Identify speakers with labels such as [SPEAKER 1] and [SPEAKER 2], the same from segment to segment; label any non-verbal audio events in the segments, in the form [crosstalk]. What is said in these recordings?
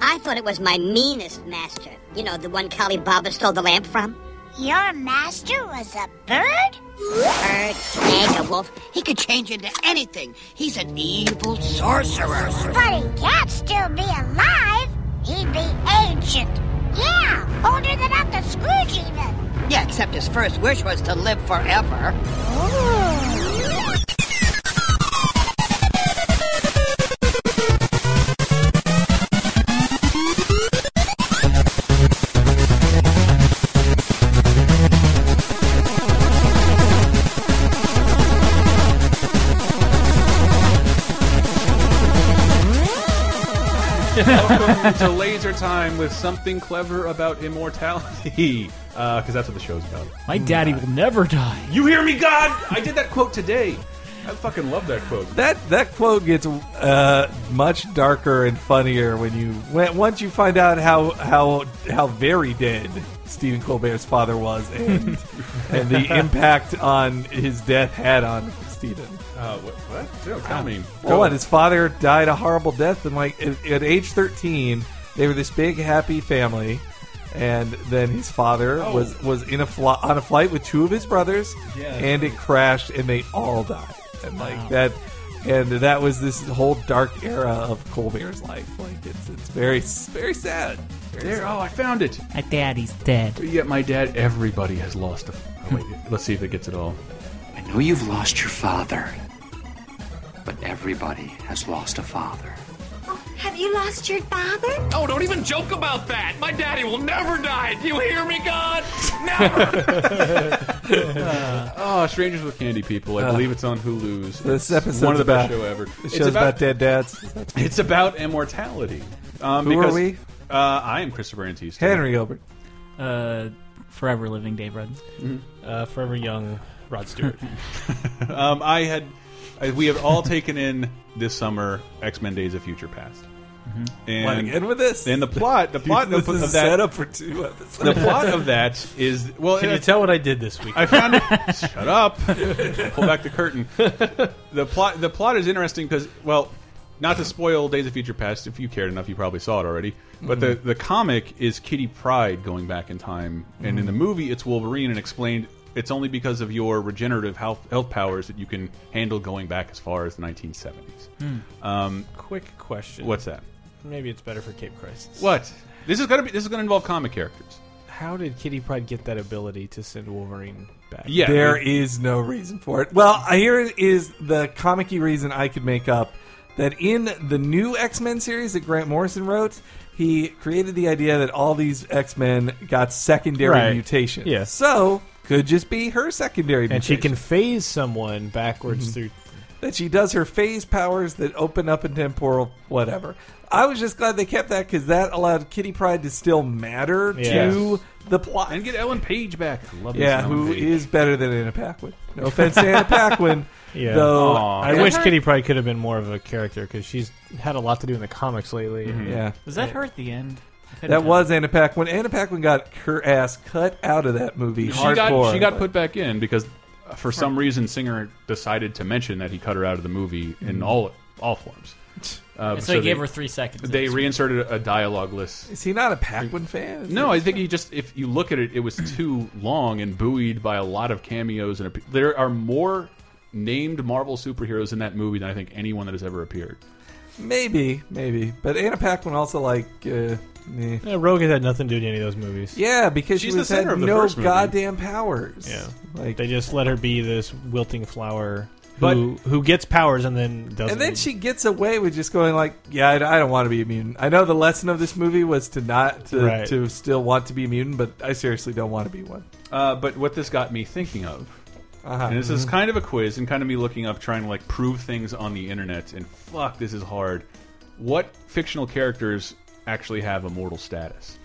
[SPEAKER 1] I thought it was my meanest master. You know, the one Kali Baba stole the lamp from.
[SPEAKER 2] Your master was a bird?
[SPEAKER 1] Bird, snake, a wolf.
[SPEAKER 3] He could change into anything. He's an evil sorcerer.
[SPEAKER 2] But he can't still be alive. He'd be ancient. Yeah, older than Uncle Scrooge, even.
[SPEAKER 3] Yeah, except his first wish was to live forever.
[SPEAKER 4] Welcome to Laser Time with something clever about immortality, because that's what the show's about.
[SPEAKER 5] My daddy will never die.
[SPEAKER 4] You hear me, God? I did that quote today. I fucking love that quote.
[SPEAKER 6] That that quote gets uh, much darker and funnier when you when, once you find out how how how very dead Stephen Colbert's father was and and the impact on his death had on Stephen.
[SPEAKER 4] Uh, what? What? Don't tell me.
[SPEAKER 6] Well, what his father died a horrible death, and like at, at age thirteen, they were this big happy family, and then his father
[SPEAKER 4] Oh.
[SPEAKER 6] was was in a fl- on a flight with two of his brothers,
[SPEAKER 4] Yeah, that's
[SPEAKER 6] and it crashed, and they all died, and like that, and that was this whole dark era of Colbert's life. Like it's it's very s- very sad. Very
[SPEAKER 4] There.
[SPEAKER 6] sad.
[SPEAKER 4] Oh, I found it.
[SPEAKER 5] My daddy's dead.
[SPEAKER 4] Yet my dad. Everybody has lost. A, oh,
[SPEAKER 6] [laughs]
[SPEAKER 4] wait, let's see if it gets it all.
[SPEAKER 7] I know you've lost your father, but everybody has lost a father.
[SPEAKER 8] Oh, Have you lost your father?
[SPEAKER 9] Oh, don't even joke about that. My daddy will never die. Do you hear me, God? Never.
[SPEAKER 4] Oh, Strangers with Candy, people. I believe it's on Hulu's.
[SPEAKER 6] Uh,
[SPEAKER 4] It's
[SPEAKER 6] This episode's
[SPEAKER 4] one of the
[SPEAKER 6] about,
[SPEAKER 4] best show ever.
[SPEAKER 6] The
[SPEAKER 4] It's
[SPEAKER 6] show's about,
[SPEAKER 4] about
[SPEAKER 6] dead dads.
[SPEAKER 4] It's about immortality. Um,
[SPEAKER 6] Who are
[SPEAKER 4] because,
[SPEAKER 6] we?
[SPEAKER 4] Uh, I am Christopher Antista.
[SPEAKER 6] Henry Gilbert.
[SPEAKER 5] Uh, forever living Dave Rudd.
[SPEAKER 10] Uh, forever young Rod Stewart.
[SPEAKER 4] Um, I had. I, we have all taken in this summer X Men Days of Future Past.
[SPEAKER 6] Want to
[SPEAKER 4] And,
[SPEAKER 6] get Mm-hmm. in with this? [laughs]
[SPEAKER 4] and the plot, the plot
[SPEAKER 6] this
[SPEAKER 4] of, of
[SPEAKER 6] is
[SPEAKER 4] that,
[SPEAKER 6] set up for two episodes.
[SPEAKER 4] the plot of that is well.
[SPEAKER 10] Can
[SPEAKER 4] it-
[SPEAKER 10] you tell what I did this week?
[SPEAKER 4] I found it. shut up. Pull back the curtain. The plot. The plot is interesting because, well, not to spoil Days of Future Past. If you cared enough, you probably saw it already. But the
[SPEAKER 10] Mm-hmm.
[SPEAKER 4] the comic is Kitty Pride going back in time, and
[SPEAKER 10] Mm.
[SPEAKER 4] in the movie, it's Wolverine and explained. It's only because of your regenerative health, health powers that you can handle going back as far as the 1970s.
[SPEAKER 10] Mm.
[SPEAKER 4] Um,
[SPEAKER 10] Quick question.
[SPEAKER 4] what's that?
[SPEAKER 10] Maybe it's better for Cape Crisis.
[SPEAKER 4] What? This is gonna be. This is gonna involve comic characters.
[SPEAKER 10] How did Kitty Pride get that ability to send Wolverine back?
[SPEAKER 4] Yeah.
[SPEAKER 6] There is no reason for it. Well, here is the comic reason I could make up that in the new X Men series that Grant Morrison wrote, he created the idea that all these X Men got secondary
[SPEAKER 10] Right.
[SPEAKER 6] mutations.
[SPEAKER 10] Yeah.
[SPEAKER 6] So could just be her secondary
[SPEAKER 10] And she
[SPEAKER 6] mutation.
[SPEAKER 10] can phase someone backwards through.
[SPEAKER 6] that she does her phase powers that open up in temporal whatever. I was just glad they kept that because that allowed Kitty Pride to still matter
[SPEAKER 10] Yeah.
[SPEAKER 6] to the plot.
[SPEAKER 4] and get Ellen Page back. I love this
[SPEAKER 6] yeah,
[SPEAKER 4] Ellen
[SPEAKER 6] who
[SPEAKER 4] Page.
[SPEAKER 6] is better than Anna Paquin? No offense to Anna Paquin.
[SPEAKER 10] [laughs] Yeah.
[SPEAKER 6] Though
[SPEAKER 4] Aw.
[SPEAKER 10] I wish Kitty Pride could have been more of a character because she's had a lot to do in the comics lately.
[SPEAKER 6] Yeah.
[SPEAKER 5] [laughs] Was that her at the end? I couldn't
[SPEAKER 6] That
[SPEAKER 5] tell.
[SPEAKER 6] was Anna Paquin. Anna Paquin got her ass cut out of that movie.
[SPEAKER 4] She
[SPEAKER 6] hardcore.
[SPEAKER 4] got, she got put back in because uh, for some reason Singer decided to mention that he cut her out of the movie in all all
[SPEAKER 5] [laughs]
[SPEAKER 4] forms. Uh,
[SPEAKER 5] Mm-hmm. And so, he
[SPEAKER 4] they-
[SPEAKER 5] gave her three seconds.
[SPEAKER 4] They reinserted a dialogue list.
[SPEAKER 6] Is he not a Paquin fan? Is
[SPEAKER 4] No,
[SPEAKER 6] it-
[SPEAKER 4] I think he just if you look at it, it
[SPEAKER 5] [clears throat]
[SPEAKER 4] was too long and buoyed by a lot of cameos and appe- there are more named Marvel superheroes in that movie than I think anyone that has ever appeared.
[SPEAKER 6] maybe, maybe. But Anna Paquin also like, uh, meh.
[SPEAKER 10] Yeah, Rogue has had nothing to do with any of those movies.
[SPEAKER 6] yeah, because
[SPEAKER 4] She's
[SPEAKER 6] she
[SPEAKER 4] the
[SPEAKER 6] was
[SPEAKER 4] center
[SPEAKER 6] had
[SPEAKER 4] of the
[SPEAKER 6] no
[SPEAKER 4] first movie.
[SPEAKER 6] goddamn powers.
[SPEAKER 10] Yeah.
[SPEAKER 6] like
[SPEAKER 10] They just let her be this wilting flower
[SPEAKER 4] But-
[SPEAKER 10] who who gets powers and then doesn't.
[SPEAKER 6] And then she gets away with just going like, "Yeah, I, I don't want to be a mutant." I know the lesson of this movie was to not to,
[SPEAKER 10] Right.
[SPEAKER 6] to still want to be a mutant, but I seriously don't want to be one.
[SPEAKER 4] Uh, but what this got me thinking of,
[SPEAKER 6] Uh-huh.
[SPEAKER 4] and this is kind of a quiz and kind of me looking up, trying to like prove things on the internet, and fuck, this is hard. What fictional characters actually have immortal status?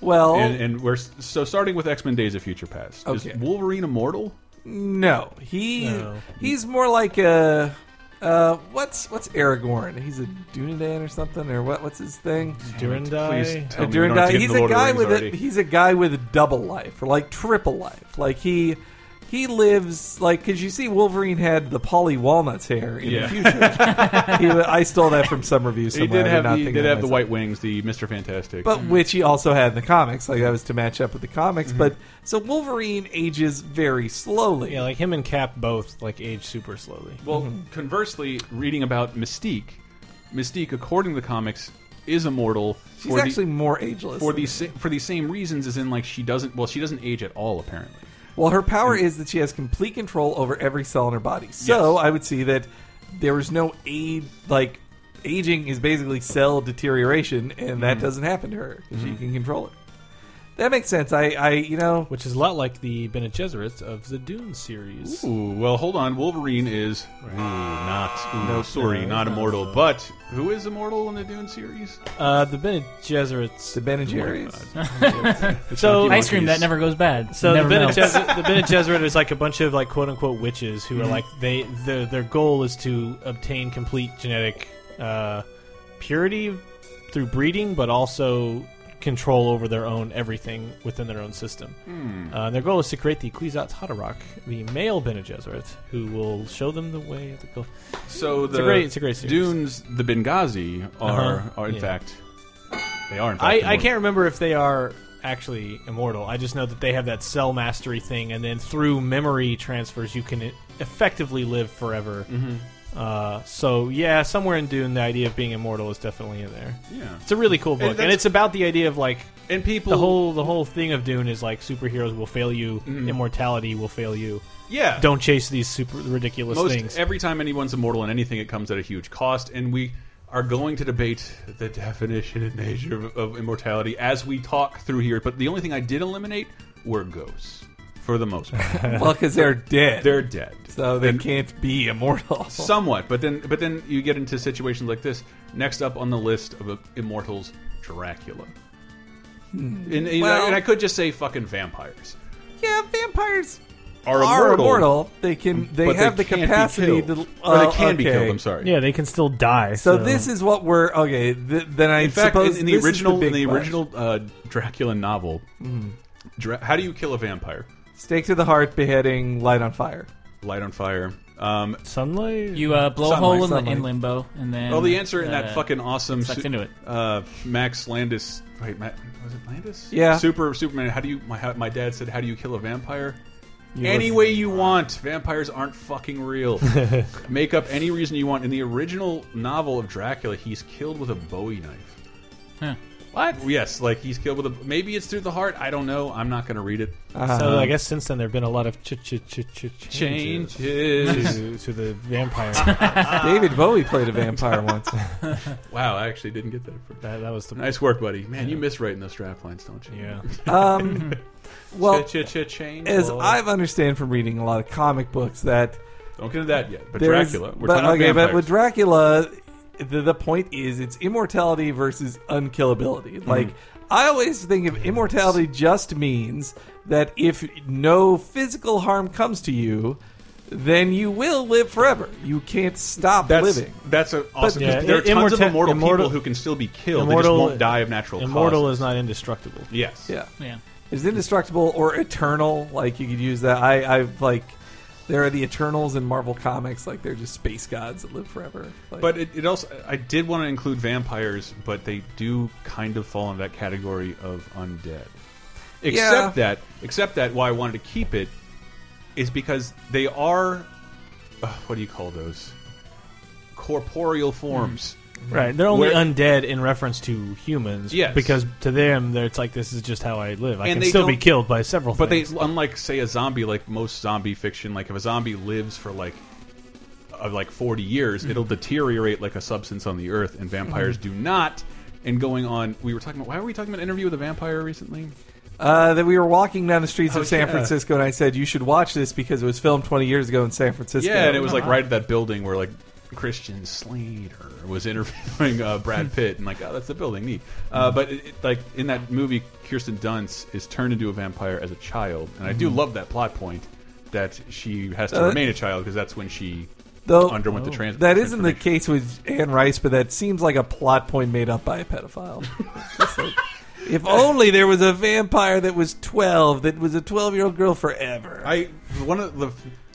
[SPEAKER 6] Well,
[SPEAKER 4] And, and we're s- so starting with X Men: Days of Future Past.
[SPEAKER 6] Oh. Okay.
[SPEAKER 4] Is Wolverine immortal?
[SPEAKER 6] no, he
[SPEAKER 10] No.
[SPEAKER 6] he's more like a uh, what's what's Aragorn? He's a Dunedain or something, or what? What's his thing?
[SPEAKER 4] Please
[SPEAKER 10] Durandai.
[SPEAKER 4] tell
[SPEAKER 6] a
[SPEAKER 4] me. we don't have to
[SPEAKER 6] Durandai.
[SPEAKER 4] get
[SPEAKER 6] He's
[SPEAKER 4] into
[SPEAKER 6] a
[SPEAKER 4] Lord of the
[SPEAKER 6] guy
[SPEAKER 4] Rings
[SPEAKER 6] with a,
[SPEAKER 4] already.
[SPEAKER 6] he's a guy with a double life or like triple life. Like he he lives like because you see Wolverine had the Polly Walnuts hair in
[SPEAKER 4] Yeah.
[SPEAKER 6] the
[SPEAKER 4] [laughs]
[SPEAKER 6] future. he, I stole that from some review
[SPEAKER 4] He
[SPEAKER 6] somewhere.
[SPEAKER 4] did
[SPEAKER 6] I
[SPEAKER 4] have
[SPEAKER 6] not
[SPEAKER 4] the,
[SPEAKER 6] think
[SPEAKER 4] did
[SPEAKER 6] of
[SPEAKER 4] have the
[SPEAKER 6] myself.
[SPEAKER 4] white wings, the Mister Fantastic.
[SPEAKER 6] but which he also had in the comics. Like that was to match up with the comics.
[SPEAKER 4] Mm-hmm.
[SPEAKER 6] But so Wolverine ages very slowly.
[SPEAKER 10] Yeah, like him and Cap both like age super slowly.
[SPEAKER 4] Well,
[SPEAKER 6] Mm-hmm.
[SPEAKER 4] conversely, reading about Mystique, Mystique, according to the comics, is immortal.
[SPEAKER 6] She's
[SPEAKER 4] for the-
[SPEAKER 6] actually more ageless
[SPEAKER 4] for
[SPEAKER 6] than
[SPEAKER 4] the sa- for the same reasons as in like she doesn't. Well, she doesn't age at all apparently.
[SPEAKER 6] Well, her power is that she has complete control over every cell in her body. So
[SPEAKER 4] Yes.
[SPEAKER 6] I would see that there is no aid. Like aging is basically cell deterioration, and
[SPEAKER 4] Mm-hmm.
[SPEAKER 6] that doesn't happen to her 'cause she can control it. That makes sense. I, I, you know,
[SPEAKER 10] Which is a lot like the Bene Gesserits of the Dune series.
[SPEAKER 4] Ooh, well, hold on. Wolverine is ooh, not ooh, sorry,
[SPEAKER 10] no,
[SPEAKER 4] not
[SPEAKER 10] no.
[SPEAKER 4] immortal. But who is immortal in the Dune series?
[SPEAKER 10] Uh, the Bene Gesserits. Oh
[SPEAKER 6] the Ben
[SPEAKER 4] Oh
[SPEAKER 6] and Jerry's.
[SPEAKER 10] so
[SPEAKER 5] Ice cream that never goes bad.
[SPEAKER 10] So the
[SPEAKER 5] never [laughs]
[SPEAKER 10] Bene,
[SPEAKER 5] melts.
[SPEAKER 10] Gesserit, the Bene Gesserit is like a bunch of like quote unquote witches who are like they their their goal is to obtain complete genetic uh, purity through breeding, but also control over their own everything within their own system. Uh, their goal is to create the Kwisatz Haderach, the male Bene Gesserit, who will show them the way of the Gulf.
[SPEAKER 4] So the
[SPEAKER 10] a great- it's a great series.
[SPEAKER 4] Dunes, the Benghazi are
[SPEAKER 10] Uh-huh,
[SPEAKER 4] are in
[SPEAKER 10] yeah.
[SPEAKER 4] fact they are in fact.
[SPEAKER 10] I, I
[SPEAKER 4] immortal.
[SPEAKER 10] can't remember if they are actually immortal. I just know that they have that cell mastery thing, and then through memory transfers, you can e-, effectively live forever.
[SPEAKER 4] Mm-hmm.
[SPEAKER 10] Uh, so yeah, somewhere in Dune, the idea of being immortal is definitely in there.
[SPEAKER 4] Yeah.
[SPEAKER 10] It's a really cool book, and,
[SPEAKER 4] that's-
[SPEAKER 10] it's about the idea of like
[SPEAKER 4] And people
[SPEAKER 10] the whole the whole thing of Dune is like superheroes will fail you, immortality will fail you.
[SPEAKER 4] Mm-hmm. yeah
[SPEAKER 10] Don't chase these super ridiculous
[SPEAKER 4] most
[SPEAKER 10] things.
[SPEAKER 4] every time anyone's immortal in anything it comes at a huge cost and we are going to debate the definition and nature of, of immortality as we talk through here but the only thing i did eliminate were ghosts for the most part
[SPEAKER 10] [laughs]
[SPEAKER 6] well, because they're
[SPEAKER 4] [laughs]
[SPEAKER 6] dead,
[SPEAKER 4] they're dead
[SPEAKER 6] so they
[SPEAKER 4] And
[SPEAKER 6] can't be
[SPEAKER 4] [laughs]
[SPEAKER 6] immortal.
[SPEAKER 4] somewhat but then but then you get into situations like this next up on the list of uh, immortals dracula and, and,
[SPEAKER 6] Hmm. Well-
[SPEAKER 4] I, and I could just say fucking vampires
[SPEAKER 6] yeah, vampires
[SPEAKER 4] are, Mm,
[SPEAKER 6] are immortal. They can, they
[SPEAKER 4] but
[SPEAKER 6] have the
[SPEAKER 4] can't be
[SPEAKER 6] capacity to,
[SPEAKER 4] killed.
[SPEAKER 6] uh,
[SPEAKER 4] or they can be
[SPEAKER 6] okay.
[SPEAKER 4] killed i'm sorry
[SPEAKER 10] yeah, they can still die.
[SPEAKER 6] So, this is what we're okay. Th- then I
[SPEAKER 4] In fact,
[SPEAKER 6] suppose
[SPEAKER 4] in, in the
[SPEAKER 6] this is
[SPEAKER 4] original, in
[SPEAKER 6] big
[SPEAKER 4] the
[SPEAKER 6] question. Hmm.
[SPEAKER 4] original uh, Dracula novel, Dra how do you kill a vampire?
[SPEAKER 6] stake to the heart, beheading, light on fire.
[SPEAKER 4] Light on fire. Um,
[SPEAKER 10] sunlight.
[SPEAKER 5] You uh, blow a
[SPEAKER 6] Sunlight,
[SPEAKER 5] hole in, the,
[SPEAKER 6] sunlight.
[SPEAKER 5] in limbo, and then.
[SPEAKER 4] well, the answer in that
[SPEAKER 5] uh,
[SPEAKER 4] fucking awesome
[SPEAKER 5] sucked
[SPEAKER 4] su-
[SPEAKER 5] into it.
[SPEAKER 4] Uh, Max Landis. Wait, Ma was it Landis?
[SPEAKER 6] Yeah.
[SPEAKER 4] Super Superman. How do you? My, how, my dad said, "How do you kill a vampire?"
[SPEAKER 6] live
[SPEAKER 4] any way you want. Vampires aren't fucking real. Make up any reason you want. In the original novel of Dracula, he's killed with a Bowie knife.
[SPEAKER 5] Huh.
[SPEAKER 4] What? Yes, like he's killed with a. Maybe it's through the heart. I don't know. I'm not going to read it.
[SPEAKER 10] so
[SPEAKER 4] Uh-huh.
[SPEAKER 10] I guess since then there have been a lot of ch ch ch ch changes. [laughs]
[SPEAKER 4] Changes. [laughs]
[SPEAKER 10] to, to the vampire.
[SPEAKER 6] David Bowie played a [laughs] vampire once.
[SPEAKER 4] Wow, I actually didn't get that. For
[SPEAKER 10] that, that was the
[SPEAKER 4] Nice work, buddy. Man, you miss writing those strap lines, don't you?
[SPEAKER 10] [laughs] yeah.
[SPEAKER 6] Um, well,
[SPEAKER 4] Ch-ch-ch-change.
[SPEAKER 6] as
[SPEAKER 4] Well,
[SPEAKER 6] I've understand from reading a lot of comic books, that
[SPEAKER 4] don't get into that yet. But
[SPEAKER 6] there is-
[SPEAKER 4] Dracula, we're
[SPEAKER 6] but,
[SPEAKER 4] talking about
[SPEAKER 6] okay, but
[SPEAKER 4] vampires.
[SPEAKER 6] with Dracula, the, the point is it's immortality versus unkillability.
[SPEAKER 4] Mm-hmm.
[SPEAKER 6] Like I always think of immortality just means that if no physical harm comes to you, then you will live forever. You can't stop
[SPEAKER 4] that's,
[SPEAKER 6] living.
[SPEAKER 4] That's an awesome.
[SPEAKER 10] yeah,
[SPEAKER 4] there are tons of
[SPEAKER 10] immorta-
[SPEAKER 4] immortal,
[SPEAKER 10] immortal-
[SPEAKER 4] people who can still be killed.
[SPEAKER 10] immortal-
[SPEAKER 4] they just won't die of natural
[SPEAKER 10] Immortal
[SPEAKER 4] causes.
[SPEAKER 10] is not indestructible.
[SPEAKER 4] Yes.
[SPEAKER 6] Yeah.
[SPEAKER 5] Yeah.
[SPEAKER 6] Is indestructible or eternal? Like you could use that. I I like there are the Eternals in Marvel comics. Like they're just space gods that live forever. Like,
[SPEAKER 4] But it, it also, I did want to include vampires, but they do kind of fall into that category of undead. Except that, except that, why I wanted to keep it is because they are, uh, what do you call those? Corporeal forms.
[SPEAKER 10] Right. They're only
[SPEAKER 4] Where-
[SPEAKER 10] undead in reference to humans.
[SPEAKER 4] Yes.
[SPEAKER 10] Because to them, they're- it's like this is just how I live. I
[SPEAKER 4] And
[SPEAKER 10] can
[SPEAKER 4] they
[SPEAKER 10] still be
[SPEAKER 4] don't-
[SPEAKER 10] killed by several.
[SPEAKER 4] But they,
[SPEAKER 10] things.
[SPEAKER 4] unlike say a zombie, like most zombie fiction, like if a zombie lives for like uh, like forty
[SPEAKER 10] Mm-hmm.
[SPEAKER 4] years, it'll deteriorate like a substance on the earth, and vampires do not. And going on, we were talking about why were we talking about interview with a vampire recently?
[SPEAKER 6] uh, that we were walking down the streets
[SPEAKER 4] Oh,
[SPEAKER 6] of San
[SPEAKER 4] yeah.
[SPEAKER 6] Francisco, and I said you should watch this because it was filmed 20 years ago in San Francisco.
[SPEAKER 4] yeah, and it was like right at that building where like Christian Slater was interviewing uh,
[SPEAKER 6] Hmm.
[SPEAKER 4] Brad Pitt, and like, oh, that's the building, neat. Uh, but it, it- like in that movie, Kirsten Dunst is turned into a vampire as a child, and I do love that plot point that she has to
[SPEAKER 6] Hmm. Uh,
[SPEAKER 4] remain a child because that's when she
[SPEAKER 6] Though-
[SPEAKER 4] underwent the trans.
[SPEAKER 6] That isn't the
[SPEAKER 4] transformation. [laughs]
[SPEAKER 6] case with Anne Rice, but that seems like a plot point made up by a pedophile. Just like, If only there was a vampire that was 12, that was a 12 year old girl forever.
[SPEAKER 4] I one of the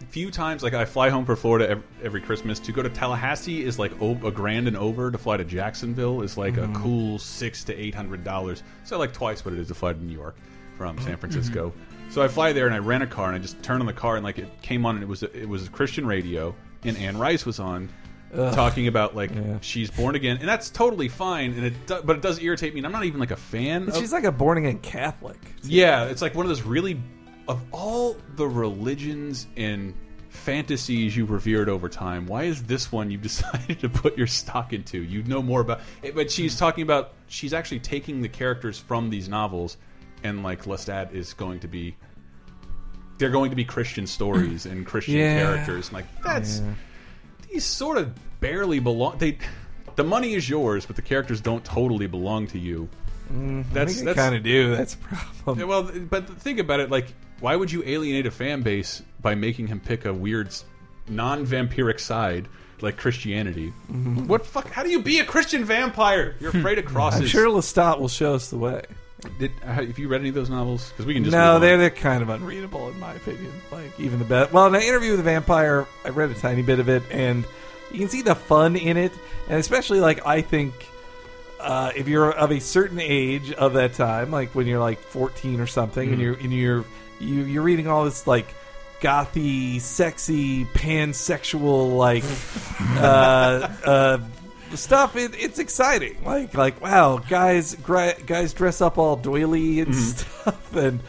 [SPEAKER 4] few times like I fly home for Florida ev- every Christmas to go to Tallahassee is like o a grand and over. To fly to Jacksonville is like a cool six to eight hundred dollars. So like twice what it is to fly to New York from San Francisco. So I fly there and I rent a car and I just turn on the car and like it came on and it was it was Christian radio and Anne Rice was on. Talking about like she's born again, and that's totally fine, and it do, but it does irritate me. And I'm not even like a fan. of,
[SPEAKER 6] She's like a born again Catholic.
[SPEAKER 4] yeah, it's like one of those really of all the religions and fantasies you revered over time. Why is this one you've [laughs] decided to put your stock into? You know more about, eh, but she's talking about she's actually taking the characters from these novels, and like Lestat is going to be, they're going to be Christian stories and Christian
[SPEAKER 6] Yeah.
[SPEAKER 4] characters. And like that's these sort of barely belong. They, the money is yours, but the characters don't totally belong to you. that's that's
[SPEAKER 6] kind of do. That's a problem.
[SPEAKER 4] yeah, Well, but think about it. Like, why would you alienate a fan base by making him pick a weird, non-vampiric side like Christianity? What fuck? How do you be a Christian vampire?
[SPEAKER 6] [laughs]
[SPEAKER 4] You're afraid of crosses.
[SPEAKER 6] Mm-hmm. I'm sure Lestat will show us the way.
[SPEAKER 4] Did, uh, have you read any of those novels? Because we can just move
[SPEAKER 6] No,
[SPEAKER 4] on.
[SPEAKER 6] they're, they're kind of unreadable, in my opinion. Like, even the best. Well, in an interview with the vampire, I read a tiny bit of it, and you can see the fun in it. And especially, like, I think uh, if you're of a certain age of that time, like when you're like 14 or something, and you're and you're you, you're reading all this like gothy, sexy, pansexual like uh, uh, stuff, it, it's exciting. Like like wow, guys gri guys dress up all doily and stuff, and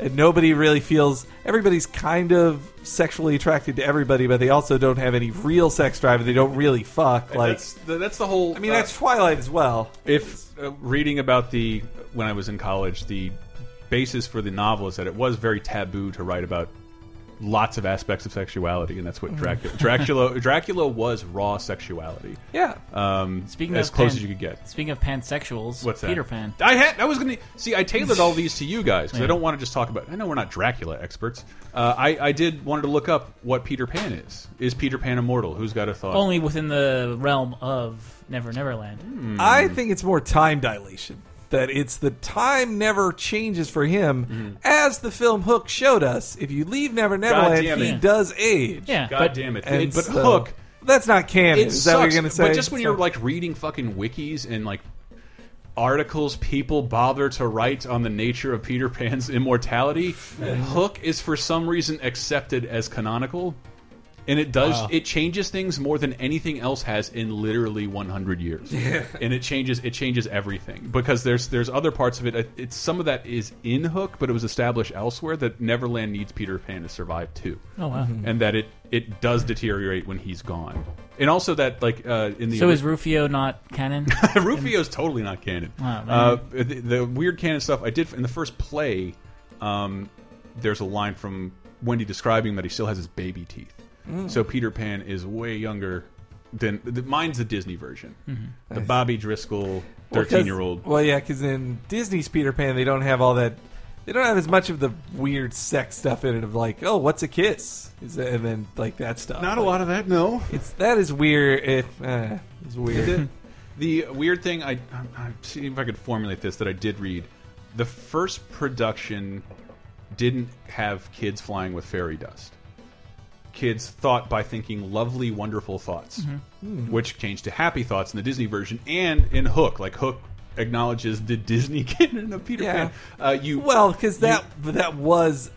[SPEAKER 6] and nobody really feels everybody's kind of sexually attracted to everybody, but they also don't have any real sex drive. and They don't really fuck. Like
[SPEAKER 4] that's the, that's the whole.
[SPEAKER 6] I mean,
[SPEAKER 4] uh,
[SPEAKER 6] that's Twilight as well.
[SPEAKER 4] if uh, reading about the when I was in college, the basis for the novel is that it was very taboo to write about lots of aspects of sexuality, and that's what
[SPEAKER 6] Mm-hmm.
[SPEAKER 4] Dracula
[SPEAKER 6] [laughs]
[SPEAKER 4] Dracula Dracula was raw sexuality.
[SPEAKER 6] Yeah.
[SPEAKER 4] Um,
[SPEAKER 5] Speaking
[SPEAKER 4] as
[SPEAKER 5] of
[SPEAKER 4] close
[SPEAKER 5] pan-
[SPEAKER 4] as you could get.
[SPEAKER 5] Speaking of pansexuals,
[SPEAKER 4] What's that? Ah.
[SPEAKER 5] Peter Pan.
[SPEAKER 4] I had. I was gonna see. I tailored all these to you guys because I don't want to just talk about. I know we're not Dracula experts. Uh, I I did wanted to look up what Peter Pan is. Is Peter Pan immortal? Who's got a thought?
[SPEAKER 5] Only within the realm of Never Neverland.
[SPEAKER 4] Hmm.
[SPEAKER 6] I think it's more time dilation. That it's the time never changes for him,
[SPEAKER 4] Mm-hmm.
[SPEAKER 6] as the film Hook showed us. If you leave Never Neverland,
[SPEAKER 4] damn
[SPEAKER 6] he
[SPEAKER 5] it.
[SPEAKER 6] does age.
[SPEAKER 5] Yeah,
[SPEAKER 4] God
[SPEAKER 5] but
[SPEAKER 4] damn it!
[SPEAKER 6] And
[SPEAKER 4] It- but
[SPEAKER 6] so-
[SPEAKER 4] Hook.
[SPEAKER 6] That's not canon.
[SPEAKER 4] It
[SPEAKER 6] is
[SPEAKER 4] sucks.
[SPEAKER 6] that what you're going to say?
[SPEAKER 4] But just when
[SPEAKER 6] So-
[SPEAKER 4] you're like reading fucking wikis and like articles people bother to write on the nature of Peter Pan's [laughs]
[SPEAKER 6] [laughs]
[SPEAKER 4] immortality, Hook is for some reason accepted as canonical. And it does. It changes things more than anything else has in literally 100
[SPEAKER 5] [laughs]
[SPEAKER 4] years. And it changes. It changes everything because there's there's other parts of it. It's some of that is in Hook, but it was established elsewhere that Neverland needs Peter Pan to survive too
[SPEAKER 5] oh wow.
[SPEAKER 4] and that it it does deteriorate when he's gone. And also that like uh, in the
[SPEAKER 5] So is Rufio not
[SPEAKER 4] [laughs]
[SPEAKER 5] canon?
[SPEAKER 4] Rufio's totally not canon.
[SPEAKER 5] Wow, man.
[SPEAKER 4] uh, the, the weird canon stuff I did in the first play. Um, there's a line from Wendy describing that he still has his baby teeth.
[SPEAKER 6] Mm.
[SPEAKER 4] So Peter Pan is way younger than the, mine's the Disney version,
[SPEAKER 5] Mm-hmm.
[SPEAKER 4] the Bobby Driscoll
[SPEAKER 6] Well, 'cause-
[SPEAKER 4] thirteen year old.
[SPEAKER 6] Well, yeah, because in Disney's Peter Pan, they don't have all that. They don't have as much of the weird sex stuff in it of like, oh, what's a kiss? Is that, and then like that stuff.
[SPEAKER 4] Not a lot of that, no.
[SPEAKER 6] It's that is weird. If uh, it's weird.
[SPEAKER 4] The weird thing, I, I'm, I'm seeing if I could formulate this, that I did read. The first production didn't have kids flying with fairy dust. Kids thought by thinking lovely, wonderful thoughts,
[SPEAKER 6] Mm-hmm.
[SPEAKER 4] which changed to happy thoughts in the Disney version and in Hook. Like, Hook acknowledges the Disney [laughs] canon of Peter
[SPEAKER 6] Yeah.
[SPEAKER 4] Pan. Uh, you,
[SPEAKER 6] Well, because that that was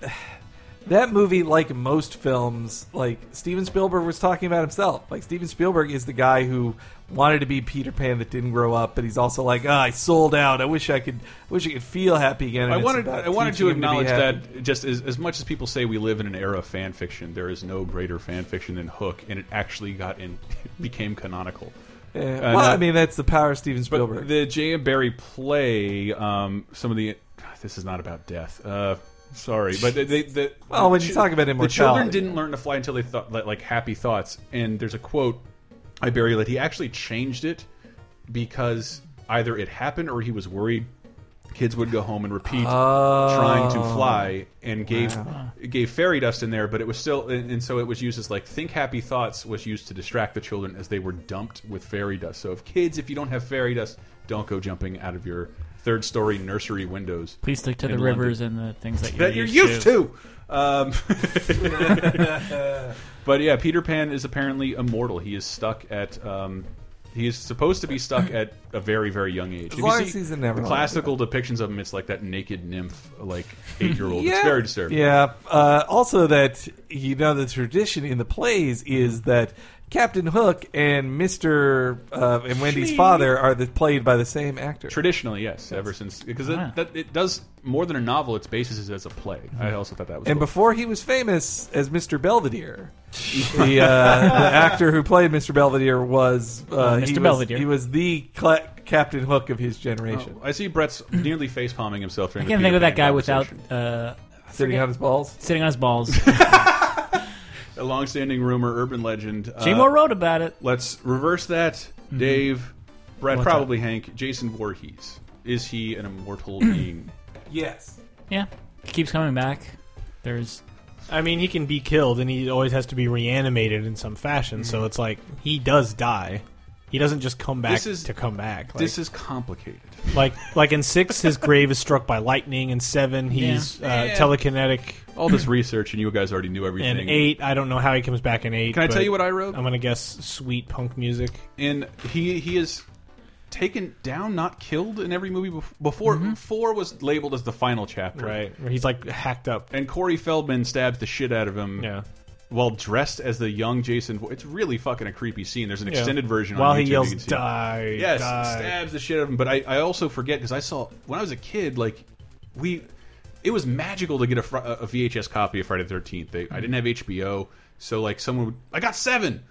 [SPEAKER 6] that movie. Like most films, like Steven Spielberg was talking about himself. Like Steven Spielberg is the guy who wanted to be Peter Pan that didn't grow up, but he's also like, ah, I sold out. I wish I could. Wish I could feel happy again. And
[SPEAKER 4] I
[SPEAKER 6] it's
[SPEAKER 4] wanted
[SPEAKER 6] about
[SPEAKER 4] I wanted
[SPEAKER 6] teaching
[SPEAKER 4] to
[SPEAKER 6] him be
[SPEAKER 4] acknowledge
[SPEAKER 6] happy.
[SPEAKER 4] that just as, as much as people say we live in an era of fan fiction, there is no greater fan fiction than Hook, and it actually got in [laughs] became canonical.
[SPEAKER 6] Yeah.
[SPEAKER 4] Uh,
[SPEAKER 6] well,
[SPEAKER 4] not-
[SPEAKER 6] I mean, that's the power of Steven
[SPEAKER 4] But
[SPEAKER 6] Spielberg.
[SPEAKER 4] the Jay and Barry play um, some of the. This is not about death. Uh, sorry, but they. The,
[SPEAKER 6] Well, when you talk about
[SPEAKER 4] the children
[SPEAKER 6] immortality.
[SPEAKER 4] didn't learn to fly until they thought like, like happy thoughts. And there's a quote I bury that he actually changed it because either it happened or he was worried kids would go home and repeat trying to
[SPEAKER 6] Oh.
[SPEAKER 4] fly and gave it gave fairy dust in there but it was still and, and so it was used as like think happy thoughts was used to distract the children as they were dumped with fairy dust so if kids if you don't have fairy dust don't go jumping out of your third story nursery windows
[SPEAKER 5] Please stick to the
[SPEAKER 4] in London.
[SPEAKER 5] rivers and the things that you're,
[SPEAKER 4] that you're used to. Um, [laughs] but yeah, Peter Pan is apparently immortal. He is stuck at. Um, he is supposed to be stuck at a very, very young age. If you
[SPEAKER 6] long
[SPEAKER 4] see
[SPEAKER 6] as he's in
[SPEAKER 4] the
[SPEAKER 6] Neverland,
[SPEAKER 4] classical depictions of him, it's like that naked nymph, like eight year old.
[SPEAKER 6] Yeah.
[SPEAKER 4] It's very disturbing.
[SPEAKER 6] Yeah. Uh, also, that you know the tradition in the plays is
[SPEAKER 4] Mm-hmm.
[SPEAKER 6] that Captain Hook and Mister uh, and Wendy's father are the, played by the same actor.
[SPEAKER 4] Traditionally, yes, ever since because
[SPEAKER 5] Ah.
[SPEAKER 4] it, that, it does more than a novel. Its basis is as a play. I also thought that was
[SPEAKER 6] Mm-hmm. and
[SPEAKER 4] cool.
[SPEAKER 6] before he was famous as
[SPEAKER 4] [laughs]
[SPEAKER 6] Mister Belvedere, the, uh, the actor who played Mister Belvedere was uh,
[SPEAKER 4] Oh,
[SPEAKER 5] Uh,
[SPEAKER 6] he
[SPEAKER 5] Mr.
[SPEAKER 6] was-
[SPEAKER 5] Belvedere.
[SPEAKER 6] he was the cla Captain Hook of his generation,
[SPEAKER 4] I see Brett's nearly face palming himself.
[SPEAKER 5] I
[SPEAKER 4] During
[SPEAKER 5] can't
[SPEAKER 4] the
[SPEAKER 5] think
[SPEAKER 4] Peter
[SPEAKER 5] of that
[SPEAKER 4] Pan
[SPEAKER 5] guy without
[SPEAKER 4] conversation.
[SPEAKER 5] uh,
[SPEAKER 6] sitting on his balls.
[SPEAKER 5] sitting on his balls.
[SPEAKER 4] a long-standing rumor, urban legend. uh,
[SPEAKER 5] Seymour wrote about it.
[SPEAKER 4] Let's reverse that.
[SPEAKER 10] Mm-hmm.
[SPEAKER 4] Dave, Brett,
[SPEAKER 5] What's
[SPEAKER 4] probably Hank, Jason Voorhees. Is he an immortal
[SPEAKER 10] Mm-hmm.
[SPEAKER 4] being?
[SPEAKER 6] Yes.
[SPEAKER 5] Yeah, He keeps coming back. There's
[SPEAKER 10] I mean, he can be killed, and he always has to be reanimated in some fashion.
[SPEAKER 4] Mm-hmm.
[SPEAKER 10] So it's like he does die. He doesn't just come back
[SPEAKER 4] This is-
[SPEAKER 10] to come back. Like,
[SPEAKER 4] This is complicated.
[SPEAKER 10] like like in six, his grave is struck by lightning. In seven, he's uh, telekinetic.
[SPEAKER 4] All
[SPEAKER 10] Mm-hmm.
[SPEAKER 4] this research, and you guys already knew everything.
[SPEAKER 10] In eight, I don't know how he comes back in eight.
[SPEAKER 4] Can I tell
[SPEAKER 10] but
[SPEAKER 4] you what I wrote?
[SPEAKER 10] I'm gonna guess sweet punk music.
[SPEAKER 4] and he he is taken down, not killed in every movie bef- before. Four was labeled as the final chapter,
[SPEAKER 10] Mm-hmm. Right, where he's like hacked up.
[SPEAKER 4] And Corey Feldman stabs the shit out of him.
[SPEAKER 10] Yeah,
[SPEAKER 4] While dressed as the young Jason, Vo- it's really fucking a creepy scene. There's an
[SPEAKER 10] Yeah.
[SPEAKER 4] extended version
[SPEAKER 10] While
[SPEAKER 4] on YouTube.
[SPEAKER 10] he
[SPEAKER 4] you
[SPEAKER 10] yells,
[SPEAKER 4] can see it.
[SPEAKER 10] "Die!"
[SPEAKER 4] Yes,
[SPEAKER 10] die."
[SPEAKER 4] stabs the shit out of him. But I, I also forget because I saw when I was a kid, like we, it was magical to get a, fr a VHS copy of Friday the Thirteenth. They I didn't have HBO, so like someone, would, I got seven.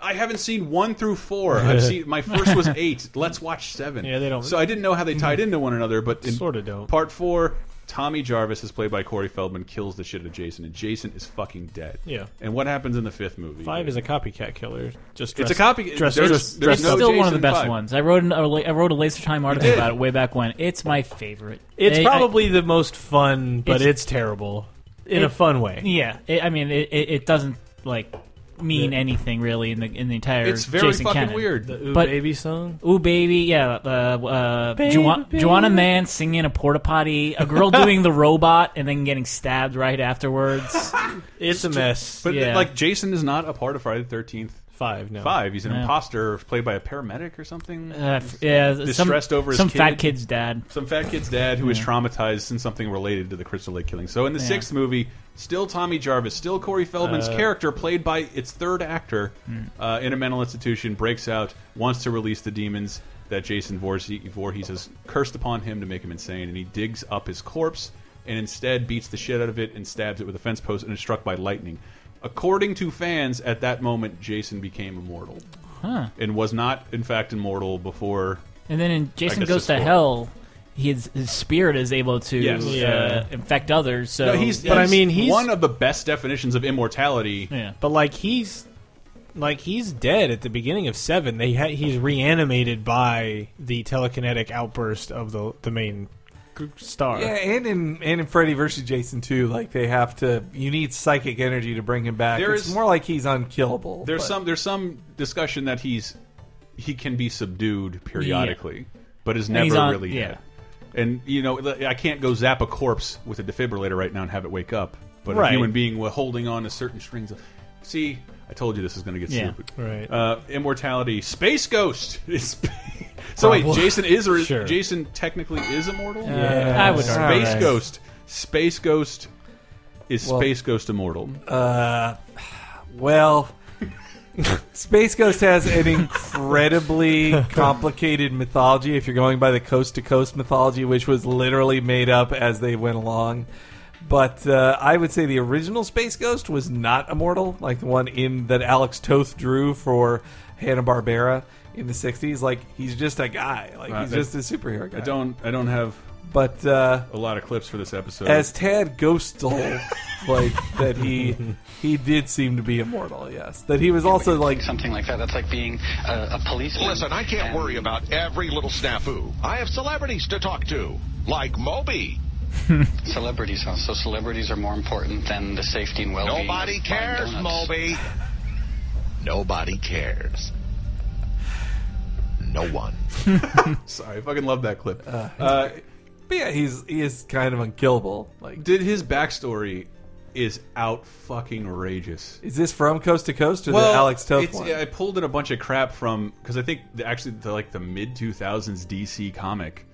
[SPEAKER 4] I haven't seen one through
[SPEAKER 10] [laughs]
[SPEAKER 4] four. I've seen my first was eight. Let's watch seven.
[SPEAKER 10] Yeah, they don't- Mm-hmm.
[SPEAKER 4] So I didn't know how they tied into one another, but in
[SPEAKER 10] Sorta don't.
[SPEAKER 4] Part four. Tommy Jarvis is played by Corey Feldman, kills the shit out of Jason, and Jason is fucking dead.
[SPEAKER 10] Yeah.
[SPEAKER 4] And what happens in the fifth movie?
[SPEAKER 10] Five is a copycat killer. Just
[SPEAKER 4] It's
[SPEAKER 10] dressed,
[SPEAKER 4] a copy-
[SPEAKER 10] Dressed,
[SPEAKER 4] there's-
[SPEAKER 10] dressed-
[SPEAKER 4] there's
[SPEAKER 10] dressed
[SPEAKER 5] it's
[SPEAKER 4] no
[SPEAKER 10] up.
[SPEAKER 5] still one of
[SPEAKER 4] Jason
[SPEAKER 5] the best
[SPEAKER 4] five.
[SPEAKER 5] ones. I wrote an, a la- I wrote a laser time article
[SPEAKER 4] did.
[SPEAKER 5] about it way back when. It's my favorite.
[SPEAKER 10] It's
[SPEAKER 5] I- I-
[SPEAKER 10] probably the most fun, but
[SPEAKER 5] It's-
[SPEAKER 10] it's, terrible in a
[SPEAKER 5] it-
[SPEAKER 10] fun way.
[SPEAKER 5] yeah. It, I mean, it, it, it doesn't like mean anything really in the in the entire.
[SPEAKER 4] It's very
[SPEAKER 5] Jason
[SPEAKER 4] fucking
[SPEAKER 5] canon.
[SPEAKER 4] weird.
[SPEAKER 10] [laughs] The Ooh
[SPEAKER 5] But-
[SPEAKER 10] Baby song.
[SPEAKER 5] Ooh baby, yeah. Uh, uh, Joan-
[SPEAKER 10] baby.
[SPEAKER 5] Joanna Man singing a porta potty, a
[SPEAKER 4] [laughs]
[SPEAKER 5] girl doing the robot, and then getting stabbed right afterwards. Uh,
[SPEAKER 10] It's a mess.
[SPEAKER 4] But
[SPEAKER 5] Yeah.
[SPEAKER 4] like Jason is not a part of Friday the Thirteenth
[SPEAKER 10] five, no.
[SPEAKER 4] Five. He's an
[SPEAKER 5] Yeah.
[SPEAKER 4] imposter played by a paramedic or something.
[SPEAKER 5] Uh, f- yeah, some,
[SPEAKER 4] Distressed over his
[SPEAKER 5] some
[SPEAKER 4] kid.
[SPEAKER 5] fat kid's dad.
[SPEAKER 4] Some fat kid's dad who is traumatized in something related to the Crystal Lake killing. So in the
[SPEAKER 5] Yeah. Uh,
[SPEAKER 4] sixth movie, still Tommy Jarvis, still Corey Feldman's character, played by its third actor,
[SPEAKER 5] hmm.
[SPEAKER 4] uh, in a mental institution, breaks out, wants to release the demons that Jason Voorhees, Voorhees has cursed upon him to make him insane, and he digs up his corpse and instead beats the shit out of it and stabs it with a fence post and is struck by lightning. According to fans, at that moment, Jason became immortal
[SPEAKER 5] Huh.
[SPEAKER 4] and was not, in fact, immortal before
[SPEAKER 5] And then in Jason
[SPEAKER 4] guess
[SPEAKER 5] Goes
[SPEAKER 4] it's
[SPEAKER 5] to
[SPEAKER 4] four.
[SPEAKER 5] Hell, his, his spirit is able to
[SPEAKER 4] Yes.
[SPEAKER 5] uh,
[SPEAKER 10] Yeah.
[SPEAKER 5] infect others. So
[SPEAKER 4] No, he's,
[SPEAKER 10] But I mean, he's-
[SPEAKER 4] one of the best definitions of immortality.
[SPEAKER 5] yeah.
[SPEAKER 10] But like he's like he's dead at the beginning of seven. They ha- he's reanimated by the telekinetic outburst of the the main g- star.
[SPEAKER 6] Yeah, and in and in Freddy versus Jason too, like they have to. You need psychic energy to bring him back.
[SPEAKER 4] There
[SPEAKER 6] it's
[SPEAKER 4] is-
[SPEAKER 6] more like he's unkillable.
[SPEAKER 4] There's
[SPEAKER 6] but-
[SPEAKER 4] some there's some discussion that he's he can be subdued periodically, but is
[SPEAKER 5] he's
[SPEAKER 4] never
[SPEAKER 5] on-
[SPEAKER 4] really
[SPEAKER 5] yeah.
[SPEAKER 4] dead. And you know, I can't go zap a corpse with a defibrillator right now and have it wake up. But
[SPEAKER 10] Right.
[SPEAKER 4] a human being wa- holding on to certain strings. Of, see, I told you this is going to get
[SPEAKER 5] Yeah.
[SPEAKER 4] stupid.
[SPEAKER 10] Right.
[SPEAKER 4] Uh, immortality, space ghost. [laughs] It's- so wait,
[SPEAKER 10] Probably.
[SPEAKER 4] Jason is or
[SPEAKER 10] Sure.
[SPEAKER 4] Jason technically is immortal?
[SPEAKER 5] I would
[SPEAKER 10] Yes.
[SPEAKER 5] argue.
[SPEAKER 4] Space
[SPEAKER 10] Alright.
[SPEAKER 4] Ghost. Space Ghost is
[SPEAKER 6] Well- uh,
[SPEAKER 4] Space Ghost immortal.
[SPEAKER 6] Well, Space Ghost has an incredibly complicated mythology if you're going by the coast to coast mythology, which was literally made up as they went along. But uh, I would say the original Space Ghost was not immortal, like the one in that Alex Toth drew for Hanna Barbera in the '60s. Like he's just a guy, like
[SPEAKER 4] Uh,
[SPEAKER 6] he's
[SPEAKER 4] I-
[SPEAKER 6] just a superhero guy.
[SPEAKER 4] I don't. I don't have
[SPEAKER 6] But uh,
[SPEAKER 4] a lot of clips for this episode.
[SPEAKER 6] as Tad Ghostal, like that he he did seem to be immortal. Yes, that he was also like
[SPEAKER 7] something like that. That's like being a, a policeman.
[SPEAKER 11] Listen, I can't worry about every little snafu. I have celebrities to talk to, like Moby.
[SPEAKER 7] Celebrities, huh? So celebrities are more important than the safety and well-being. of
[SPEAKER 11] Nobody
[SPEAKER 7] Bob
[SPEAKER 11] cares,
[SPEAKER 7] Donuts. [laughs]
[SPEAKER 11] Moby. Nobody cares. No one.
[SPEAKER 4] Sorry, I fucking love that clip.
[SPEAKER 6] Uh, but yeah, he's he is kind of unkillable. Like,
[SPEAKER 4] Did his backstory is out fucking outrageous.
[SPEAKER 6] is this from coast to coast or the Alex Toth
[SPEAKER 4] it's-
[SPEAKER 6] one?
[SPEAKER 4] yeah, I pulled in a bunch of crap from because I think the, actually the, like the mid two thousands DC comic.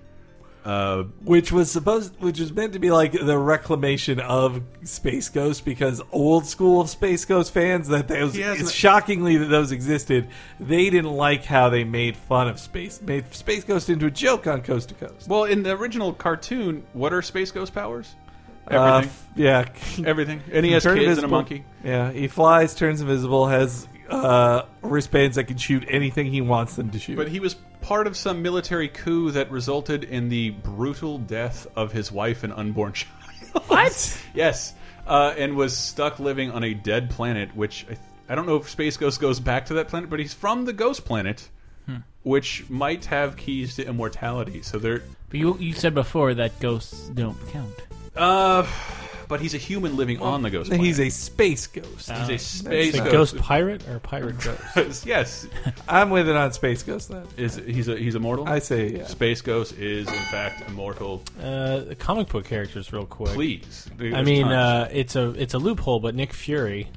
[SPEAKER 4] Uh,
[SPEAKER 6] which was supposed, which was meant to be like the reclamation of Space Ghost because old school Space Ghost fans that those
[SPEAKER 4] He hasn't-
[SPEAKER 6] it's shockingly that those existed. They didn't like how they made fun of space, made Space Ghost into a joke on Coast to Coast.
[SPEAKER 4] well, in the original cartoon, what are Space Ghost powers?
[SPEAKER 6] Uh,
[SPEAKER 4] Everything,
[SPEAKER 6] f- yeah, [laughs]
[SPEAKER 4] everything, and he has
[SPEAKER 6] Turn
[SPEAKER 4] kids and a
[SPEAKER 6] invisible.
[SPEAKER 4] monkey.
[SPEAKER 6] Yeah, he flies, turns invisible, has uh, wristbands that can shoot anything he wants them to shoot.
[SPEAKER 4] But he was part of some military coup that resulted in the brutal death of his wife and unborn [laughs] child.
[SPEAKER 5] What?
[SPEAKER 4] yes, uh, and was stuck living on a dead planet, which I, I don't know if Space Ghost goes back to that planet, but he's from the Ghost Planet, which might have keys to immortality. So they're.
[SPEAKER 5] But you you said before that ghosts don't count.
[SPEAKER 4] Uh, but he's a human living on the Ghost Planet.
[SPEAKER 6] he's a space ghost.
[SPEAKER 4] He's a space
[SPEAKER 10] A
[SPEAKER 4] ghost. [laughs]
[SPEAKER 10] ghost pirate or a pirate ghost?
[SPEAKER 4] yes,
[SPEAKER 6] I'm with it on space ghost then.
[SPEAKER 4] is he's a he's immortal.
[SPEAKER 6] I say yeah.
[SPEAKER 4] Space Ghost is in fact immortal.
[SPEAKER 10] Uh, the comic book characters, real quick.
[SPEAKER 4] Please,
[SPEAKER 10] I
[SPEAKER 4] There's
[SPEAKER 10] mean,
[SPEAKER 4] tons.
[SPEAKER 10] uh, it's a it's a loophole, but Nick Fury,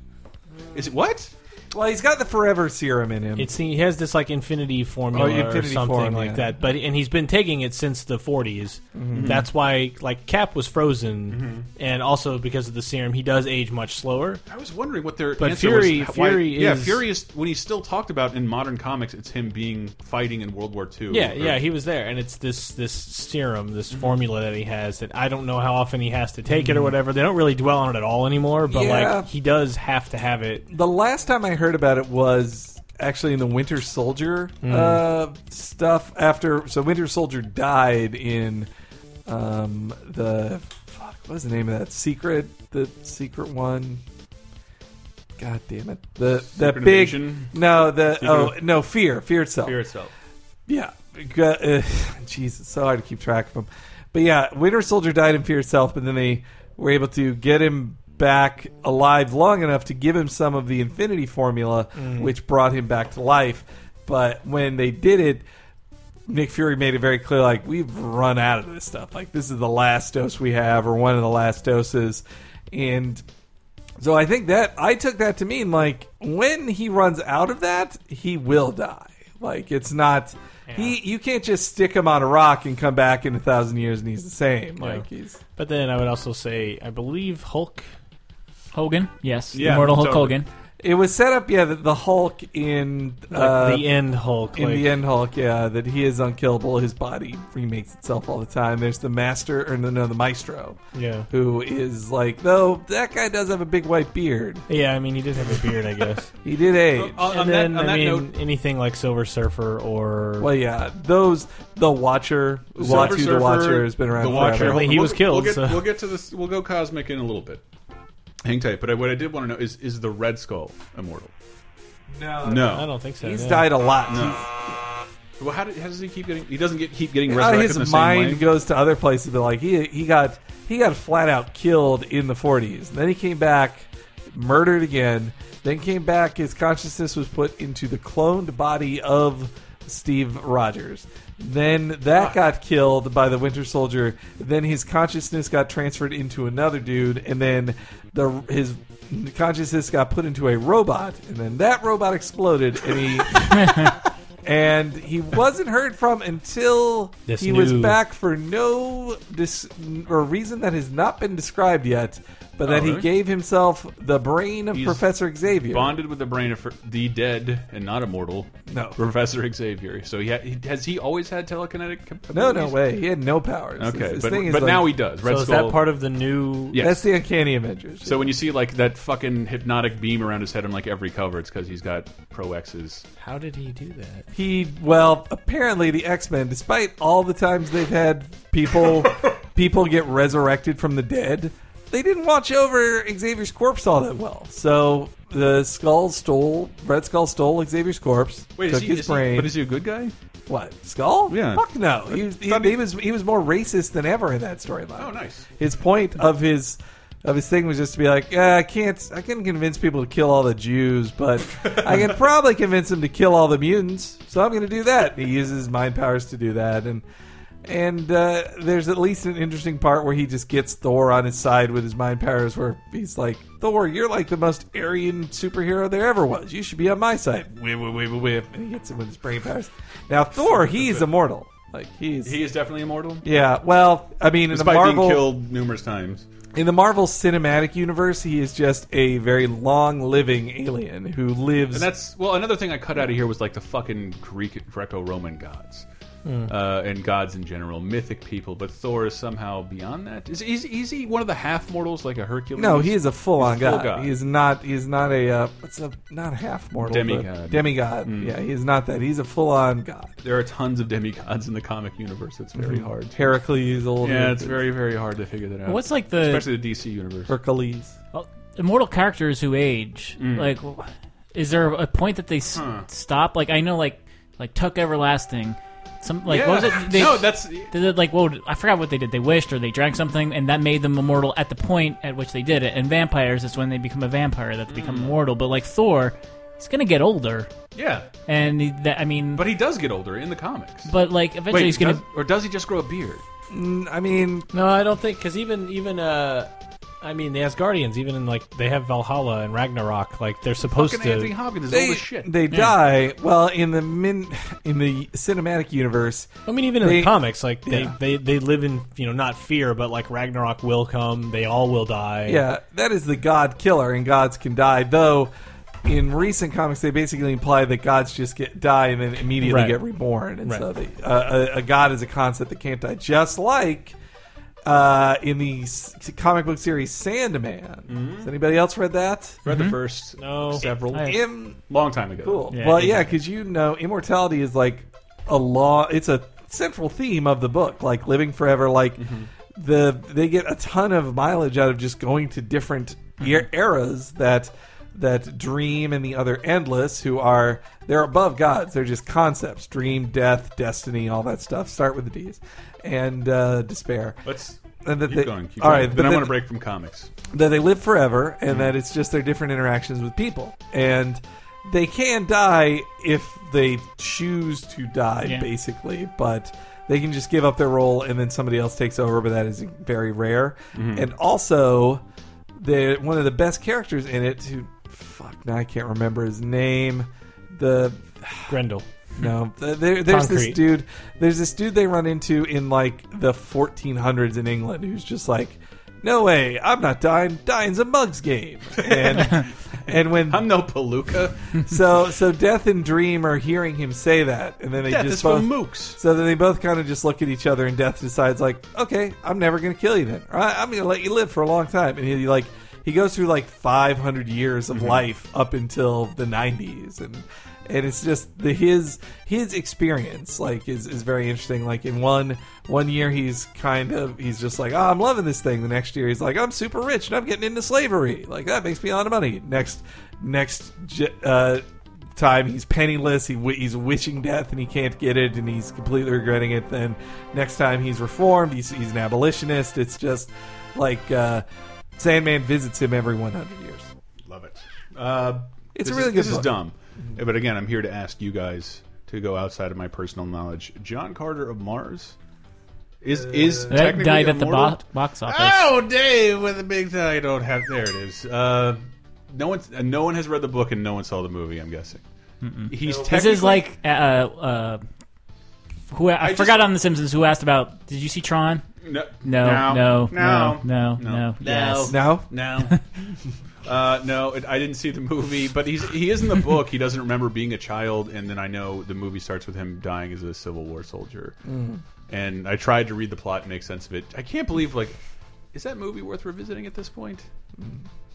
[SPEAKER 4] is it what?
[SPEAKER 6] Well, he's got the forever serum in him.
[SPEAKER 10] it's he has this like infinity formula
[SPEAKER 6] Oh, infinity
[SPEAKER 10] or something
[SPEAKER 6] form,
[SPEAKER 10] like
[SPEAKER 6] yeah.
[SPEAKER 10] that. But and he's been taking it since the 40s.
[SPEAKER 6] Mm-hmm.
[SPEAKER 10] That's why like Cap was frozen, and also because of the serum, he does age much slower.
[SPEAKER 4] I was wondering what their
[SPEAKER 10] But
[SPEAKER 4] answer
[SPEAKER 10] Fury-
[SPEAKER 4] was. why-
[SPEAKER 10] Fury
[SPEAKER 4] yeah,
[SPEAKER 10] is-
[SPEAKER 4] Fury is when he's still talked about in modern comics. It's him being fighting in World War II.
[SPEAKER 10] Yeah,
[SPEAKER 4] or-
[SPEAKER 10] yeah, he was there, and it's this this serum, this
[SPEAKER 6] Mm-hmm.
[SPEAKER 10] formula that he has that I don't know how often he has to take it or whatever. They don't really dwell on it at all anymore, but
[SPEAKER 6] Yeah.
[SPEAKER 10] like he does have to have it.
[SPEAKER 6] the last time I heard about it was actually in the Winter Soldier
[SPEAKER 4] Mm.
[SPEAKER 6] uh, stuff. After so, Winter Soldier died in um, the fuck. What is the name of that secret? The secret one. God damn it! The the
[SPEAKER 4] Secret
[SPEAKER 6] big
[SPEAKER 4] Invasion?
[SPEAKER 6] no the
[SPEAKER 4] Secret-
[SPEAKER 6] oh no fear fear itself
[SPEAKER 4] Fear itself.
[SPEAKER 6] yeah. G- uh, [laughs] Jeez, it's so hard to keep track of them. But yeah, Winter Soldier died in Fear Itself, but then they were able to get him back alive long enough to give him some of the Infinity Formula,
[SPEAKER 4] Mm.
[SPEAKER 6] which brought him back to life. But when they did it, Nick Fury made it very clear, like we've run out of this stuff. Like this is the last dose we have, or one of the last doses, and so I think that I took that to mean like when he runs out of that, he will die. Like it's not he. You can't just stick him on a rock and come back in a thousand years and he's the same. Like he's
[SPEAKER 10] But then I would also say I believe Hulk
[SPEAKER 5] Hogan, yes,
[SPEAKER 4] Yeah,
[SPEAKER 5] immortal Hulk
[SPEAKER 4] totally.
[SPEAKER 5] Hogan.
[SPEAKER 6] it was set up. Yeah, that the Hulk in
[SPEAKER 10] like
[SPEAKER 6] uh,
[SPEAKER 10] the end Hulk.
[SPEAKER 6] in
[SPEAKER 10] like,
[SPEAKER 6] the end Hulk. Yeah, that he is unkillable. His body remakes itself all the time. There's the master or no, no the maestro.
[SPEAKER 10] Yeah.
[SPEAKER 6] who is like though that guy does have a big white beard.
[SPEAKER 10] Yeah, I mean, he did have a beard, I guess.
[SPEAKER 6] He did age.
[SPEAKER 4] On, on
[SPEAKER 10] and then,
[SPEAKER 4] that, on
[SPEAKER 10] I
[SPEAKER 4] that
[SPEAKER 10] mean,
[SPEAKER 4] note,
[SPEAKER 10] anything like Silver Surfer or.
[SPEAKER 6] Well, yeah, those the Watcher,
[SPEAKER 4] Silver
[SPEAKER 6] Watu
[SPEAKER 4] Surfer,
[SPEAKER 6] the Watcher has been around
[SPEAKER 4] The
[SPEAKER 6] forever.
[SPEAKER 4] Watcher, hold
[SPEAKER 10] Apparently
[SPEAKER 4] on,
[SPEAKER 10] he
[SPEAKER 4] we'll-
[SPEAKER 10] was killed,
[SPEAKER 4] We'll get,
[SPEAKER 10] so-
[SPEAKER 4] we'll get to this. We'll go cosmic in a little bit. Hang tight. But I, what I did want to know is is the Red Skull immortal?
[SPEAKER 6] No,
[SPEAKER 4] No.
[SPEAKER 10] I don't think so.
[SPEAKER 6] he's
[SPEAKER 10] no.
[SPEAKER 6] died a lot.
[SPEAKER 4] Well, how, did, how does he keep getting? He doesn't get keep getting
[SPEAKER 6] He's-
[SPEAKER 4] resurrected in the
[SPEAKER 6] Uh, his
[SPEAKER 4] same way.
[SPEAKER 6] mind goes to other places, but like he he got he got flat out killed in the 40s. Then he came back, murdered again. Then came back. His consciousness was put into the cloned body of Steve Rogers. Then that got killed by the Winter Soldier. Then his consciousness got transferred into another dude, and then the his consciousness got put into a robot, and then that robot exploded, and he.
[SPEAKER 4] [laughs]
[SPEAKER 6] And he wasn't heard from until
[SPEAKER 10] This
[SPEAKER 6] he was
[SPEAKER 10] new-
[SPEAKER 6] back for no dis- or reason that has not been described yet. but then
[SPEAKER 4] Oh,
[SPEAKER 6] he
[SPEAKER 4] really?
[SPEAKER 6] gave himself the brain of
[SPEAKER 4] He's
[SPEAKER 6] Professor Xavier.
[SPEAKER 4] Bonded with the brain of the dead and not immortal.
[SPEAKER 6] No.
[SPEAKER 4] Professor Xavier. So he, ha he has he always had telekinetic. cap-
[SPEAKER 6] No, no
[SPEAKER 4] abilities?
[SPEAKER 6] way. He had no powers.
[SPEAKER 4] Okay,
[SPEAKER 6] His- his
[SPEAKER 4] but,
[SPEAKER 6] thing is
[SPEAKER 4] but
[SPEAKER 6] like-
[SPEAKER 4] now he does. Red Skull.
[SPEAKER 10] so is that part of the new?
[SPEAKER 4] Yes.
[SPEAKER 6] That's the Uncanny Avengers.
[SPEAKER 4] So when you see like that fucking hypnotic beam around his head on like every cover, it's because he's got pro X's.
[SPEAKER 10] How did he do that?
[SPEAKER 6] He well, apparently the X Men, despite all the times they've had
[SPEAKER 4] [laughs]
[SPEAKER 6] people people get resurrected from the dead, they didn't watch over Xavier's corpse all that well. So the Skull stole Red Skull stole Xavier's corpse,
[SPEAKER 4] Wait,
[SPEAKER 6] took
[SPEAKER 4] is he,
[SPEAKER 6] his
[SPEAKER 4] is he-
[SPEAKER 6] brain.
[SPEAKER 4] but is he a good guy?
[SPEAKER 6] What Skull?
[SPEAKER 4] Yeah.
[SPEAKER 6] Fuck no. He was he, he was he was more racist than ever in that storyline.
[SPEAKER 4] Oh, nice.
[SPEAKER 6] His point of his of his thing was just to be like, "Uh, I can't I can convince people to kill all the Jews, but
[SPEAKER 4] [laughs]
[SPEAKER 6] I can probably convince them to kill all the mutants. So I'm going to do that. He uses his mind powers to do that, and and uh, there's at least an interesting part where he just gets Thor on his side with his mind powers, where he's like, Thor, you're like the most Aryan superhero there ever was. You should be on my side. Whip, whip, whip, whip, whip. And he gets him with his brain powers. Now Thor, he's immortal. Like he's
[SPEAKER 4] He is definitely immortal.
[SPEAKER 6] yeah, well, I mean, in the
[SPEAKER 4] Despite
[SPEAKER 6] Marvel
[SPEAKER 4] being killed numerous times.
[SPEAKER 6] in the Marvel Cinematic Universe, he is just a very long-living alien who lives.
[SPEAKER 4] And that's well. Another thing I cut out of here was like the fucking Greek Greco-Roman gods,
[SPEAKER 6] Hmm.
[SPEAKER 4] uh, and gods in general, mythic people. But Thor is somehow beyond that. Is is, is he one of the half mortals like a Hercules?
[SPEAKER 6] no, he is a full-on
[SPEAKER 4] He's a full
[SPEAKER 6] god.
[SPEAKER 4] god.
[SPEAKER 6] He is not. He is not a. Uh, what's a not half mortal but
[SPEAKER 4] Demigod.
[SPEAKER 6] Demigod.
[SPEAKER 4] Mm.
[SPEAKER 6] Yeah, he is not that. He's a full-on god.
[SPEAKER 4] There are tons of demigods in the comic universe. It's very
[SPEAKER 6] Mhm.
[SPEAKER 4] hard.
[SPEAKER 6] Heracles, old
[SPEAKER 4] Yeah, it's very very hard to figure that out.
[SPEAKER 5] What's like the-
[SPEAKER 4] especially the DC universe?
[SPEAKER 6] Hercules.
[SPEAKER 5] Well, immortal characters who age,
[SPEAKER 4] Mm.
[SPEAKER 5] like, w- is there a point that they s- stop? Like, I know, like, like Tuck Everlasting. Some like what was
[SPEAKER 4] Yeah.
[SPEAKER 5] it? They,
[SPEAKER 4] No, that's-
[SPEAKER 5] they did, like well, I forgot what they did. They wished or they drank something, and that made them immortal at the point at which they did it. And vampires, it's when they become a vampire that they become
[SPEAKER 4] Mm.
[SPEAKER 5] immortal. But like Thor, he's gonna get older,
[SPEAKER 4] Yeah,
[SPEAKER 5] and he, that, I mean,
[SPEAKER 4] but he does get older in the comics.
[SPEAKER 5] but like eventually
[SPEAKER 4] Wait,
[SPEAKER 5] he's gonna.
[SPEAKER 4] does- or does he just grow a beard?
[SPEAKER 6] Um, I mean,
[SPEAKER 10] No, I don't think because even even uh, I mean the Asgardians even in like they have Valhalla and Ragnarok like they're supposed
[SPEAKER 4] Fucking
[SPEAKER 10] to.
[SPEAKER 4] Anthony Hopkins is
[SPEAKER 6] They,
[SPEAKER 4] old as shit.
[SPEAKER 6] they die. Well, in the min, [laughs] in the cinematic universe,
[SPEAKER 10] I mean, even in
[SPEAKER 6] they-
[SPEAKER 10] the comics, like they,
[SPEAKER 6] Yeah.
[SPEAKER 10] they they live in you know not fear, but like Ragnarok will come. They all will die.
[SPEAKER 6] Yeah, that is the god killer, and gods can die. Though, in recent comics, they basically imply that gods just get die and then immediately
[SPEAKER 10] Right.
[SPEAKER 6] get reborn, and
[SPEAKER 10] Right.
[SPEAKER 6] so the, uh, a, a god is a concept that can't die. Just like uh, in the s- comic book series Sandman. Has anybody else read that?
[SPEAKER 4] Read
[SPEAKER 5] Mm-hmm.
[SPEAKER 4] the first
[SPEAKER 10] No.
[SPEAKER 4] several
[SPEAKER 5] I-
[SPEAKER 6] Im-
[SPEAKER 4] long time ago.
[SPEAKER 6] Cool.
[SPEAKER 5] Yeah,
[SPEAKER 6] well,
[SPEAKER 5] it
[SPEAKER 6] yeah, because you know, immortality is like a law. It's a central theme of the book, like living forever. Like the they get a ton of mileage out of just going to different er- eras that that dream and the other endless who are they're above gods they're just concepts dream death destiny all that stuff start with the d's and uh, despair
[SPEAKER 4] Let's
[SPEAKER 6] And that
[SPEAKER 4] keep
[SPEAKER 6] they-
[SPEAKER 4] going. Keep
[SPEAKER 6] all
[SPEAKER 4] going.
[SPEAKER 6] right, but
[SPEAKER 4] then I
[SPEAKER 6] then-
[SPEAKER 4] want to break from comics.
[SPEAKER 6] that they live forever and that it's just their different interactions with people and they can die if they choose to die
[SPEAKER 5] Yeah.
[SPEAKER 6] basically but they can just give up their role and then somebody else takes over but that is very rare and also the one of the best characters in it who fuck now i can't remember his name the
[SPEAKER 10] Grendel.
[SPEAKER 6] no, th- there, there's
[SPEAKER 10] Concrete.
[SPEAKER 6] this dude. There's this dude they run into in like the 1400s in England, who's just like, "No way, I'm not dying. Dying's a mugs game."
[SPEAKER 4] [laughs]
[SPEAKER 6] And and when
[SPEAKER 4] I'm no Palooka.
[SPEAKER 5] [laughs]
[SPEAKER 6] so so Death and Dream are hearing him say that, and then they
[SPEAKER 4] Death
[SPEAKER 6] just
[SPEAKER 4] is for
[SPEAKER 6] both
[SPEAKER 4] mooks.
[SPEAKER 6] so then they both kind of just look at each other, and Death decides like, "Okay, I'm never going to kill you then. All right, I'm going to let you live for a long time." And he like he goes through like 500 years of life up until the 90s, and and it's just the his his experience like is is very interesting. Like in one one year he's kind of he's just like, "Oh, I'm loving this thing." The next year he's like, "I'm super rich and I'm getting into slavery. Like that makes me a lot of money." Next next. ge- Uh, time he's penniless he wi- he's wishing death and he can't get it and he's completely regretting it then next time he's reformed he's, he's an abolitionist it's just like uh, sandman visits him every 100 years
[SPEAKER 4] Love it. Uh,
[SPEAKER 6] It's
[SPEAKER 4] this
[SPEAKER 6] a really
[SPEAKER 4] is,
[SPEAKER 6] good
[SPEAKER 4] This is
[SPEAKER 6] book.
[SPEAKER 4] dumb, but again, I'm here to ask you guys to go outside of my personal knowledge. John Carter of Mars
[SPEAKER 6] Uh,
[SPEAKER 4] is is
[SPEAKER 5] that
[SPEAKER 4] technically
[SPEAKER 5] died at the
[SPEAKER 4] immortal?
[SPEAKER 5] bo- box office.
[SPEAKER 4] Oh, Dave with the big I don't have. There it is. Uh, no one, uh, no one has read the book and no one saw the movie. I'm guessing. He's
[SPEAKER 5] This
[SPEAKER 4] technically,
[SPEAKER 5] is like uh, uh, who I,
[SPEAKER 4] just-
[SPEAKER 5] forgot on The Simpsons who asked about. Did you see Tron?
[SPEAKER 4] No,
[SPEAKER 5] No, no,
[SPEAKER 4] no,
[SPEAKER 5] no, no, yes. No?
[SPEAKER 4] no. Uh, no, it, I didn't see the movie, but he's he is in the book. He doesn't remember being a child, and then I know the movie starts with him dying as a Civil War soldier.
[SPEAKER 6] Mm-hmm.
[SPEAKER 12] Mhm.
[SPEAKER 4] And I tried to read the plot and make sense of it. I can't believe like, is that movie worth revisiting at this point?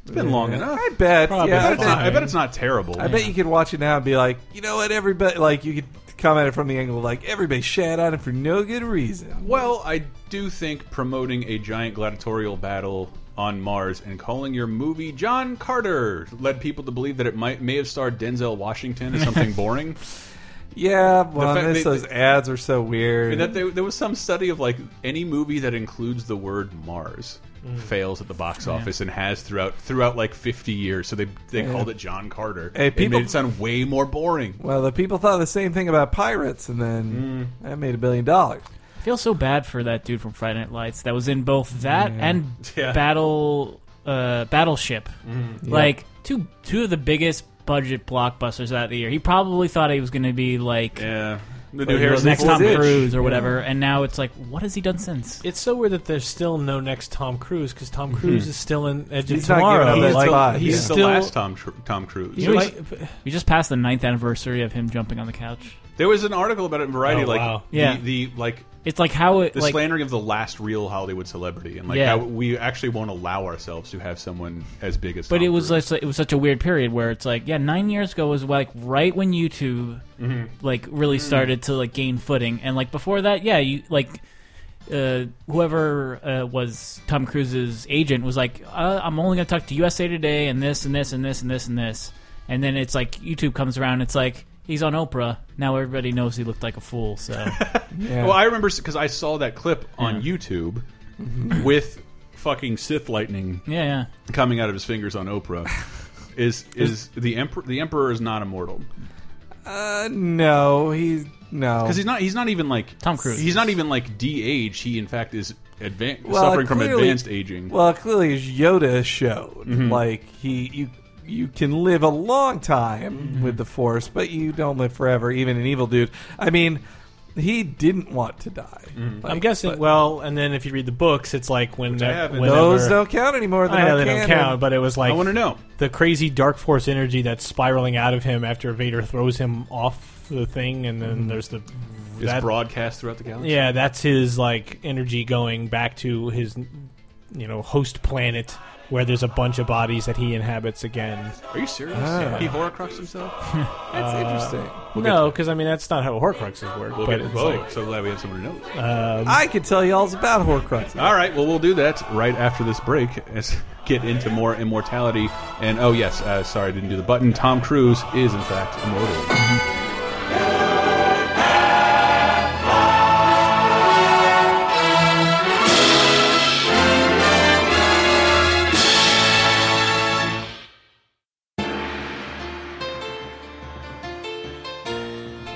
[SPEAKER 4] It's been long
[SPEAKER 6] Yeah.
[SPEAKER 4] enough.
[SPEAKER 6] I bet.
[SPEAKER 4] Probably
[SPEAKER 6] yeah,
[SPEAKER 4] I bet it's- I bet it's not terrible.
[SPEAKER 6] I bet you could watch it now and be like, you know what, everybody. Like you could come at it from the angle of like everybody shat on it for no good reason.
[SPEAKER 4] Well, I do think promoting a giant gladiatorial battle on Mars and calling your movie John Carter led people to believe that it might may have starred Denzel Washington as
[SPEAKER 6] [laughs]
[SPEAKER 4] something boring.
[SPEAKER 6] Yeah, well,
[SPEAKER 4] fact
[SPEAKER 6] this,
[SPEAKER 4] they-
[SPEAKER 6] those ads are so
[SPEAKER 4] I mean,
[SPEAKER 6] weird.
[SPEAKER 4] that there, there was some study of like any movie that includes the word Mars
[SPEAKER 6] Mm.
[SPEAKER 4] fails at the box
[SPEAKER 6] Yeah.
[SPEAKER 4] office and has throughout throughout like 50 years. So they they
[SPEAKER 6] Yeah.
[SPEAKER 4] called it John Carter.
[SPEAKER 6] Hey,
[SPEAKER 4] it
[SPEAKER 6] people-
[SPEAKER 4] made it sound way more boring.
[SPEAKER 6] well, the people thought the same thing about pirates, and then
[SPEAKER 4] Hmm.
[SPEAKER 6] that made a billion dollars.
[SPEAKER 5] I feel so bad for that dude from Friday Night Lights that was in both that
[SPEAKER 6] Yeah.
[SPEAKER 5] and
[SPEAKER 6] Yeah.
[SPEAKER 5] Battle uh, Battleship.
[SPEAKER 6] Mhm. Yeah.
[SPEAKER 5] Like two two of the biggest budget blockbusters out of the year. He probably thought he was going to be like
[SPEAKER 4] yeah.
[SPEAKER 10] The new Harrison
[SPEAKER 5] next
[SPEAKER 10] Ford
[SPEAKER 5] Tom
[SPEAKER 10] is.
[SPEAKER 5] Cruise or
[SPEAKER 10] Yeah.
[SPEAKER 5] whatever, and now it's like, what has he done since?
[SPEAKER 10] It's so weird that there's still no next Tom Cruise because Tom Cruise is still in Edge of
[SPEAKER 5] He's not
[SPEAKER 10] Tomorrow.
[SPEAKER 5] giving up
[SPEAKER 10] He's
[SPEAKER 5] that
[SPEAKER 10] still-
[SPEAKER 5] spot,
[SPEAKER 10] he's
[SPEAKER 5] yeah.
[SPEAKER 10] still
[SPEAKER 4] the last Tom Tr- Tom Cruise.
[SPEAKER 5] You know, we- we just passed the ninth anniversary of him jumping on the couch.
[SPEAKER 4] There was an article about it in Variety,
[SPEAKER 5] Oh,
[SPEAKER 4] like
[SPEAKER 5] wow.
[SPEAKER 4] the,
[SPEAKER 5] Yeah.
[SPEAKER 4] the like
[SPEAKER 5] It's like how it
[SPEAKER 4] the
[SPEAKER 5] like
[SPEAKER 4] slandering of the last real Hollywood celebrity, and like
[SPEAKER 5] Yeah.
[SPEAKER 4] how we actually won't allow ourselves to have someone as big as.
[SPEAKER 5] But
[SPEAKER 4] Tom
[SPEAKER 5] it was like, it was such a weird period where it's like, yeah, nine years ago was like right when YouTube
[SPEAKER 4] Mhm.
[SPEAKER 5] like really
[SPEAKER 10] Mm.
[SPEAKER 5] started to like gain footing, and like before that, yeah, you like uh, whoever uh, was Tom Cruise's agent was like, uh, I'm only going to talk to USA Today and this and this and this and this and this, and then it's like YouTube comes around, it's like he's on Oprah now, everybody knows he looked like a fool,
[SPEAKER 4] [laughs]
[SPEAKER 5] so
[SPEAKER 4] Well, I remember because I saw that clip on YouTube
[SPEAKER 5] Mhm.
[SPEAKER 4] with fucking Sith lightning.
[SPEAKER 5] Yeah, yeah.
[SPEAKER 4] Coming out of his fingers on Oprah. Is is the emperor? The emperor is not immortal
[SPEAKER 6] Uh, no, he's no,
[SPEAKER 4] because he's not. He's not even like
[SPEAKER 5] Tom Cruise.
[SPEAKER 4] He's not even like de-age. He in fact is advan
[SPEAKER 6] Well,
[SPEAKER 4] suffering from
[SPEAKER 6] clearly-
[SPEAKER 4] advanced aging.
[SPEAKER 6] Well, clearly, as Yoda showed,
[SPEAKER 4] Mhm.
[SPEAKER 6] like he you you can live a long time
[SPEAKER 4] Mm-hmm.
[SPEAKER 6] with the Force, but you don't live forever. Even an evil dude. I mean, he didn't want to die.
[SPEAKER 4] Mm-hmm.
[SPEAKER 6] Like,
[SPEAKER 10] I'm guessing. well, and then if you read the books, it's like when
[SPEAKER 6] I
[SPEAKER 10] that,
[SPEAKER 6] haven't.
[SPEAKER 10] whenever,
[SPEAKER 6] Those don't count anymore. They're
[SPEAKER 10] I know
[SPEAKER 6] not
[SPEAKER 10] they don't
[SPEAKER 6] canon.
[SPEAKER 10] count, but it was like
[SPEAKER 6] I wanna know.
[SPEAKER 10] the crazy dark force energy that's spiraling out of him after Vader throws him off the thing, and then
[SPEAKER 6] Mm-hmm.
[SPEAKER 4] Mhm.
[SPEAKER 10] there's the
[SPEAKER 4] It's broadcast throughout the galaxy.
[SPEAKER 10] Yeah, that's his like energy going back to his you know host planet where there's a bunch of bodies that he inhabits again.
[SPEAKER 4] Are you serious?
[SPEAKER 10] Ah.
[SPEAKER 4] He horcruxed himself.
[SPEAKER 6] That's
[SPEAKER 10] Uh,
[SPEAKER 6] interesting.
[SPEAKER 4] We'll get
[SPEAKER 10] no, because I mean that's not how Horcruxes work.
[SPEAKER 4] We'll
[SPEAKER 10] but
[SPEAKER 4] get
[SPEAKER 10] it's
[SPEAKER 4] whoa,
[SPEAKER 10] like,
[SPEAKER 4] so glad we have someone who knows.
[SPEAKER 10] um,
[SPEAKER 6] I could tell you all about
[SPEAKER 4] [laughs]
[SPEAKER 6] Horcruxes.
[SPEAKER 4] All right, well, we'll do that right after this break as [laughs] get into more immortality. And oh, yes, uh, sorry, I didn't do the button. Tom Cruise is, in fact, immortal.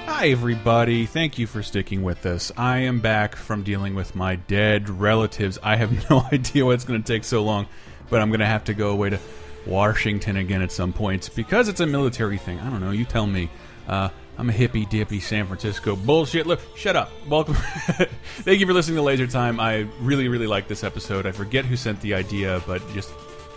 [SPEAKER 4] Hi, everybody. Thank you for sticking with us. I am back from dealing with my dead relatives. I have [laughs] no idea what's going to take so long, but I'm going to have to go away to Washington again at some point because it's a military thing. I don't know. You tell me. Uh, I'm a hippy dippy San Francisco bullshit. Look, shut up. Welcome. [laughs] Thank you for listening to Laser Time. I really, really like this episode. I forget who sent the idea, but just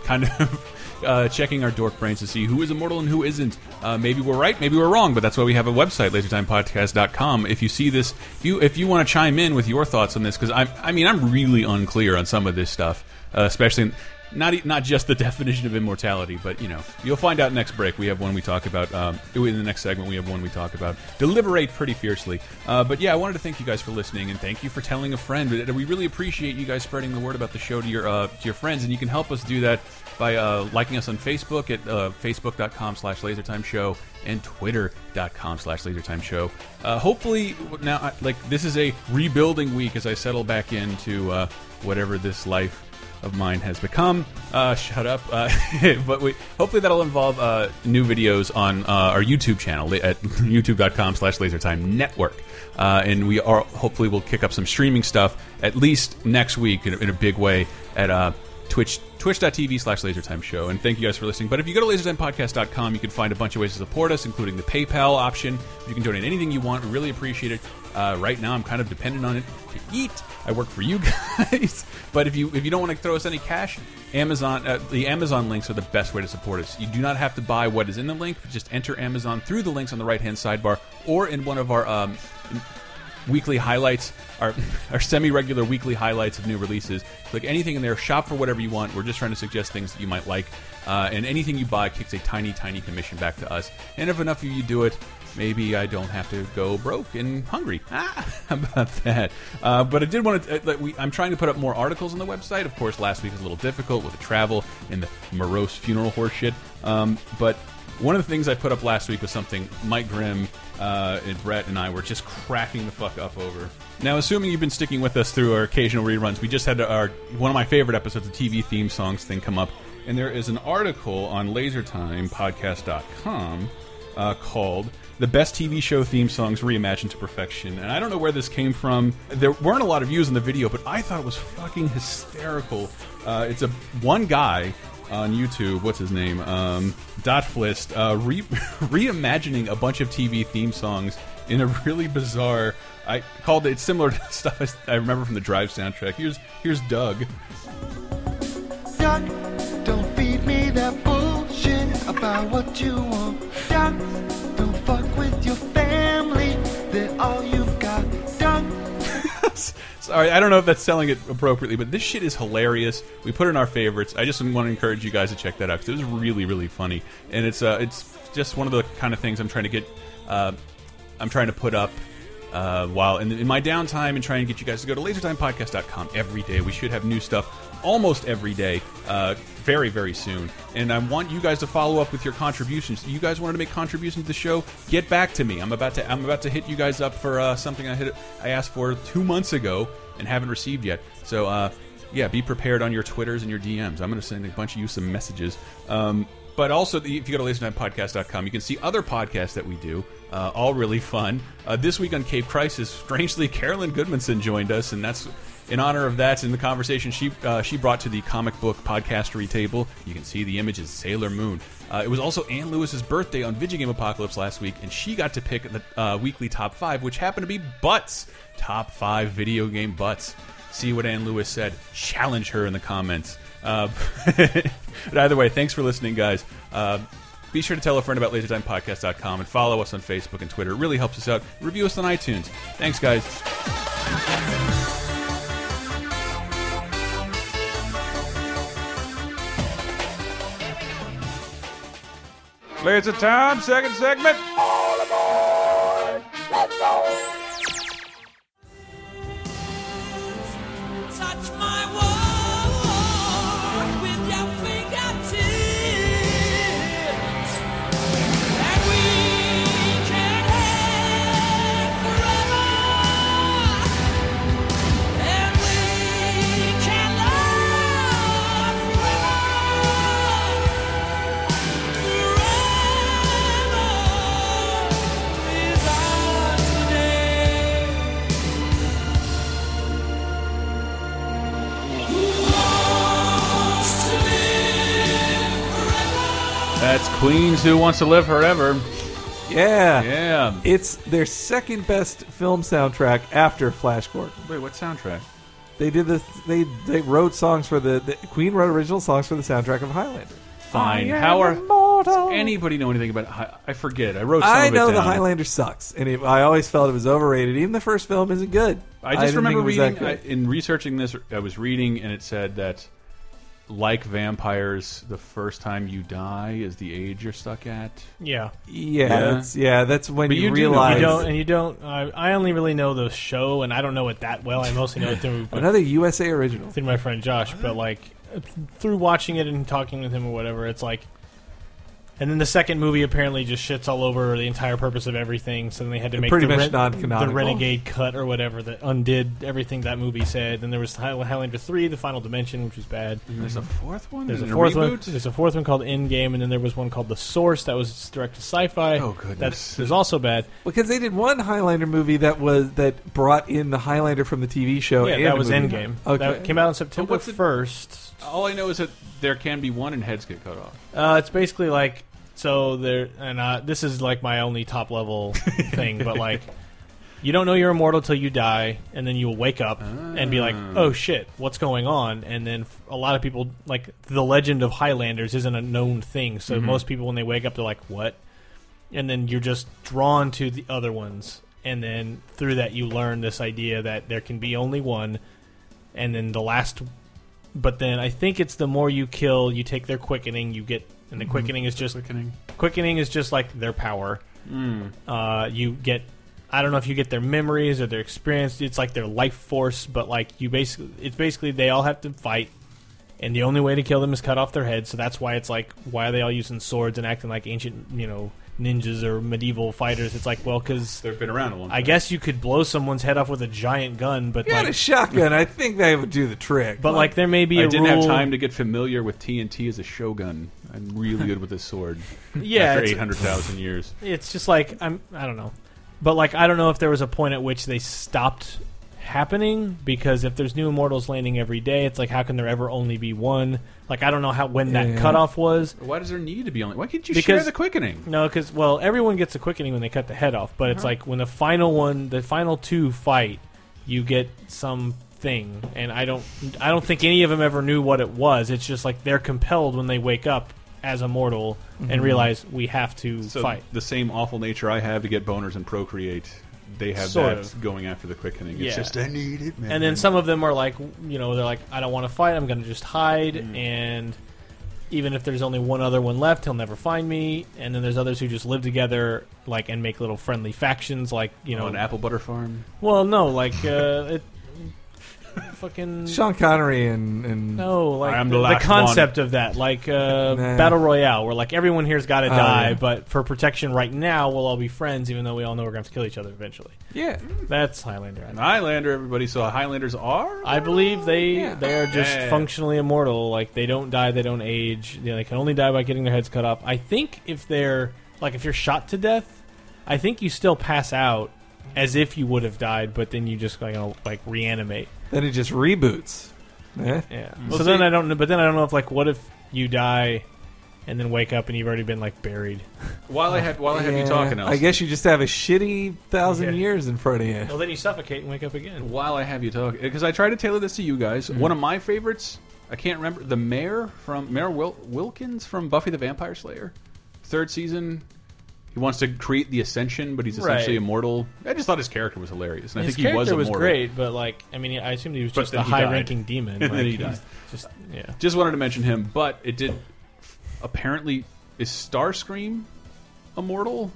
[SPEAKER 4] kind of [laughs] uh, checking our dork brains to see who is immortal and who isn't. Uh, maybe we're right, maybe we're wrong, but that's why we have a website, lasertimepodcast.com. If you see this, if you if you want to chime in with your thoughts on this, because I I mean I'm really unclear on some of this stuff, uh, especially. In, not, e- not just the [laughs] definition of immortality, but you know you'll find out next break. We have one we talk about um, in the next segment. We have one we talk about deliberate pretty fiercely. Uh, but yeah, I wanted to thank you guys for listening and thank you for telling a friend. We really appreciate you guys spreading the word about the show to your uh, to your friends, and you can help us do that by uh, liking us on Facebook at uh, facebook.com slash lasertime show and twitter.com slash lasertime show. Uh, hopefully, now, I, like, this is a rebuilding week as I settle back into uh, whatever this life of mine has become. Uh, shut up. Uh, [laughs] but we, hopefully that'll involve uh, new videos on uh, our YouTube channel la- at [laughs] youtube.com slash lasertime network. Uh, and we are hopefully we'll kick up some streaming stuff at least next week in a, in a big way at uh, Twitch twitch.tv slash lasertime show and thank you guys for listening but if you go to lasertimepodcast.com you can find a bunch of ways to support us including the paypal option you can donate anything you want we really appreciate it Uh, right now, I'm kind of dependent on it to eat. I work for you [laughs] guys, but if you if you don't want to throw us any cash, Amazon uh, the Amazon links are the best way to support us. You do not have to buy what is in the link. Just enter Amazon through the links on the right hand sidebar or in one of our um, weekly highlights, our, [laughs] our semi regular weekly highlights of new releases. Click anything in there, shop for whatever you want. We're just trying to suggest things that you might like. Uh, and anything you buy kicks a tiny, tiny commission back to us. And if enough of you do it, maybe I don't have to go broke and hungry. [laughs] Ah, how about that? Uh, but I did want to. Uh, like we, I'm trying to put up more articles on the website. Of course, last week was a little difficult with the travel and the morose funeral horseshit. Um, but one of the things I put up last week was something Mike Grimm uh, and Brett and I were just cracking the fuck up over. Now, assuming you've been sticking with us through our occasional reruns, we just had our one of my favorite episodes of TV theme songs thing come up, and there is an article on LaserTimePodcast.com uh, called "The Best TV Show Theme Songs Reimagined to Perfection," and I don't know where this came from. There weren't a lot of views on the video, but I thought it was fucking hysterical. Uh, it's a one guy on YouTube. What's his name? Um, Dotflist uh, re [laughs] reimagining a bunch of TV theme songs in a really bizarre. I called it similar [laughs] to stuff I, s- I remember from the Drive soundtrack. Here's here's Doug.
[SPEAKER 12] Doc, don't feed me that bullshit about what you want. Doc, don't fuck with your family. They're all you've got. Doc,
[SPEAKER 4] Sorry, I don't know if that's selling it appropriately, but this shit is hilarious. We put in our favorites. I just want to encourage you guys to check that out because it was really, really funny, and it's uh, it's just one of the kind of things I'm trying to get, uh, I'm trying to put up. Uh, while in, in my downtime and trying to get you guys to go to lasertimepodcast.com every day. We should have new stuff almost every day, uh, very, very soon. And I want you guys to follow up with your contributions. You guys wanted to make contributions to the show? Get back to me. I'm about to I'm about to hit you guys up for uh, something I hit I asked for two months ago and haven't received yet. So uh, yeah, be prepared on your Twitters and your DMs. I'm going to send a bunch of you some messages. Um, but also, the, if you go to lasertimepodcast.com, you can see other podcasts that we do, uh, all really fun. Uh, this week on Cape Crisis, strangely, Carolyn Goodmanson joined us, and that's in honor of that. In the conversation she uh, she brought to the comic book podcastery table, you can see the images Sailor Moon. Uh, it was also Ann Lewis's birthday on Video Game Apocalypse last week, and she got to pick the uh, weekly top five, which happened to be butts, top five video game butts. See what Ann Lewis said. Challenge her in the comments. Uh, [laughs] but either way, thanks for listening, guys. Uh, be sure to tell a friend about lasertimepodcast.com and follow us on Facebook and Twitter. It really helps us out. Review us on iTunes. Thanks, guys.
[SPEAKER 13] Laser time, second segment.
[SPEAKER 14] Touch my world with your fingertips, and we can hang forever, and we can love forever. Forever is our today.
[SPEAKER 4] That's Queens Who Wants to Live Forever.
[SPEAKER 6] Yeah.
[SPEAKER 4] Yeah.
[SPEAKER 6] It's their second best film soundtrack after Flash Gordon.
[SPEAKER 4] Wait, what soundtrack?
[SPEAKER 6] They did the they they wrote songs for the, the Queen wrote original songs for the soundtrack of Highlander.
[SPEAKER 4] Fine.
[SPEAKER 6] I am
[SPEAKER 4] How are
[SPEAKER 6] immortal.
[SPEAKER 4] does anybody know anything about? Hi- I forget. I wrote. Some
[SPEAKER 6] I
[SPEAKER 4] of it
[SPEAKER 6] know the
[SPEAKER 4] down.
[SPEAKER 6] Highlander sucks, and it, I always felt it was overrated. Even the first film isn't good.
[SPEAKER 4] I just
[SPEAKER 6] didn't
[SPEAKER 4] remember
[SPEAKER 6] think it was
[SPEAKER 4] reading
[SPEAKER 6] that
[SPEAKER 4] I, in researching this. I was reading, and it said that, like vampires, the first time you die is the age you're stuck at.
[SPEAKER 10] Yeah.
[SPEAKER 6] Yeah, that's- yeah, that's when
[SPEAKER 10] But
[SPEAKER 6] you
[SPEAKER 10] do know-
[SPEAKER 6] realize-
[SPEAKER 10] you don't, and you don't. I, I only really know the show, and I don't know it that well. I mostly know it through my-
[SPEAKER 6] Another USA original.
[SPEAKER 10] through my friend Josh. But like through watching it and talking with him or whatever, it's like. And then the second movie apparently just shits all over the entire purpose of everything. So then they had to
[SPEAKER 6] It
[SPEAKER 10] make
[SPEAKER 6] pretty
[SPEAKER 10] the,
[SPEAKER 6] much
[SPEAKER 10] ren-
[SPEAKER 6] non-canonical.
[SPEAKER 10] the renegade cut or whatever that undid everything that movie said. Then there was High- Highlander three, The Final Dimension, which was bad.
[SPEAKER 4] There's a fourth one?
[SPEAKER 10] There's
[SPEAKER 4] Is
[SPEAKER 10] a
[SPEAKER 6] Mm,
[SPEAKER 4] it a
[SPEAKER 10] fourth one.
[SPEAKER 4] reboot?
[SPEAKER 10] There's a fourth one called Endgame, and then there was one called The Source that was directed to sci-fi. Oh goodness, that was also bad.
[SPEAKER 6] Because they did one Highlander movie that was that brought in the Highlander from the TV show. Oh,
[SPEAKER 10] Yeah,
[SPEAKER 6] and
[SPEAKER 10] that
[SPEAKER 6] the
[SPEAKER 10] was
[SPEAKER 6] movie.
[SPEAKER 10] Endgame.
[SPEAKER 6] Okay,
[SPEAKER 10] That came out in September first.
[SPEAKER 4] All I know is that there can be one, and heads get cut off.
[SPEAKER 10] Uh, it's basically like so there, and uh, this is like my only top level thing, but like You don't know you're immortal till you die, and then you'll wake up and be like, "Oh shit, what's going on?" And then f- a lot of people like the legend of Highlanders isn't a known thing, so
[SPEAKER 15] Mhm.
[SPEAKER 10] most people when they wake up they're like, "What?" And then you're just drawn to the other ones, and then through that you learn this idea that there can be only one, and then the last. But then I think it's the more you kill, you take their quickening, you get, and the
[SPEAKER 15] Mhm.
[SPEAKER 10] quickening is just
[SPEAKER 4] quickening.
[SPEAKER 10] Quickening is just like their power.
[SPEAKER 4] Mm.
[SPEAKER 10] Uh, you get, I don't know if you get their memories or their experience. It's like their life force, but like you basically, it's basically they all have to fight, and the only way to kill them is cut off their heads. So that's why it's like, why are they all using swords and acting like ancient, you know, ninjas or medieval fighters? It's like, well, because
[SPEAKER 4] they've been around a long.
[SPEAKER 10] I guess you could blow someone's head off with a giant gun, but
[SPEAKER 6] You
[SPEAKER 10] like
[SPEAKER 6] had a shotgun. I think that would do the trick.
[SPEAKER 10] But, like, there may be
[SPEAKER 4] I
[SPEAKER 10] a
[SPEAKER 4] didn't have
[SPEAKER 10] rule-
[SPEAKER 4] time to get familiar with TNT as a shogun. I'm really good with this sword.
[SPEAKER 10] Yeah,
[SPEAKER 4] after
[SPEAKER 10] it's-
[SPEAKER 4] eight hundred thousand years.
[SPEAKER 10] It's just like I'm. I don't know, but like I don't know if there was a point at which they stopped happening because if there's new immortals landing every day, it's like how can there ever only be one? Like I don't know how when that
[SPEAKER 4] Yeah.
[SPEAKER 10] cutoff was.
[SPEAKER 4] Why does there need to be only? Why can't you share
[SPEAKER 10] Because
[SPEAKER 4] the quickening?
[SPEAKER 10] No, because well, everyone gets a quickening when they cut the head off, but it's
[SPEAKER 4] Uh-huh.
[SPEAKER 10] like when the final one, the final two fight, you get some thing, and I don't, I don't think any of them ever knew what it was. It's just like they're compelled when they wake up as a mortal and
[SPEAKER 4] Mhm.
[SPEAKER 10] realize we have to
[SPEAKER 4] So
[SPEAKER 10] fight.
[SPEAKER 4] the same awful nature I have to get boners and procreate. They have
[SPEAKER 10] Sort
[SPEAKER 4] that
[SPEAKER 10] of.
[SPEAKER 4] going after the quickening. It's
[SPEAKER 10] Yeah.
[SPEAKER 4] just I need it, man.
[SPEAKER 10] And then some of them are like, you know, they're like, I don't want to fight. I'm going to just hide.
[SPEAKER 4] Mm.
[SPEAKER 10] And even if there's only one other one left, he'll never find me. And then there's others who just live together, like, and make little friendly factions, like, you know,
[SPEAKER 4] an apple butter farm.
[SPEAKER 10] Well, no, like, uh, it,
[SPEAKER 6] [laughs]
[SPEAKER 10] fucking
[SPEAKER 6] Sean Connery and, and
[SPEAKER 10] no, like the, the concept of that, like uh,
[SPEAKER 6] Nah.
[SPEAKER 10] battle royale, where like everyone here's got to
[SPEAKER 6] Oh,
[SPEAKER 10] die,
[SPEAKER 6] yeah.
[SPEAKER 10] but for protection right now, we'll all be friends, even though we all know we're going to kill each other eventually.
[SPEAKER 6] Yeah,
[SPEAKER 10] that's Highlander.
[SPEAKER 4] An Highlander, everybody. So Highlanders are.
[SPEAKER 10] I believe they they are just
[SPEAKER 4] Yeah.
[SPEAKER 10] functionally immortal. Like they don't die, they don't age. You know, they can only die by getting their heads cut off. I think if they're like if you're shot to death, I think you still pass out as if you would have died, but then you just like, you know, like reanimate.
[SPEAKER 6] Then it just reboots. Yeah.
[SPEAKER 10] Yeah.
[SPEAKER 4] Mm-hmm.
[SPEAKER 6] Well,
[SPEAKER 10] so then
[SPEAKER 6] see-
[SPEAKER 10] I don't know. But then I don't know if like what if you die and then wake up and you've already been like buried.
[SPEAKER 4] While I have while I have
[SPEAKER 6] Yeah,
[SPEAKER 4] you talking,
[SPEAKER 6] I guess you just have a shitty thousand years in front of you.
[SPEAKER 10] Well, then you suffocate and wake up again.
[SPEAKER 4] While I have you talking, because I try to tailor this to you guys.
[SPEAKER 10] Mm-hmm.
[SPEAKER 4] One of my favorites, I can't remember the mayor from Mayor Wil- Wilkins from Buffy the Vampire Slayer, third season. He wants to create the ascension, but he's essentially
[SPEAKER 10] Right.
[SPEAKER 4] immortal. I just thought his character was hilarious, and I
[SPEAKER 10] His
[SPEAKER 4] think he was
[SPEAKER 10] character was,
[SPEAKER 4] immortal.
[SPEAKER 10] great, but like I mean, I assumed he was
[SPEAKER 4] But
[SPEAKER 10] just
[SPEAKER 4] then
[SPEAKER 10] a
[SPEAKER 4] he died.
[SPEAKER 10] high-ranking demon.
[SPEAKER 4] [laughs] And then
[SPEAKER 10] like,
[SPEAKER 4] he
[SPEAKER 10] he's
[SPEAKER 4] died.
[SPEAKER 10] Just yeah.
[SPEAKER 4] Just wanted to mention him, but it did. Apparently, is Starscream immortal?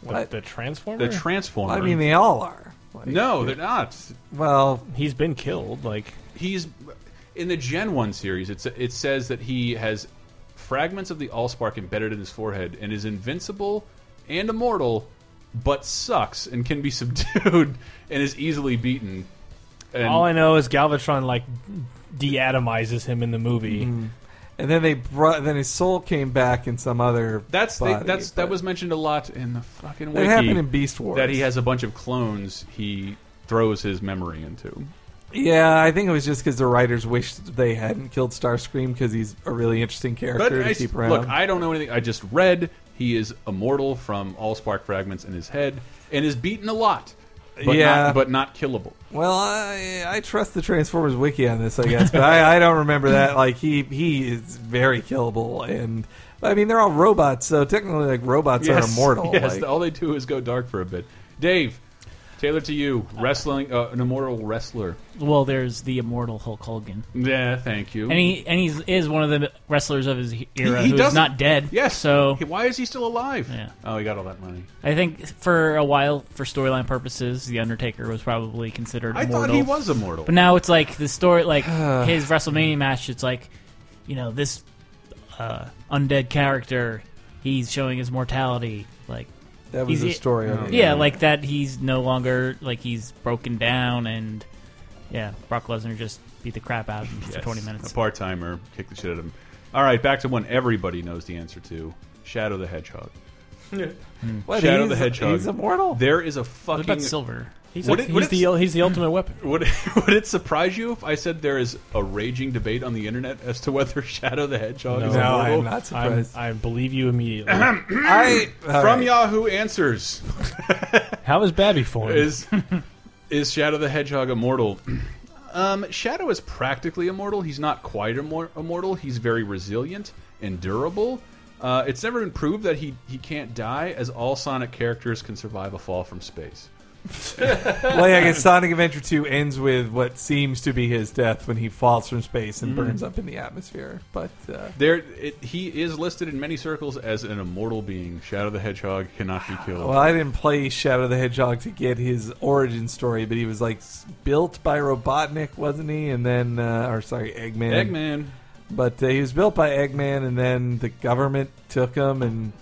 [SPEAKER 10] What? The, Transformer?
[SPEAKER 4] The Transformer.
[SPEAKER 6] Hmm. I mean, they all are.
[SPEAKER 4] no, they're not.
[SPEAKER 6] Well,
[SPEAKER 10] he's been killed. Like
[SPEAKER 4] he's in the Gen One series. It's it says that he has fragments of the Allspark embedded in his forehead and is invincible and immortal, but sucks and can be [laughs] subdued and is easily beaten. And
[SPEAKER 10] All I know is Galvatron like deatomizes him in the movie.
[SPEAKER 4] Mm-hmm.
[SPEAKER 6] And then they brought. Then his soul came back in some other.
[SPEAKER 4] That's they,
[SPEAKER 6] body,
[SPEAKER 4] that's
[SPEAKER 6] but-
[SPEAKER 4] that was mentioned a lot in the fucking.
[SPEAKER 6] That
[SPEAKER 4] wiki,
[SPEAKER 6] happened in Beast Wars.
[SPEAKER 4] That he has a bunch of clones. He throws his memory into.
[SPEAKER 6] Yeah, I think it was just because the writers wished they hadn't killed Starscream because he's a really interesting character
[SPEAKER 4] But
[SPEAKER 6] to
[SPEAKER 4] I,
[SPEAKER 6] keep around.
[SPEAKER 4] look, I don't know anything. I just read he is immortal from all spark fragments in his head and is beaten a lot, but
[SPEAKER 6] Yeah.
[SPEAKER 4] not, but not killable.
[SPEAKER 6] Well, I, I trust the Transformers wiki on this, I guess, but I, I don't
[SPEAKER 4] [laughs]
[SPEAKER 6] remember that. Like he he is very killable, and I mean they're all robots, so technically like robots are immortal.
[SPEAKER 4] [laughs] Yes,
[SPEAKER 6] like-
[SPEAKER 4] all they do is go dark for a bit. Dave, Taylor to you, wrestling uh, an immortal wrestler.
[SPEAKER 5] Well, there's the immortal Hulk Hogan.
[SPEAKER 4] Yeah, thank you.
[SPEAKER 5] And he and he's is one of the wrestlers of his era
[SPEAKER 4] He- he
[SPEAKER 5] who's
[SPEAKER 4] doesn't-
[SPEAKER 5] not dead.
[SPEAKER 4] Yes.
[SPEAKER 5] So
[SPEAKER 4] He- why is he still alive? Oh, he got all that money.
[SPEAKER 5] I think for a while, for storyline purposes, the Undertaker was probably considered.
[SPEAKER 4] I
[SPEAKER 5] immortal.
[SPEAKER 4] thought he was immortal.
[SPEAKER 5] but now it's like the story,
[SPEAKER 10] [sighs]
[SPEAKER 5] like his WrestleMania match. It's like, you know, this uh, undead character, he's showing his mortality. Like
[SPEAKER 6] That was
[SPEAKER 5] he's-
[SPEAKER 6] the story, I
[SPEAKER 5] Yeah,
[SPEAKER 6] remember.
[SPEAKER 5] yeah, like that. He's no longer like he's broken down, and yeah, Brock Lesnar just beat the crap out of him for
[SPEAKER 4] Yes.
[SPEAKER 5] twenty minutes.
[SPEAKER 4] A part timer kick the shit out of him. All right, back to one everybody knows the answer to: Shadow the Hedgehog.
[SPEAKER 10] Yeah.
[SPEAKER 6] What,
[SPEAKER 4] Shadow the
[SPEAKER 6] he's-
[SPEAKER 4] Hedgehog.
[SPEAKER 6] he's immortal?
[SPEAKER 4] There is a
[SPEAKER 5] What
[SPEAKER 4] fucking
[SPEAKER 5] about Silver?
[SPEAKER 10] He's
[SPEAKER 4] Would
[SPEAKER 10] like-
[SPEAKER 4] it- would
[SPEAKER 10] he's
[SPEAKER 4] it-
[SPEAKER 10] the- he's the ultimate weapon.
[SPEAKER 4] Would would it [laughs] surprise you if I said there is a raging debate on the internet as to whether [laughs] Shadow the Hedgehog is
[SPEAKER 10] No,
[SPEAKER 4] immortal?
[SPEAKER 10] I'm not surprised. I believe
[SPEAKER 4] [clears throat]
[SPEAKER 10] you immediately.
[SPEAKER 4] I
[SPEAKER 10] All
[SPEAKER 4] from
[SPEAKER 10] right.
[SPEAKER 4] Yahoo Answers.
[SPEAKER 10] How is Babby formed?
[SPEAKER 4] Is is Shadow the Hedgehog immortal? [clears throat] Um, Shadow is practically immortal. He's not quite immor immortal. He's very resilient and durable. Uh, it's never been proved that he he can't die, as all Sonic characters can survive a fall from space.
[SPEAKER 6] well, yeah, I guess Sonic Adventure 2 ends with what seems to be his death when he falls from space and
[SPEAKER 4] Mm.
[SPEAKER 6] burns up in the atmosphere. But uh,
[SPEAKER 4] There, it, he is listed in many circles as an immortal being. Shadow the Hedgehog cannot be killed.
[SPEAKER 6] well, I didn't play Shadow the Hedgehog to get his origin story, but he was like s- built by Robotnik, wasn't he? And then, uh, or sorry, Eggman.
[SPEAKER 4] Eggman.
[SPEAKER 6] But uh, he was built by Eggman, and then the government took him and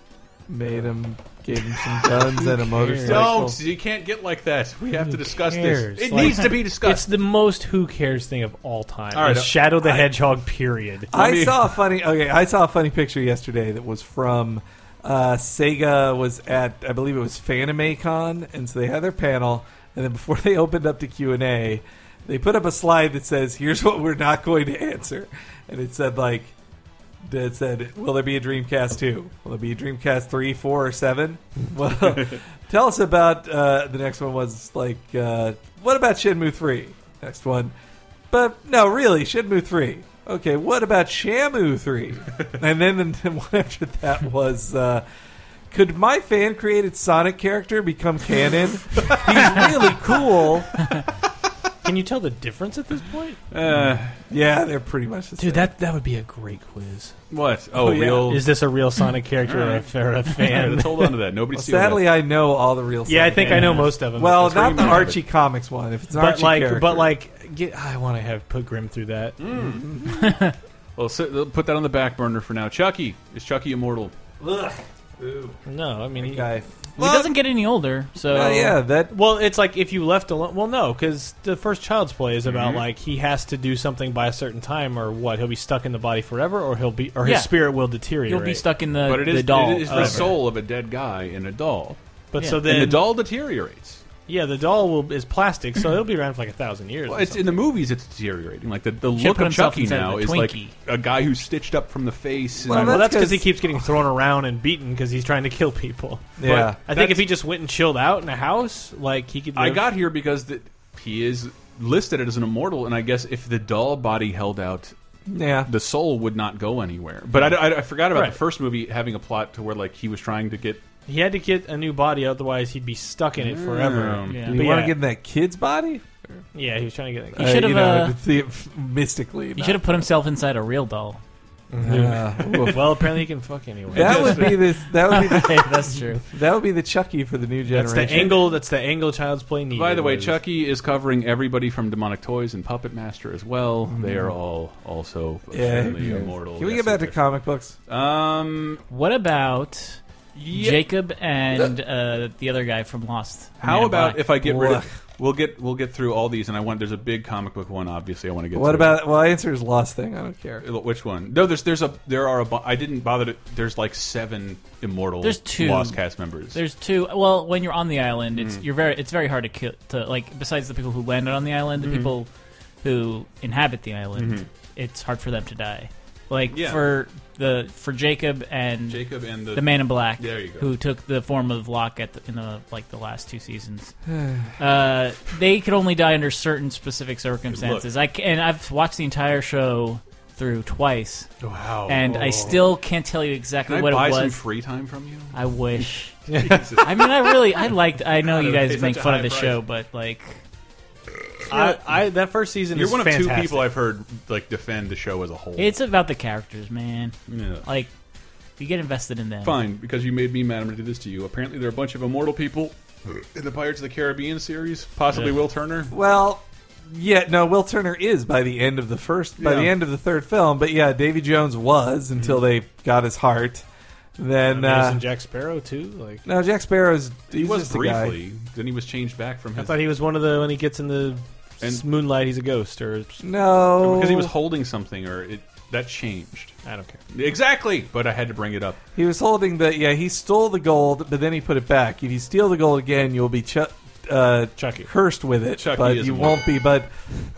[SPEAKER 6] made him, gave him some guns and a motorcycle.
[SPEAKER 4] Don't. You can't get like that. We have to discuss
[SPEAKER 10] cares?
[SPEAKER 4] this. It
[SPEAKER 10] Like,
[SPEAKER 4] needs to be
[SPEAKER 10] It's
[SPEAKER 4] discussed.
[SPEAKER 10] the most who cares thing of all time.
[SPEAKER 6] All right,
[SPEAKER 4] uh,
[SPEAKER 10] is Shadow the
[SPEAKER 6] I-
[SPEAKER 10] Hedgehog. Period.
[SPEAKER 6] I saw a funny. Okay, I saw a funny picture yesterday that was from uh, Sega was at I believe it was FanimeCon, and so they had their panel, and then before [laughs] they opened up to Q and A, they put up a slide that says, "Here's what we're not going to answer," and it said like. That said, will there be a Dreamcast 2? Will there be a Dreamcast 3, 4, or 7? Well, tell us about uh, the next one was like, uh, what about Shenmue 3? Next one, but no, really, Shenmue 3. Okay, what about Shamu
[SPEAKER 10] [laughs]
[SPEAKER 6] 3? and then the one after that was uh, Could my fan created Sonic character become canon? He's really cool.
[SPEAKER 10] Can you tell the difference at this point? Uh,
[SPEAKER 6] yeah, they're pretty much the
[SPEAKER 10] Dude, that that would be a great quiz.
[SPEAKER 4] What? Oh, real-
[SPEAKER 10] Is this a real Sonic character or, a, or a
[SPEAKER 4] [laughs]
[SPEAKER 10] fan?
[SPEAKER 4] Let's hold on
[SPEAKER 10] [laughs]
[SPEAKER 4] to that. Nobody
[SPEAKER 6] Well,
[SPEAKER 4] steal that.
[SPEAKER 6] sadly, I know all the real.
[SPEAKER 10] Yeah, I
[SPEAKER 6] Sonic
[SPEAKER 10] think I know most of them.
[SPEAKER 6] Well,
[SPEAKER 10] That's
[SPEAKER 6] not
[SPEAKER 10] pretty
[SPEAKER 6] the
[SPEAKER 10] much of it.
[SPEAKER 6] Archie comics one. If it's an
[SPEAKER 10] but
[SPEAKER 6] Archie
[SPEAKER 10] like,
[SPEAKER 6] character,
[SPEAKER 10] but like, get, I want to have put Grim through that.
[SPEAKER 4] Mm. Well, so, they'll put that on the back burner for now. Chucky is Chucky immortal?
[SPEAKER 10] No, I mean, he,
[SPEAKER 5] he doesn't get any older, so
[SPEAKER 6] that.
[SPEAKER 10] Well, it's like if you left alone. Well, no, because the first Child's Play is about
[SPEAKER 4] Mm-hmm.
[SPEAKER 5] Mhm.
[SPEAKER 10] like he has to do something by a certain time, or what? He'll be stuck in the body forever, or he'll be, or his
[SPEAKER 5] Yeah.
[SPEAKER 10] spirit will deteriorate.
[SPEAKER 5] You'll be stuck in
[SPEAKER 10] Uh,
[SPEAKER 5] the-
[SPEAKER 4] but it is
[SPEAKER 5] the doll
[SPEAKER 4] It is the
[SPEAKER 5] forever.
[SPEAKER 4] soul of a dead guy in a doll.
[SPEAKER 10] But so then
[SPEAKER 4] and the doll deteriorates.
[SPEAKER 10] Yeah, the doll will is plastic, so it'll be around for like a thousand years.
[SPEAKER 4] Well,
[SPEAKER 10] or
[SPEAKER 4] it's in the movies. It's deteriorating. Like the, the
[SPEAKER 10] Can't
[SPEAKER 4] look
[SPEAKER 10] put
[SPEAKER 4] of
[SPEAKER 10] himself
[SPEAKER 4] Chucky
[SPEAKER 10] inside of
[SPEAKER 4] now
[SPEAKER 10] the
[SPEAKER 4] is like
[SPEAKER 10] Twinkie.
[SPEAKER 4] a guy who's stitched up from the face.
[SPEAKER 10] Well,
[SPEAKER 4] and
[SPEAKER 10] that's because he keeps getting thrown around and beaten because he's trying to kill people.
[SPEAKER 4] Yeah.
[SPEAKER 10] But I think if he just went and chilled out in a house, like he could.
[SPEAKER 4] I
[SPEAKER 10] live-
[SPEAKER 4] got here because the, he is listed as an immortal, and I guess if the doll body held out,
[SPEAKER 6] Yeah.
[SPEAKER 4] the soul would not go anywhere. But I, I- I forgot about
[SPEAKER 10] Right.
[SPEAKER 4] the first movie having a plot to where like he was trying to get.
[SPEAKER 10] He had to get a new body, otherwise he'd be stuck in it forever.
[SPEAKER 4] Mm.
[SPEAKER 6] do you
[SPEAKER 10] But
[SPEAKER 6] want
[SPEAKER 10] yeah.
[SPEAKER 6] to get in that kid's body?
[SPEAKER 10] Yeah, he was trying to get.
[SPEAKER 5] He should have,
[SPEAKER 6] you know,
[SPEAKER 5] uh,
[SPEAKER 6] the- mystically.
[SPEAKER 5] He
[SPEAKER 6] not-
[SPEAKER 5] should have put himself inside a real doll.
[SPEAKER 6] Yeah. Oof.
[SPEAKER 10] [laughs] well, apparently he can fuck anyone.
[SPEAKER 6] [laughs] That
[SPEAKER 10] [laughs]
[SPEAKER 6] would be this. That would be
[SPEAKER 5] Hey, that's true.
[SPEAKER 6] That would be the Chucky for the new
[SPEAKER 10] That's
[SPEAKER 6] generation.
[SPEAKER 10] the angle. That's the angle Child's Play needed.
[SPEAKER 4] By the way,
[SPEAKER 10] was-
[SPEAKER 4] Chucky is covering everybody from Demonic Toys and Puppet Master as well.
[SPEAKER 6] Mm-hmm.
[SPEAKER 4] They are all also apparently immortal.
[SPEAKER 6] Can we
[SPEAKER 4] Yes,
[SPEAKER 6] get back to comic books?
[SPEAKER 4] Um,
[SPEAKER 5] what about Jacob and uh, the other guy from Lost?
[SPEAKER 4] How
[SPEAKER 5] Man in
[SPEAKER 4] about
[SPEAKER 5] Black?
[SPEAKER 4] if I get rid of? We'll get we'll get through all these, and I want there's a big comic book one. Obviously, I want to get.
[SPEAKER 6] What
[SPEAKER 4] to
[SPEAKER 6] about? Well, answer is Lost Thing. I don't care.
[SPEAKER 4] Which one? No, there's there's a there are a bu- I didn't bother to. There's like seven immortal
[SPEAKER 5] There's two
[SPEAKER 4] lost cast members.
[SPEAKER 5] There's two. Well, when you're on the island, it's
[SPEAKER 4] Mm.
[SPEAKER 5] you're very it's very hard to kill to like besides the people who landed on the island, the
[SPEAKER 4] Mhm.
[SPEAKER 5] people who inhabit the island,
[SPEAKER 4] Mhm.
[SPEAKER 5] it's hard for them to die. Like
[SPEAKER 4] Yeah.
[SPEAKER 5] for the for Jacob and
[SPEAKER 4] Jacob and the-
[SPEAKER 5] man in black
[SPEAKER 4] There you go.
[SPEAKER 5] who took the form of Locke at the, in the like the last two seasons. uh, they could only die under certain specific circumstances. I ca- and I've watched the entire show through twice.
[SPEAKER 4] Wow.
[SPEAKER 5] And I
[SPEAKER 4] Oh.
[SPEAKER 5] still can't tell you exactly
[SPEAKER 4] Can I
[SPEAKER 5] what
[SPEAKER 4] buy
[SPEAKER 5] it was.
[SPEAKER 4] some free time
[SPEAKER 5] [laughs]
[SPEAKER 4] from you?
[SPEAKER 5] I wish.
[SPEAKER 4] Jesus.
[SPEAKER 5] I mean, I really, I liked. I know
[SPEAKER 4] [laughs] God,
[SPEAKER 5] you
[SPEAKER 4] it
[SPEAKER 5] guys
[SPEAKER 4] pays
[SPEAKER 5] make
[SPEAKER 4] such a
[SPEAKER 5] fun
[SPEAKER 4] high
[SPEAKER 5] of the
[SPEAKER 4] price.
[SPEAKER 5] show, but like,
[SPEAKER 10] I, I that first season.
[SPEAKER 4] You're
[SPEAKER 10] is
[SPEAKER 4] one of two
[SPEAKER 10] fantastic.
[SPEAKER 4] people I've heard like defend the show as a whole.
[SPEAKER 5] it's about the characters, man.
[SPEAKER 4] Yeah.
[SPEAKER 5] Like, you get invested in them.
[SPEAKER 4] Fine, because you made me mad. I'm going to do this to you. Apparently, there are a bunch of immortal people in the Pirates of the Caribbean series. Possibly
[SPEAKER 6] Yeah.
[SPEAKER 4] Will Turner.
[SPEAKER 6] Well, yeah, no. Will Turner is by the end of the first, by
[SPEAKER 4] Yeah. Mm.
[SPEAKER 6] the end of the third film. But yeah, Davy Jones was until they got his heart. Then
[SPEAKER 10] Isn't
[SPEAKER 6] uh,
[SPEAKER 10] Jack Sparrow too. Like
[SPEAKER 6] no, Jack Sparrow's
[SPEAKER 4] He
[SPEAKER 6] he's
[SPEAKER 4] was
[SPEAKER 6] just a guy.
[SPEAKER 4] briefly. Then he was changed back from
[SPEAKER 10] I
[SPEAKER 4] his.
[SPEAKER 10] thought he was one of the when he gets in the s- moonlight, he's a ghost or
[SPEAKER 6] No.
[SPEAKER 4] because he was holding something, or it that changed.
[SPEAKER 10] I don't care
[SPEAKER 4] exactly, but I had to bring it up.
[SPEAKER 6] He was holding the yeah. He stole the gold, but then he put it back. If you steal the gold again, you'll be ch- uh, cursed with it,
[SPEAKER 10] Chucky
[SPEAKER 6] but
[SPEAKER 10] is
[SPEAKER 6] you
[SPEAKER 10] immortal.
[SPEAKER 6] won't be. But,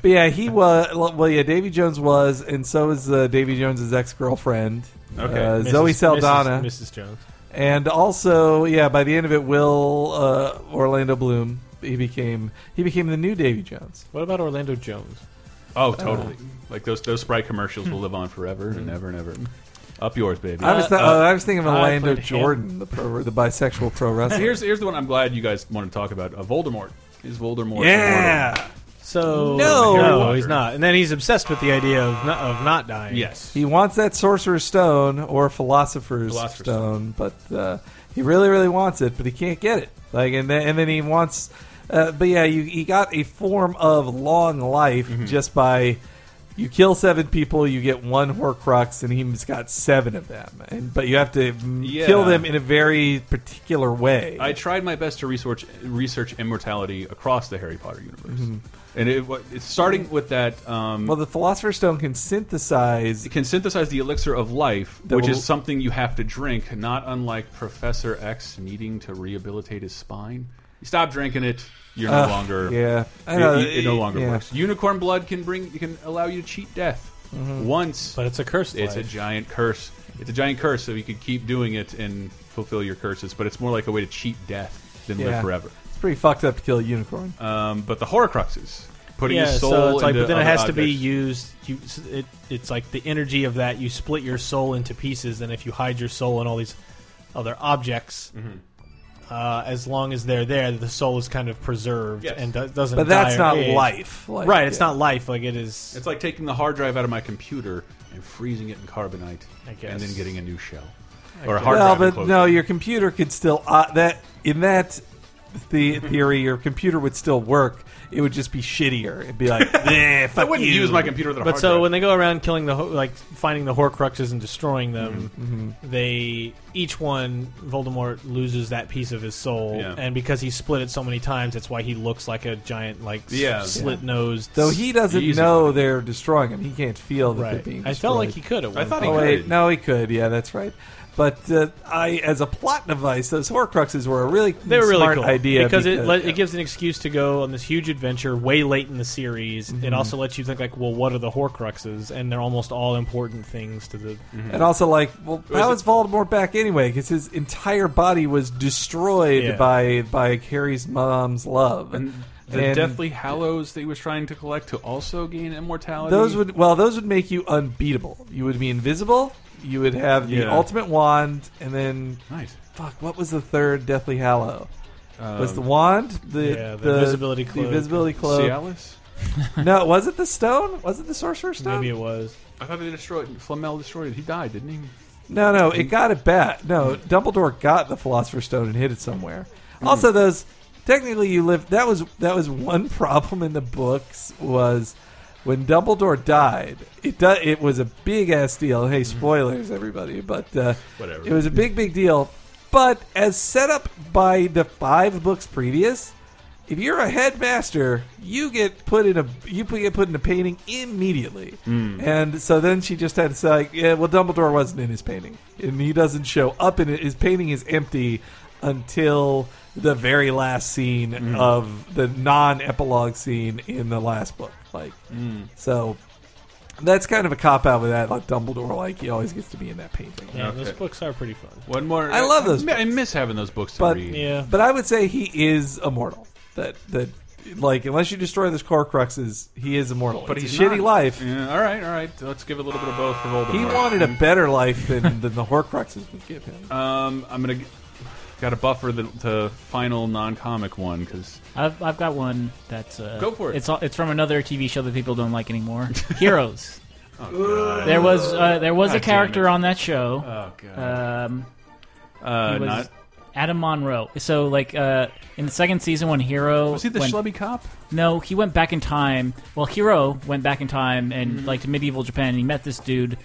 [SPEAKER 6] but yeah, he was. Well, yeah, Davy Jones was, and so is uh, Davy Jones's ex girlfriend,
[SPEAKER 10] Okay.
[SPEAKER 6] uh,
[SPEAKER 10] Mrs.
[SPEAKER 6] Zoe Saldana,
[SPEAKER 10] Mrs. Mrs. Jones.
[SPEAKER 6] and also yeah. By the end of it, Will uh, Orlando Bloom he became he became the new Davy Jones.
[SPEAKER 10] What about Orlando Jones?
[SPEAKER 4] Oh, totally.
[SPEAKER 6] Uh,
[SPEAKER 4] like those those Sprite commercials will live on forever and ever and ever. Up yours, baby.
[SPEAKER 6] Hmm. I was, th- uh,
[SPEAKER 4] Up.
[SPEAKER 6] I was thinking of
[SPEAKER 4] Uh, I
[SPEAKER 6] Orlando
[SPEAKER 4] played him.
[SPEAKER 6] Jordan, the pro, the bisexual pro wrestler.
[SPEAKER 4] Here's here's the one I'm glad you guys want to talk about. Uh, Voldemort is Voldemort.
[SPEAKER 10] Yeah.
[SPEAKER 4] immortal?
[SPEAKER 10] So
[SPEAKER 4] No.
[SPEAKER 10] no, he's not. And then he's obsessed with the idea of not, of not dying.
[SPEAKER 4] Yes.
[SPEAKER 6] He wants that Sorcerer's Stone or Philosopher's,
[SPEAKER 10] Philosopher's
[SPEAKER 6] Stone, but uh, he really, really wants it, but he can't get it. Like, and then, and then he wants, uh, but yeah, you he got a form of long life
[SPEAKER 4] Mm-hmm.
[SPEAKER 6] just by you kill seven people, you get one Horcrux, and he's got seven of them, and but you have to mm,
[SPEAKER 4] Yeah.
[SPEAKER 6] kill them in a very particular way.
[SPEAKER 4] I tried my best to research research immortality across the Harry Potter universe,
[SPEAKER 6] Mhm.
[SPEAKER 4] and it, wa- it's starting with that. Um,
[SPEAKER 6] Well, the Philosopher's Stone can synthesize.
[SPEAKER 4] It can synthesize the elixir of life,
[SPEAKER 6] That
[SPEAKER 4] which
[SPEAKER 6] will-
[SPEAKER 4] is something you have to drink. Not unlike Professor X needing to rehabilitate his spine. You stop drinking it, you're no
[SPEAKER 6] Ugh,
[SPEAKER 4] longer.
[SPEAKER 6] yeah. I
[SPEAKER 4] it,
[SPEAKER 6] know,
[SPEAKER 4] it- it no
[SPEAKER 6] it-
[SPEAKER 4] longer
[SPEAKER 6] yeah.
[SPEAKER 4] works. Unicorn blood can bring, can allow you to cheat death
[SPEAKER 6] Mm-hmm.
[SPEAKER 10] Mhm.
[SPEAKER 4] once,
[SPEAKER 10] but it's a curse.
[SPEAKER 4] It's a giant curse. It's a giant curse, so you could keep doing it and fulfill your curses. But it's more like a way to cheat death than
[SPEAKER 6] Yeah.
[SPEAKER 4] live forever.
[SPEAKER 6] It's pretty fucked up to kill a unicorn.
[SPEAKER 4] Um, but the Horcruxes, putting
[SPEAKER 10] yeah,
[SPEAKER 4] his soul
[SPEAKER 10] so it's like,
[SPEAKER 4] into
[SPEAKER 10] but then it
[SPEAKER 4] other
[SPEAKER 10] has to be
[SPEAKER 4] objects.
[SPEAKER 10] used. You, it, it's like the energy of that. You split your soul into pieces, and if you hide your soul in all these other objects,
[SPEAKER 4] Mm-hmm.
[SPEAKER 10] uh, as long as they're there, the soul is kind of preserved and do- doesn't.
[SPEAKER 6] But that's
[SPEAKER 10] die or
[SPEAKER 6] not
[SPEAKER 10] age.
[SPEAKER 6] life. Like,
[SPEAKER 10] right? It's
[SPEAKER 6] yeah.
[SPEAKER 10] not life. Like it is.
[SPEAKER 4] It's like taking the hard drive out of my computer and freezing it in carbonite,
[SPEAKER 10] I guess.
[SPEAKER 4] and then getting a new shell
[SPEAKER 10] I
[SPEAKER 4] or a
[SPEAKER 10] guess.
[SPEAKER 4] hard
[SPEAKER 6] well,
[SPEAKER 4] drive.
[SPEAKER 6] but
[SPEAKER 4] enclosure.
[SPEAKER 6] no, your computer could still uh, that in that the theory, your computer would still work. It would just be shittier. It'd be
[SPEAKER 10] [laughs]
[SPEAKER 6] like, eh, fuck you."
[SPEAKER 10] But so when they go around killing the ho- like finding the Horcruxes and destroying them,
[SPEAKER 6] Mm-hmm.
[SPEAKER 10] they each one Voldemort loses that piece of his soul,
[SPEAKER 6] Yeah.
[SPEAKER 10] and because he split it so many times, that's why he looks like a giant like
[SPEAKER 6] Yeah.
[SPEAKER 10] slit nosed.
[SPEAKER 6] Though he doesn't know they're destroying him. He can't feel that they're
[SPEAKER 10] Right.
[SPEAKER 6] being.
[SPEAKER 10] I felt like
[SPEAKER 6] destroyed.
[SPEAKER 10] he could at one I thought
[SPEAKER 6] oh,
[SPEAKER 10] he could.
[SPEAKER 6] Wait, no, he could. Yeah, that's right. But uh, I, as a plot device, those Horcruxes were a really
[SPEAKER 10] They were really
[SPEAKER 6] smart
[SPEAKER 10] cool
[SPEAKER 6] idea
[SPEAKER 10] because, it let, it gives an excuse to go on this huge adventure way late in the series. It
[SPEAKER 6] Mhm.
[SPEAKER 10] also lets you think like, well, what are the Horcruxes? And they're almost all important things to the.
[SPEAKER 6] And also, like, well,
[SPEAKER 10] It was
[SPEAKER 6] how
[SPEAKER 10] a-
[SPEAKER 6] is Voldemort back anyway? Because his entire body was destroyed
[SPEAKER 4] Yeah.
[SPEAKER 6] by by Harry's mom's love.
[SPEAKER 4] and the Deathly Hallows they was trying to collect to also gain immortality.
[SPEAKER 6] those would well, those would make you unbeatable. You would be invisible. You would have the
[SPEAKER 4] Yeah.
[SPEAKER 6] ultimate wand, and then
[SPEAKER 4] nice.
[SPEAKER 6] Fuck, what was the third Deathly Hallow? was
[SPEAKER 4] Um,
[SPEAKER 6] the wand the
[SPEAKER 10] yeah, the invisibility
[SPEAKER 6] the
[SPEAKER 10] cloak.
[SPEAKER 6] invisibility cloak?
[SPEAKER 4] Cialis?
[SPEAKER 6] no, was it the stone? Was it the sorcerer's stone?
[SPEAKER 10] Maybe it was.
[SPEAKER 4] I thought they destroyed Flamel. Destroyed it. He died, didn't he?
[SPEAKER 6] No, no, it got it back. No, Dumbledore got the Philosopher's Stone and hid it somewhere. Also, those technically you live. That was that was one [laughs] problem in the books was when Dumbledore died. It do, it was a big ass deal. Hey, spoilers, everybody, but uh,
[SPEAKER 4] Whatever.
[SPEAKER 6] It was a big big deal. But as set up by the five books previous, if you're a headmaster, you get put in a you put- get put in a painting immediately.
[SPEAKER 4] Mm.
[SPEAKER 6] And so then she just had to say, like, yeah, well, Dumbledore wasn't in his painting, and he doesn't show up in it. His painting is empty until the very last scene of the non-epilogue scene in the last book. Like,
[SPEAKER 4] Mm.
[SPEAKER 6] so that's kind of a cop out with that. Like Dumbledore, like he always gets to be in that painting.
[SPEAKER 10] Yeah, those books are pretty fun.
[SPEAKER 4] One more.
[SPEAKER 6] I love those
[SPEAKER 4] I, mi- I miss having those books to
[SPEAKER 6] But
[SPEAKER 4] read.
[SPEAKER 6] but I would say he is immortal. That that like unless you destroy those Horcruxes, he is immortal.
[SPEAKER 4] But
[SPEAKER 6] it's
[SPEAKER 4] he's
[SPEAKER 6] a shitty
[SPEAKER 4] not.
[SPEAKER 6] life.
[SPEAKER 4] Yeah, all right, all right. Let's give a little bit of both for Voldemort.
[SPEAKER 6] He wanted a better life than, than the Horcruxes would give him.
[SPEAKER 4] Um, I'm gonna got to buffer the, the final non-comic one because
[SPEAKER 5] I've, I've got one that's uh,
[SPEAKER 4] Go for it.
[SPEAKER 5] It's all- it's from another TV show that people don't
[SPEAKER 4] [laughs]
[SPEAKER 5] like anymore. Heroes.
[SPEAKER 4] Oh, God.
[SPEAKER 5] there was uh, there was
[SPEAKER 4] God
[SPEAKER 5] a
[SPEAKER 4] damn
[SPEAKER 5] character
[SPEAKER 4] it.
[SPEAKER 5] on that show.
[SPEAKER 4] Oh, God.
[SPEAKER 5] Um,
[SPEAKER 4] Uh,
[SPEAKER 5] he was
[SPEAKER 4] not-
[SPEAKER 5] Adam Monroe. So like uh, in the second season, when Hero
[SPEAKER 4] Was he the
[SPEAKER 5] when,
[SPEAKER 4] schlubby cop?
[SPEAKER 5] No, he went back in time. Well, Hero went back in time
[SPEAKER 4] Mm-hmm.
[SPEAKER 5] and like to medieval Japan, and he met this dude.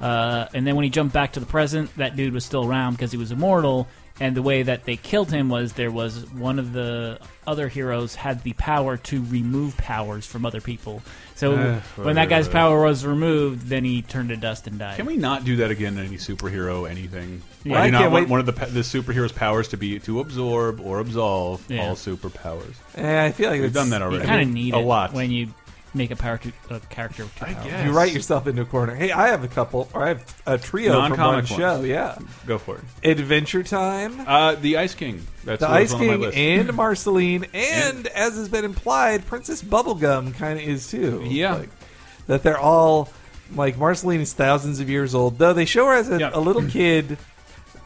[SPEAKER 5] Uh, and then when he jumped back to the present, that dude was still around because he was immortal. And the way that they killed him was there was one of the other heroes had the power to remove powers from other people. So
[SPEAKER 4] Ugh.
[SPEAKER 5] when that guy's power was removed, then he turned to dust and died.
[SPEAKER 4] Can we not do that again in any superhero anything?
[SPEAKER 5] Yeah.
[SPEAKER 4] I do
[SPEAKER 5] I
[SPEAKER 4] not
[SPEAKER 5] can't
[SPEAKER 4] want
[SPEAKER 5] wait-
[SPEAKER 4] one of the, pa- the superhero's powers to be to absorb or absolve
[SPEAKER 5] Yeah.
[SPEAKER 4] all superpowers.
[SPEAKER 6] Eh, I feel like
[SPEAKER 4] we've
[SPEAKER 6] it's-
[SPEAKER 4] done that already.
[SPEAKER 5] You kind of need
[SPEAKER 4] a
[SPEAKER 5] it
[SPEAKER 4] lot.
[SPEAKER 5] when you make a power to, a character. With two powers.
[SPEAKER 6] You write yourself into a corner. Hey, I have a couple, or I have a trio from one
[SPEAKER 4] Non-comic
[SPEAKER 6] show.
[SPEAKER 4] ones.
[SPEAKER 6] Yeah,
[SPEAKER 4] Go for it.
[SPEAKER 6] Adventure Time.
[SPEAKER 4] Uh, the Ice King. That's
[SPEAKER 6] the
[SPEAKER 4] what was
[SPEAKER 6] Ice
[SPEAKER 4] on
[SPEAKER 6] King
[SPEAKER 4] my list. [laughs]
[SPEAKER 6] and Marceline, and as has been implied, Princess Bubblegum kind of is too. Yeah, that they're all like Marceline is thousands of years old, though they show her as a,
[SPEAKER 4] [clears throat]
[SPEAKER 6] a little kid.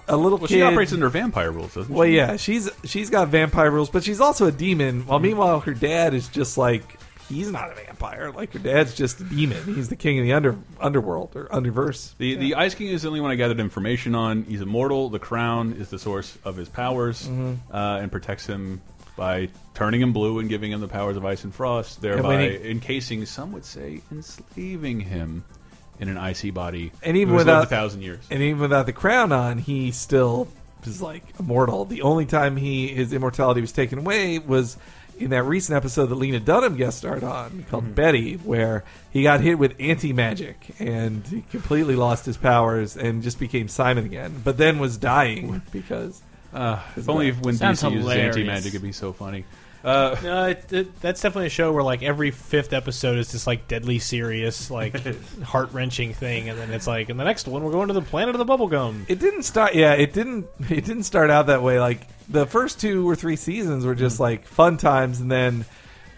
[SPEAKER 6] A little
[SPEAKER 4] Well,
[SPEAKER 6] kid.
[SPEAKER 4] she operates under vampire rules, doesn't
[SPEAKER 6] Well,
[SPEAKER 4] she?
[SPEAKER 6] yeah, she's she's got vampire rules, but she's also a demon.
[SPEAKER 4] Mm-hmm.
[SPEAKER 6] While meanwhile, her dad is just like he's not a vampire. Like her dad's just a demon. He's the king of the under underworld or underverse.
[SPEAKER 4] The the Ice King is the only one I gathered information on. He's immortal. The crown is the source of his powers
[SPEAKER 6] Mhm.
[SPEAKER 4] uh, and protects him by turning him blue and giving him the powers of ice and frost, thereby
[SPEAKER 6] when he-
[SPEAKER 4] encasing, some would say, enslaving him in an icy body.
[SPEAKER 6] And even
[SPEAKER 4] who has lived
[SPEAKER 6] without
[SPEAKER 4] a thousand years.
[SPEAKER 6] and even without the crown on, he still is like immortal. The only time he his immortality was taken away was in that recent episode that Lena Dunham guest starred on called Betty, where he got hit with anti magic and he completely lost his powers and just became Simon again. But then was dying because
[SPEAKER 4] Uh, if only when
[SPEAKER 10] Sounds
[SPEAKER 4] DC uses
[SPEAKER 10] hilarious.
[SPEAKER 4] anti magic, it'd be so funny. Uh,
[SPEAKER 10] no, it, it, that's definitely a show where like every fifth episode is this like deadly serious,
[SPEAKER 4] [laughs]
[SPEAKER 10] like heart wrenching thing, and then it's like, in the next one we're going to the planet of the bubblegum.
[SPEAKER 6] It didn't start. Yeah, it didn't. [laughs] It didn't start out that way. Like the first two or three seasons were
[SPEAKER 4] Mm-hmm.
[SPEAKER 6] just like fun times, and then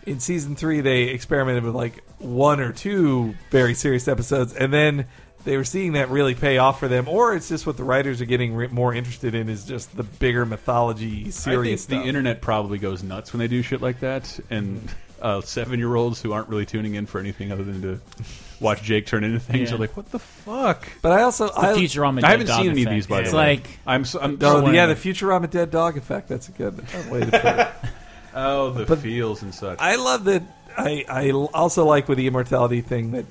[SPEAKER 6] in season three they experimented with like one or two very serious episodes, and then they were seeing that really pay off for them. Or it's just what the writers are getting re- more interested in is just the bigger mythology,
[SPEAKER 4] I
[SPEAKER 6] serious
[SPEAKER 4] think
[SPEAKER 6] stuff.
[SPEAKER 4] the internet probably goes nuts when they do shit like that, and uh, seven-year-olds who aren't really tuning in for anything other than to [laughs] watch Jake turn into things are
[SPEAKER 6] Yeah.
[SPEAKER 4] like, "What the fuck?"
[SPEAKER 6] But I also
[SPEAKER 4] I
[SPEAKER 6] I,
[SPEAKER 4] haven't seen any of these by the way. I'm, so, I'm so-
[SPEAKER 6] oh, yeah, the Futurama dead dog effect. That's
[SPEAKER 4] [laughs]
[SPEAKER 6] a good uh, way to put it.
[SPEAKER 4] oh the
[SPEAKER 6] But-
[SPEAKER 4] feels and such.
[SPEAKER 6] I love that. I, I also like with the immortality thing that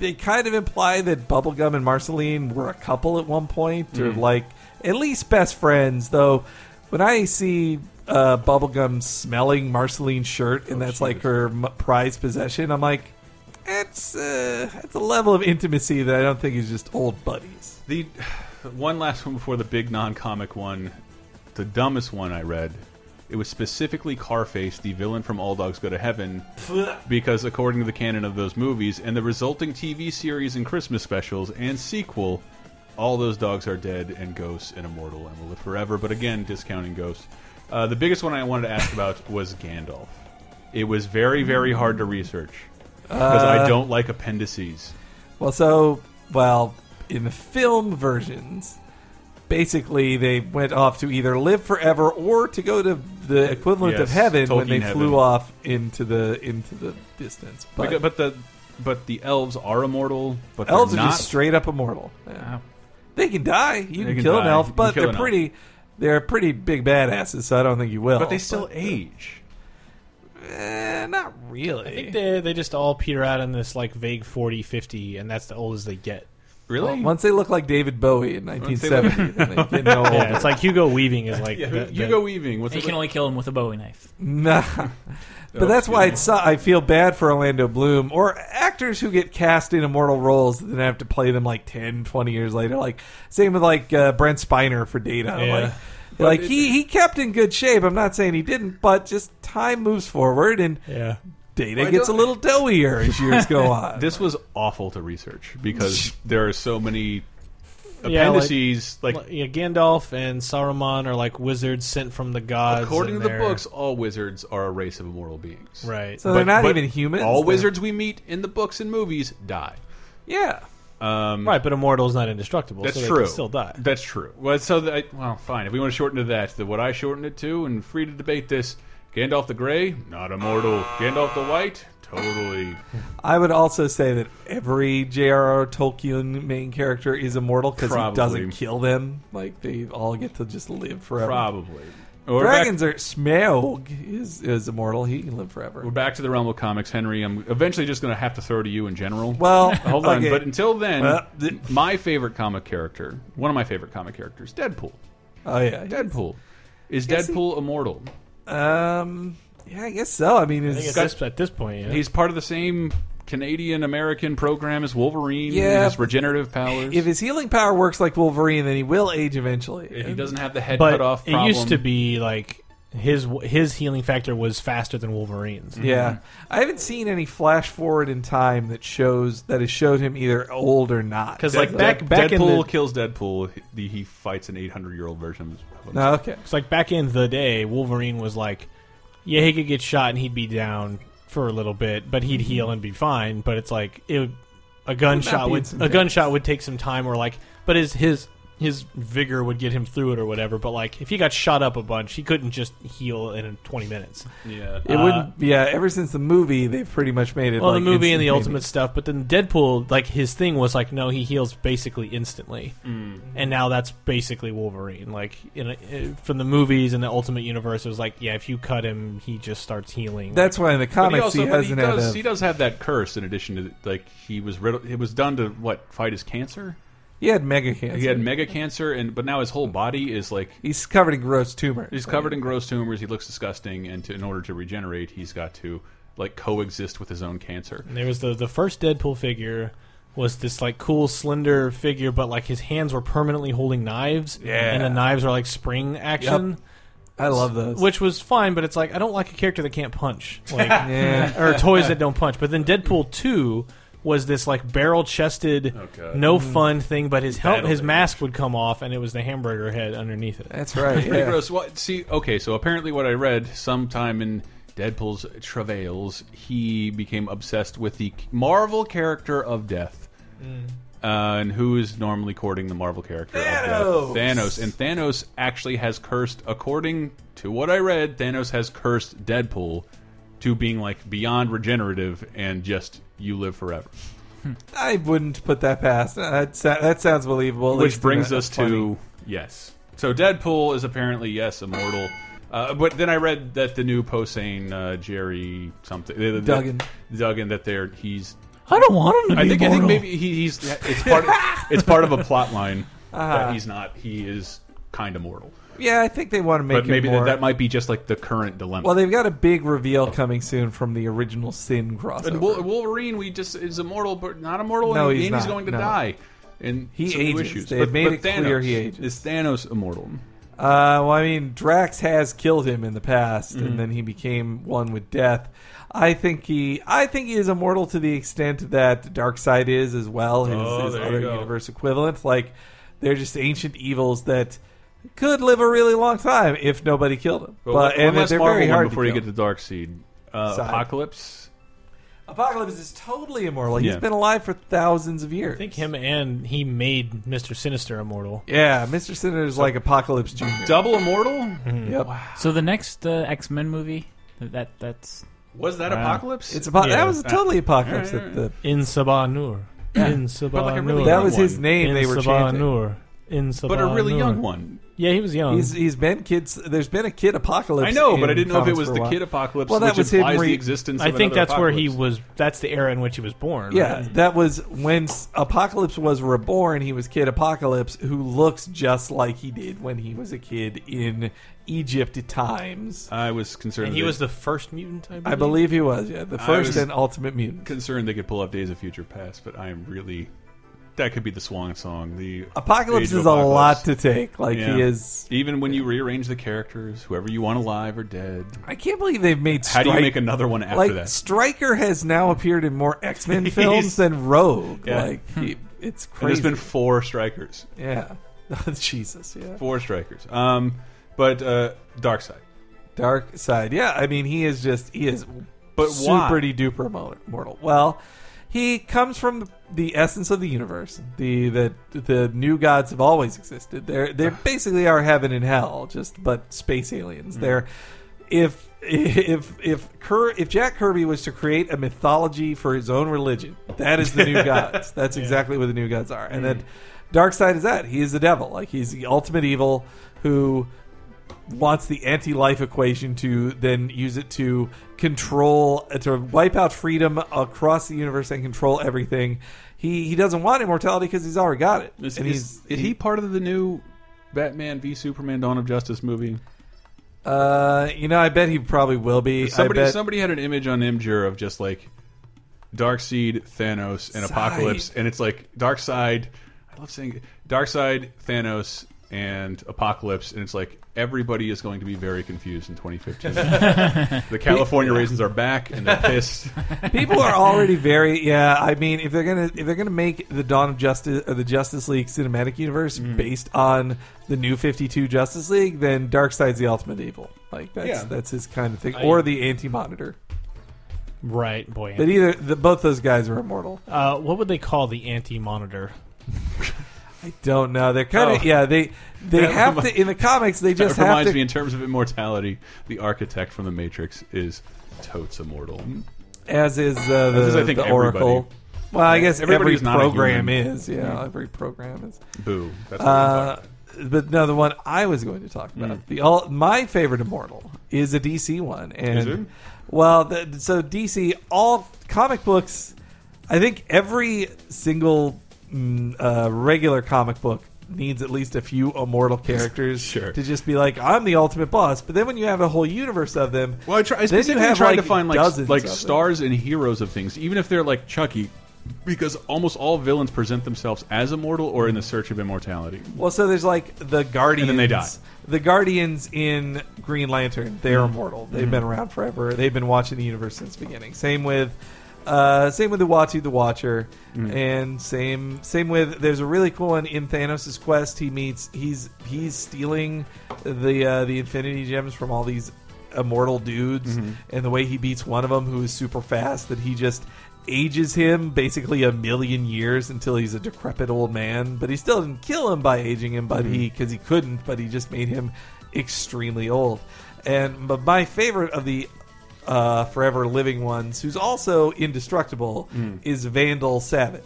[SPEAKER 6] they kind of imply that Bubblegum and Marceline were a couple at one point, or
[SPEAKER 10] Mm.
[SPEAKER 6] like at least best friends. Though when I see uh, Bubblegum smelling Marceline's shirt and that's like her m- prized possession, I'm like, it's uh, it's a level of intimacy that I don't think is just old buddies.
[SPEAKER 4] The one last one before the big non-comic one, the dumbest one I read. It was specifically Carface, the villain from All Dogs Go to Heaven, because according to the canon of those movies and the resulting TV series and Christmas specials and sequel, all those dogs are dead and ghosts and immortal and will live forever. But again, discounting ghosts. Uh, the biggest one I wanted to ask about was Gandalf. It was very, very hard to research because
[SPEAKER 6] Uh,
[SPEAKER 4] I don't like appendices.
[SPEAKER 6] Well, so well in the film versions, basically they went off to either live forever or to go to the equivalent of
[SPEAKER 4] Yes,
[SPEAKER 6] heaven when
[SPEAKER 4] Tolkien
[SPEAKER 6] they
[SPEAKER 4] heaven.
[SPEAKER 6] flew off into the into the distance. But
[SPEAKER 4] Because- but the but the elves are immortal. But
[SPEAKER 6] elves are
[SPEAKER 4] they're not.
[SPEAKER 6] just straight up immortal. Yeah. They can die.
[SPEAKER 4] They
[SPEAKER 6] You can,
[SPEAKER 4] can
[SPEAKER 6] kill an
[SPEAKER 4] die. You
[SPEAKER 6] elf,
[SPEAKER 4] can
[SPEAKER 6] but
[SPEAKER 4] kill
[SPEAKER 6] they're
[SPEAKER 4] an elf.
[SPEAKER 6] pretty. They're pretty big badasses, so I don't think you will. eh,
[SPEAKER 4] But they still age.
[SPEAKER 6] not really.
[SPEAKER 10] I think they they just all peter out in this like vague 40, 50, and that's the oldest they get.
[SPEAKER 6] Well, once they look like David Bowie in
[SPEAKER 10] Once they look-
[SPEAKER 6] 1970, then they get
[SPEAKER 4] [laughs] Oh.
[SPEAKER 6] no older.
[SPEAKER 10] Yeah, it's like Hugo Weaving is like
[SPEAKER 6] Yeah,
[SPEAKER 10] the-
[SPEAKER 6] Hugo
[SPEAKER 10] the-
[SPEAKER 4] Weaving.
[SPEAKER 5] you can only kill him with a Bowie knife.
[SPEAKER 10] [laughs]
[SPEAKER 6] Nah.
[SPEAKER 5] Oh,
[SPEAKER 6] But that's why
[SPEAKER 5] excuse
[SPEAKER 6] it's, I feel bad for Orlando Bloom or actors who get cast in immortal roles and then have to play them like 10, 20 years later. Like same with like uh, Brent Spiner for Data.
[SPEAKER 10] Yeah.
[SPEAKER 6] Like,
[SPEAKER 10] But
[SPEAKER 6] like
[SPEAKER 10] it-
[SPEAKER 6] he he kept in good shape. I'm not saying he didn't, but just time moves forward and
[SPEAKER 10] Yeah.
[SPEAKER 6] Data
[SPEAKER 10] Why
[SPEAKER 6] gets a
[SPEAKER 10] don't-
[SPEAKER 6] little doughier as years
[SPEAKER 10] [laughs]
[SPEAKER 6] go on.
[SPEAKER 4] This was awful to research [laughs] because there are so many
[SPEAKER 10] Yeah, like-
[SPEAKER 4] appendices. like,
[SPEAKER 10] yeah, Gandalf and Saruman are like wizards sent from the gods.
[SPEAKER 4] according to
[SPEAKER 10] and
[SPEAKER 4] the
[SPEAKER 10] they're-
[SPEAKER 4] books, all wizards are a race of immortal beings.
[SPEAKER 10] Right.
[SPEAKER 6] So they're not even humans,
[SPEAKER 4] All
[SPEAKER 6] they're-
[SPEAKER 4] wizards we meet in the books and movies die.
[SPEAKER 6] Yeah.
[SPEAKER 4] Um,
[SPEAKER 10] right, but immortal is not indestructible.
[SPEAKER 4] That's
[SPEAKER 10] so they
[SPEAKER 4] true.
[SPEAKER 10] Can still die.
[SPEAKER 4] That's true. Well, so that, well, fine. If we want to shorten to that, then what I shortened it to, and free to debate this. Gandalf the Grey, not immortal. Gandalf the White, totally.
[SPEAKER 6] I would also say that every J.R.R. Tolkien main character is immortal because he
[SPEAKER 4] Probably.
[SPEAKER 6] doesn't kill them. Like they all get to just live forever.
[SPEAKER 4] Probably. Or
[SPEAKER 6] Dragons are Smaug is is immortal. He can live forever.
[SPEAKER 4] We're back to the realm of comics, Henry. I'm eventually just going to have to throw to you in general.
[SPEAKER 6] Well,
[SPEAKER 4] hold on.
[SPEAKER 6] okay.
[SPEAKER 4] But until then,
[SPEAKER 6] Well,
[SPEAKER 4] my favorite comic character, one of my favorite comic characters, Deadpool.
[SPEAKER 6] Oh yeah,
[SPEAKER 4] Deadpool. Is
[SPEAKER 6] Is he-
[SPEAKER 4] Deadpool immortal?
[SPEAKER 6] Um, yeah, I guess so. I mean,
[SPEAKER 4] I think
[SPEAKER 6] it's,
[SPEAKER 4] at this- at
[SPEAKER 10] this point, yeah.
[SPEAKER 4] He's part of the same Canadian American program as Wolverine.
[SPEAKER 6] Yeah.
[SPEAKER 4] his regenerative powers.
[SPEAKER 6] if his healing power works like Wolverine, then he will age eventually.
[SPEAKER 4] He doesn't have the head
[SPEAKER 10] but
[SPEAKER 4] cut off.
[SPEAKER 10] it used to be like his his healing factor was faster than Wolverine's.
[SPEAKER 6] Yeah, I haven't seen any flash forward in time that shows that has showed him either old or not.
[SPEAKER 10] Because
[SPEAKER 4] like back,
[SPEAKER 10] back in
[SPEAKER 4] Deadpool
[SPEAKER 10] the-
[SPEAKER 4] kills Deadpool. He, he fights an 800 year old version of himself.
[SPEAKER 6] No, okay.
[SPEAKER 10] It's like back in the day, Wolverine was like, yeah, he could get shot and he'd be down for a little bit, but
[SPEAKER 4] Mm-hmm.
[SPEAKER 10] he'd heal and be fine. But it's like it, would- a gunshot
[SPEAKER 6] be
[SPEAKER 10] would a
[SPEAKER 6] instantaneous.
[SPEAKER 10] gunshot would take some time, or like, but his his his vigor would get him through it or whatever. But like, if he got shot up a bunch, he couldn't just heal in 20 minutes.
[SPEAKER 4] Yeah, Uh,
[SPEAKER 6] it wouldn't. Yeah, ever since the movie, they've pretty much made it.
[SPEAKER 10] Well,
[SPEAKER 6] like,
[SPEAKER 10] the movie and the
[SPEAKER 6] instantaneous.
[SPEAKER 10] ultimate stuff, but then Deadpool, like his thing was like, no, he heals basically instantly,
[SPEAKER 6] Mm.
[SPEAKER 10] and now that's basically Wolverine. Like in a, uh, from the movies and the Ultimate Universe, it was like, yeah, if you cut him, he just starts healing.
[SPEAKER 6] That's why in the
[SPEAKER 4] But
[SPEAKER 6] comics he,
[SPEAKER 4] also- but
[SPEAKER 6] hasn't
[SPEAKER 4] he
[SPEAKER 6] had.
[SPEAKER 4] does,
[SPEAKER 6] A,
[SPEAKER 4] he does have that curse in addition to like he was riddled, it was done to what fight his cancer.
[SPEAKER 6] He had mega cancer.
[SPEAKER 4] He had mega cancer, and but now his whole body is like
[SPEAKER 6] he's covered in gross tumors.
[SPEAKER 4] he's covered in gross tumors. He looks disgusting, and to, in order to regenerate, he's got to like coexist with his own cancer.
[SPEAKER 10] And there was the the first Deadpool figure was this like cool slender figure, but like his hands were permanently holding knives,
[SPEAKER 6] Yeah.
[SPEAKER 10] and the knives are like spring action.
[SPEAKER 6] I love those.
[SPEAKER 10] Which was fine, but it's like I don't like a character that can't punch, like
[SPEAKER 6] Yeah.
[SPEAKER 10] or toys that don't punch. But then Deadpool two was this like barrel chested,
[SPEAKER 6] God.
[SPEAKER 10] no
[SPEAKER 6] Mm.
[SPEAKER 10] fun thing. But his help,
[SPEAKER 4] Oh, Battle
[SPEAKER 10] his mask would come off, and it was the hamburger head underneath it.
[SPEAKER 6] That's
[SPEAKER 4] It's [laughs] pretty gross. Well, see, okay, so apparently what I read sometime in Deadpool's travails, he became obsessed with the Marvel character of death. Uh, and who is normally courting the Marvel character? Of death? Thanos. And Thanos actually has cursed, according to what I read, Thanos has cursed Deadpool to being like beyond regenerative and just you live forever.
[SPEAKER 6] I wouldn't put that past. Uh, That sa- that sounds believable. at least
[SPEAKER 4] Which brings
[SPEAKER 6] in a-
[SPEAKER 4] us
[SPEAKER 6] funny-
[SPEAKER 4] to yes. So Deadpool is apparently yes immortal, uh, but then I read that the new Posehn uh, Jerry something uh,
[SPEAKER 6] Duggan.
[SPEAKER 4] that, Duggan that they're he's
[SPEAKER 5] I don't want him to
[SPEAKER 4] I
[SPEAKER 5] be
[SPEAKER 4] think I
[SPEAKER 5] immortal.
[SPEAKER 4] think maybe he, he's it's part
[SPEAKER 6] [laughs]
[SPEAKER 4] of, it's part of a plot line
[SPEAKER 6] Ah.
[SPEAKER 4] that he's not he is kind of mortal.
[SPEAKER 6] Yeah, I think they want to make.
[SPEAKER 4] but
[SPEAKER 6] it
[SPEAKER 4] maybe
[SPEAKER 6] more-
[SPEAKER 4] that, that might be just like the current dilemma.
[SPEAKER 6] Well, they've got a big reveal coming soon from the original Sin crossover.
[SPEAKER 4] and Uh, Wol- Wolverine we just is immortal but not immortal
[SPEAKER 6] No,
[SPEAKER 4] and
[SPEAKER 6] he's
[SPEAKER 4] he's,
[SPEAKER 6] not,
[SPEAKER 4] going to
[SPEAKER 6] no.
[SPEAKER 4] die. And
[SPEAKER 6] He
[SPEAKER 4] some new
[SPEAKER 6] ages.
[SPEAKER 4] issues.
[SPEAKER 6] They
[SPEAKER 4] but,
[SPEAKER 6] have made
[SPEAKER 4] but
[SPEAKER 6] it
[SPEAKER 4] Thanos,
[SPEAKER 6] clear he ages.
[SPEAKER 4] Is Thanos immortal?
[SPEAKER 6] Uh, well, I mean, Drax has killed him in the past,
[SPEAKER 4] Mhm.
[SPEAKER 6] and then he became one with death. I think he, I think he is immortal to the extent that Darkseid is as well. His,
[SPEAKER 4] Oh,
[SPEAKER 6] his
[SPEAKER 4] there you
[SPEAKER 6] other
[SPEAKER 4] go.
[SPEAKER 6] universe equivalent, like they're just ancient evils that could live a really long time if nobody killed them. But,
[SPEAKER 4] one
[SPEAKER 6] and
[SPEAKER 4] last
[SPEAKER 6] they're
[SPEAKER 4] Marvel
[SPEAKER 6] very
[SPEAKER 4] one
[SPEAKER 6] hard
[SPEAKER 4] before
[SPEAKER 6] to
[SPEAKER 4] you
[SPEAKER 6] kill.
[SPEAKER 4] get to Dark Seed. Uh,
[SPEAKER 6] Side.
[SPEAKER 4] Apocalypse.
[SPEAKER 6] Apocalypse is totally immortal.
[SPEAKER 4] Yeah.
[SPEAKER 6] He's been alive for thousands of
[SPEAKER 10] I
[SPEAKER 6] years.
[SPEAKER 10] think him and he made Mister Sinister immortal.
[SPEAKER 6] Yeah, Mister Sinner's like Apocalypse Junior.
[SPEAKER 4] Double immortal.
[SPEAKER 6] Yep.
[SPEAKER 5] So the next uh, X Men movie that that's
[SPEAKER 4] [laughs] Was that
[SPEAKER 5] Wow.
[SPEAKER 4] Apocalypse?
[SPEAKER 6] It's apo-
[SPEAKER 10] Yeah.
[SPEAKER 6] that was totally Apocalypse.
[SPEAKER 4] Alright,
[SPEAKER 6] that the
[SPEAKER 10] In Sabah Nur. In Sabah
[SPEAKER 4] But like a really
[SPEAKER 10] Nur.
[SPEAKER 4] young That was his
[SPEAKER 6] one. name
[SPEAKER 10] In
[SPEAKER 6] they were
[SPEAKER 10] Sabah
[SPEAKER 6] chanting.
[SPEAKER 10] Nur. In Sabah
[SPEAKER 4] But a really
[SPEAKER 10] Nur.
[SPEAKER 4] young one.
[SPEAKER 10] Yeah, he was young.
[SPEAKER 6] He's he's been kids. There's been a kid apocalypse.
[SPEAKER 4] I know, but
[SPEAKER 6] in
[SPEAKER 4] I didn't know if it
[SPEAKER 6] comics
[SPEAKER 4] was
[SPEAKER 6] for a
[SPEAKER 4] the
[SPEAKER 6] while.
[SPEAKER 4] Kid Apocalypse,
[SPEAKER 6] Well, that
[SPEAKER 4] which
[SPEAKER 6] was him.
[SPEAKER 4] implies the
[SPEAKER 6] re-
[SPEAKER 4] existence.
[SPEAKER 10] I
[SPEAKER 4] of
[SPEAKER 10] think
[SPEAKER 4] another
[SPEAKER 10] that's where he
[SPEAKER 4] apocalypse.
[SPEAKER 10] was. That's the era in which he was born.
[SPEAKER 6] Yeah,
[SPEAKER 10] right?
[SPEAKER 6] that was when s- Apocalypse was reborn. He was Kid Apocalypse, who looks just like he did when he was a kid in Egypt times.
[SPEAKER 4] I was concerned.
[SPEAKER 10] And he
[SPEAKER 4] that-
[SPEAKER 10] was the first mutant. I believe,
[SPEAKER 6] I believe he was, yeah, the
[SPEAKER 4] I
[SPEAKER 6] first
[SPEAKER 4] was
[SPEAKER 6] and ultimate mutant.
[SPEAKER 4] Concerned they could pull up Days of Future Past, but I am really. That could be the swan song. The
[SPEAKER 6] Apocalypse
[SPEAKER 4] Age of
[SPEAKER 6] is a
[SPEAKER 4] Apocalypse.
[SPEAKER 6] lot to take. Like, he is-
[SPEAKER 4] Even when you rearrange the characters, whoever you want alive or dead.
[SPEAKER 6] I can't believe they've made.
[SPEAKER 4] How do you
[SPEAKER 6] Stryker-
[SPEAKER 4] make another one after
[SPEAKER 6] like,
[SPEAKER 4] that?
[SPEAKER 6] Stryker has now appeared in more X
[SPEAKER 4] [laughs]
[SPEAKER 6] Men
[SPEAKER 4] He's-
[SPEAKER 6] films than Rogue.
[SPEAKER 4] Yeah.
[SPEAKER 6] Like, he, it's
[SPEAKER 4] And
[SPEAKER 6] crazy.
[SPEAKER 4] there's been four strikers.
[SPEAKER 6] Yeah. [laughs] Jesus, yeah.
[SPEAKER 4] Four strikers. Um, but uh, Dark Side.
[SPEAKER 6] Dark side. Yeah, I mean he is just he is
[SPEAKER 4] But why?
[SPEAKER 6] super duper mo- mortal. Well, he comes from the, the essence of the universe. The that the new gods have always existed. They're
[SPEAKER 4] [sighs]
[SPEAKER 6] they basically are heaven and hell, just but space aliens.
[SPEAKER 4] Mm.
[SPEAKER 6] They're if if if Cur- if Jack Kirby was to create a mythology for his own religion, that is
[SPEAKER 4] [laughs]
[SPEAKER 6] the new gods. That's exactly what the new gods are. And then
[SPEAKER 4] Hmm.
[SPEAKER 6] Dark Side is that. He is the devil. Like he's the ultimate evil who wants the anti-life equation to then use it to control uh, to wipe out freedom across the universe and control everything. He he doesn't want immortality because he's already got it.
[SPEAKER 4] Is,
[SPEAKER 6] and
[SPEAKER 4] is,
[SPEAKER 6] he's
[SPEAKER 4] is he part of the new Batman v Superman: Dawn of Justice movie?
[SPEAKER 6] Uh, you know, I bet he probably will be.
[SPEAKER 4] Somebody
[SPEAKER 6] I bet,
[SPEAKER 4] somebody had an image on Imgur of just like Darkseid, Thanos, and
[SPEAKER 6] Side.
[SPEAKER 4] Apocalypse, and it's like Darkseid. I love saying it. Darkseid, Thanos, and Apocalypse, and it's like everybody is going to be very confused in 2015. the California raisins are back, and they're pissed. [laughs]
[SPEAKER 6] People are already very yeah. I mean, if they're gonna if they're gonna make the Dawn of Justice or the Justice League cinematic universe
[SPEAKER 4] Mm.
[SPEAKER 6] based on the New Fifty Two Justice League, then Darkseid's the ultimate evil. Like that's
[SPEAKER 10] Yeah.
[SPEAKER 6] that's his kind of thing,
[SPEAKER 10] I-
[SPEAKER 6] or the Anti Monitor.
[SPEAKER 10] Right, boy.
[SPEAKER 6] But either the, both those guys are immortal.
[SPEAKER 10] Uh, what would they call the anti-monitor?
[SPEAKER 6] I don't know. They're kind of yeah. They they
[SPEAKER 4] Oh. That
[SPEAKER 6] have
[SPEAKER 4] remi-
[SPEAKER 6] to in the comics. They just
[SPEAKER 4] that
[SPEAKER 6] have
[SPEAKER 4] reminds
[SPEAKER 6] to
[SPEAKER 4] me in terms of immortality. The architect from the Matrix is totes immortal.
[SPEAKER 6] Mm. as is uh, the,
[SPEAKER 4] As is, I think,
[SPEAKER 6] the Oracle.
[SPEAKER 4] everybody.
[SPEAKER 6] Well, I guess
[SPEAKER 4] Everybody's
[SPEAKER 6] every
[SPEAKER 4] not a
[SPEAKER 6] program
[SPEAKER 4] human.
[SPEAKER 6] is. Yeah,
[SPEAKER 4] Mm.
[SPEAKER 6] every program is.
[SPEAKER 4] Boo. That's what we're
[SPEAKER 6] uh, but no, the one I was going to talk about.
[SPEAKER 4] Mm.
[SPEAKER 6] The all my favorite immortal is a DC one, and
[SPEAKER 4] Is it?
[SPEAKER 6] well, the, so DC all comic books. I think every single mm, uh, regular comic book needs at least a few immortal
[SPEAKER 4] [laughs]
[SPEAKER 6] characters
[SPEAKER 4] Sure.
[SPEAKER 6] to just be like, I'm the ultimate boss. But then when you have a whole universe of them,
[SPEAKER 4] Well, I, try, I
[SPEAKER 6] then you
[SPEAKER 4] specifically
[SPEAKER 6] have
[SPEAKER 4] tried
[SPEAKER 6] like
[SPEAKER 4] to find like
[SPEAKER 6] dozens
[SPEAKER 4] like
[SPEAKER 6] of them.
[SPEAKER 4] stars and heroes of things, even if they're like Chucky, because almost all villains present themselves as immortal or in the search of immortality.
[SPEAKER 6] Well, so there's like the Guardians.
[SPEAKER 4] And then they die.
[SPEAKER 6] The Guardians in Green Lantern, they're immortal.
[SPEAKER 4] Mm-hmm.
[SPEAKER 6] They've been around forever. They've been watching the universe since the beginning. Same with, uh, same with the Watu the Watcher,
[SPEAKER 4] Mm-hmm.
[SPEAKER 6] and same same with. There's a really cool one in Thanos' quest. He meets he's he's stealing the uh, the Infinity Gems from all these immortal dudes,
[SPEAKER 5] Mm-hmm.
[SPEAKER 10] Mhm.
[SPEAKER 6] and the way he beats one of them who is super fast that he just ages him basically a million years until he's a decrepit old man but he still didn't kill him by aging him but he
[SPEAKER 5] Mm-hmm.
[SPEAKER 6] because he couldn't but he just made him extremely old and but my favorite of the uh, forever living ones who's also indestructible
[SPEAKER 4] Mm.
[SPEAKER 6] is vandal savage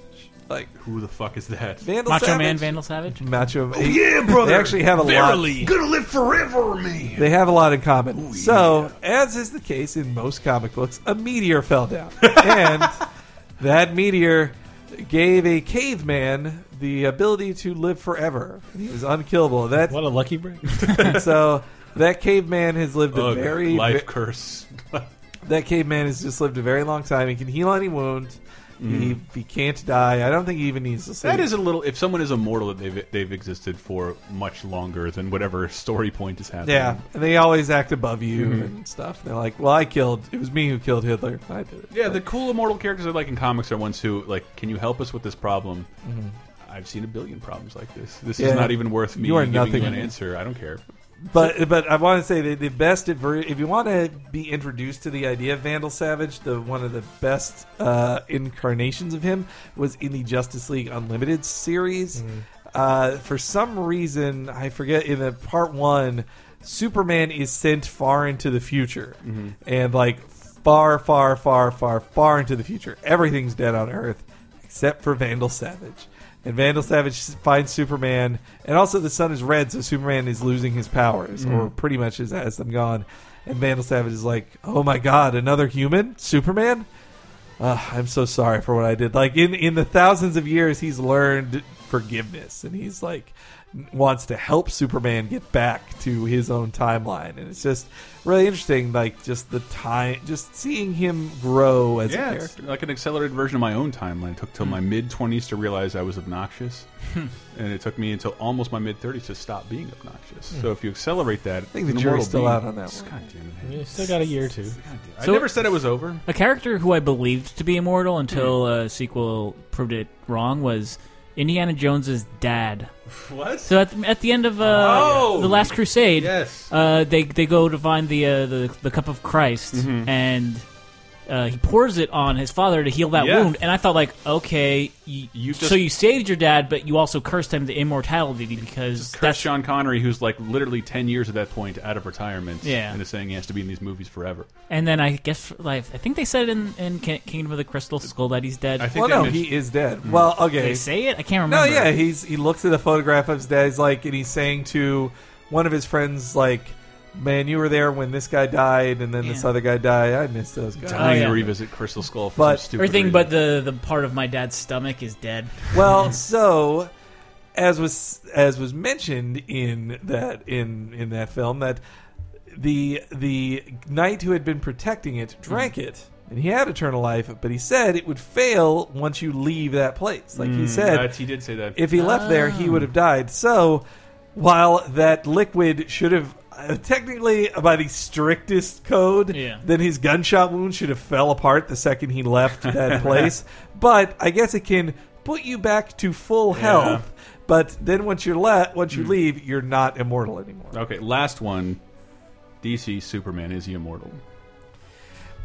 [SPEAKER 6] like
[SPEAKER 4] who the fuck is that
[SPEAKER 6] vandal
[SPEAKER 5] Macho
[SPEAKER 6] savage?
[SPEAKER 5] Man Vandal Savage?
[SPEAKER 6] macho
[SPEAKER 5] Oh, yeah,
[SPEAKER 6] they
[SPEAKER 5] brother.
[SPEAKER 6] actually have a lot
[SPEAKER 5] Verily.
[SPEAKER 4] Gonna live forever, man.
[SPEAKER 6] they have a lot in common. so, as is the case in most comic books, a meteor fell down. [laughs] and that meteor gave a caveman the ability to live forever. He was unkillable. That What
[SPEAKER 10] a lucky [laughs] break.
[SPEAKER 6] [laughs] so, that caveman has lived a
[SPEAKER 4] Ugh,
[SPEAKER 6] very
[SPEAKER 4] life curse.
[SPEAKER 6] that caveman has just lived a very long time. He can heal any wound.
[SPEAKER 4] Mm-hmm.
[SPEAKER 6] He, he can't die. I don't think he even needs to sleep.
[SPEAKER 4] That is a little. If someone is immortal, that they've they've existed for much longer than whatever story point is happening.
[SPEAKER 6] yeah, and they always act above you
[SPEAKER 4] Mhm.
[SPEAKER 6] and stuff. They're like, "Well, I killed. It was me who killed Hitler. I did it."
[SPEAKER 4] Yeah, the cool immortal characters I like in comics are ones who like, can you help us with this problem?
[SPEAKER 6] Mhm.
[SPEAKER 4] I've seen a billion problems like this. This
[SPEAKER 6] Yeah.
[SPEAKER 4] is not even worth me
[SPEAKER 6] You are
[SPEAKER 4] giving
[SPEAKER 6] nothing.
[SPEAKER 4] you an answer. I don't care.
[SPEAKER 6] But but I want to say that the best adver- if you want to be introduced to the idea of Vandal Savage, the one of the best uh, incarnations of him was in the Justice League Unlimited series. Uh, for some reason, I forget in the part one, Superman is sent far into the future, and like far far far far far into the future, everything's dead on Earth except for Vandal Savage. And Vandal Savage finds Superman, and also the sun is red, so Superman is losing his powers,
[SPEAKER 10] Mhm.
[SPEAKER 6] or pretty much is, has them gone. And Vandal Savage is like, "Oh my God, another human, Superman! Uh, I'm so sorry for what I did." Like in in the thousands of years, he's learned forgiveness, and he's like wants to help Superman get back to his own timeline, and it's just really interesting. Like just the time, just seeing him grow as a
[SPEAKER 4] yeah,
[SPEAKER 6] character. Mm-hmm.
[SPEAKER 4] it's like an accelerated version of my own timeline. It took till my mid twenties to realize I was obnoxious,
[SPEAKER 6] Hmm.
[SPEAKER 4] and it took me until almost my mid thirties to stop being obnoxious.
[SPEAKER 10] Hmm.
[SPEAKER 4] So if you accelerate that, I
[SPEAKER 6] think the jury's still out on that one.
[SPEAKER 4] God damn it!
[SPEAKER 10] You still got a year or two.
[SPEAKER 4] I never said it was over.
[SPEAKER 5] A character who I believed to be immortal
[SPEAKER 6] Hmm.
[SPEAKER 5] until a sequel proved it wrong was Indiana Jones's dad.
[SPEAKER 4] What?
[SPEAKER 5] So at the, at the end of uh,
[SPEAKER 4] Oh!
[SPEAKER 5] the Last Crusade,
[SPEAKER 4] Yes.
[SPEAKER 5] uh, they they go to find the uh, the, the cup of Christ
[SPEAKER 4] Mhm.
[SPEAKER 5] and. Uh, he pours it on his father to heal that
[SPEAKER 4] Yeah.
[SPEAKER 5] wound, and I thought, like, okay, you,
[SPEAKER 4] just-
[SPEAKER 5] so you saved your dad, but you also cursed him to immortality because
[SPEAKER 4] That's Sean Connery, who's like literally ten years at that point out of retirement,
[SPEAKER 5] Yeah.
[SPEAKER 4] and is saying he has to be in these movies forever.
[SPEAKER 5] And then I guess like I think they said in in Ki- Kingdom of the Crystal Skull that he's dead.
[SPEAKER 4] I
[SPEAKER 6] Well, no, he is dead. Well, okay.
[SPEAKER 5] They say it. I can't
[SPEAKER 6] No,
[SPEAKER 5] remember.
[SPEAKER 6] yeah, he's he looks at a photograph of his dad. He's like, and he's saying to one of his friends, like, "Man, you were there when this guy died, and then this
[SPEAKER 5] Yeah.
[SPEAKER 6] other guy died. I miss those guys."
[SPEAKER 4] Dying to revisit Crystal Skull for
[SPEAKER 6] Oh, But-
[SPEAKER 4] some stupid
[SPEAKER 5] everything
[SPEAKER 4] reason. [laughs]
[SPEAKER 5] but the the part of my dad's stomach is dead.
[SPEAKER 6] Well, so as was as was mentioned in that in in that film that the the knight who had been protecting it drank it and he had eternal life but he said it would fail once you leave that place like he
[SPEAKER 4] Mm,
[SPEAKER 6] said
[SPEAKER 4] that's- he did say that.
[SPEAKER 6] if he left there he would have died so while that liquid should have uh, technically by the strictest code
[SPEAKER 5] Yeah.
[SPEAKER 6] then his gunshot wound should have fell apart the second he
[SPEAKER 10] [laughs]
[SPEAKER 6] left that place but i guess it can put you back to full health but then once you're let once
[SPEAKER 10] Hmm.
[SPEAKER 6] you leave you're not immortal anymore
[SPEAKER 4] Okay, last one. DC Superman is he immortal?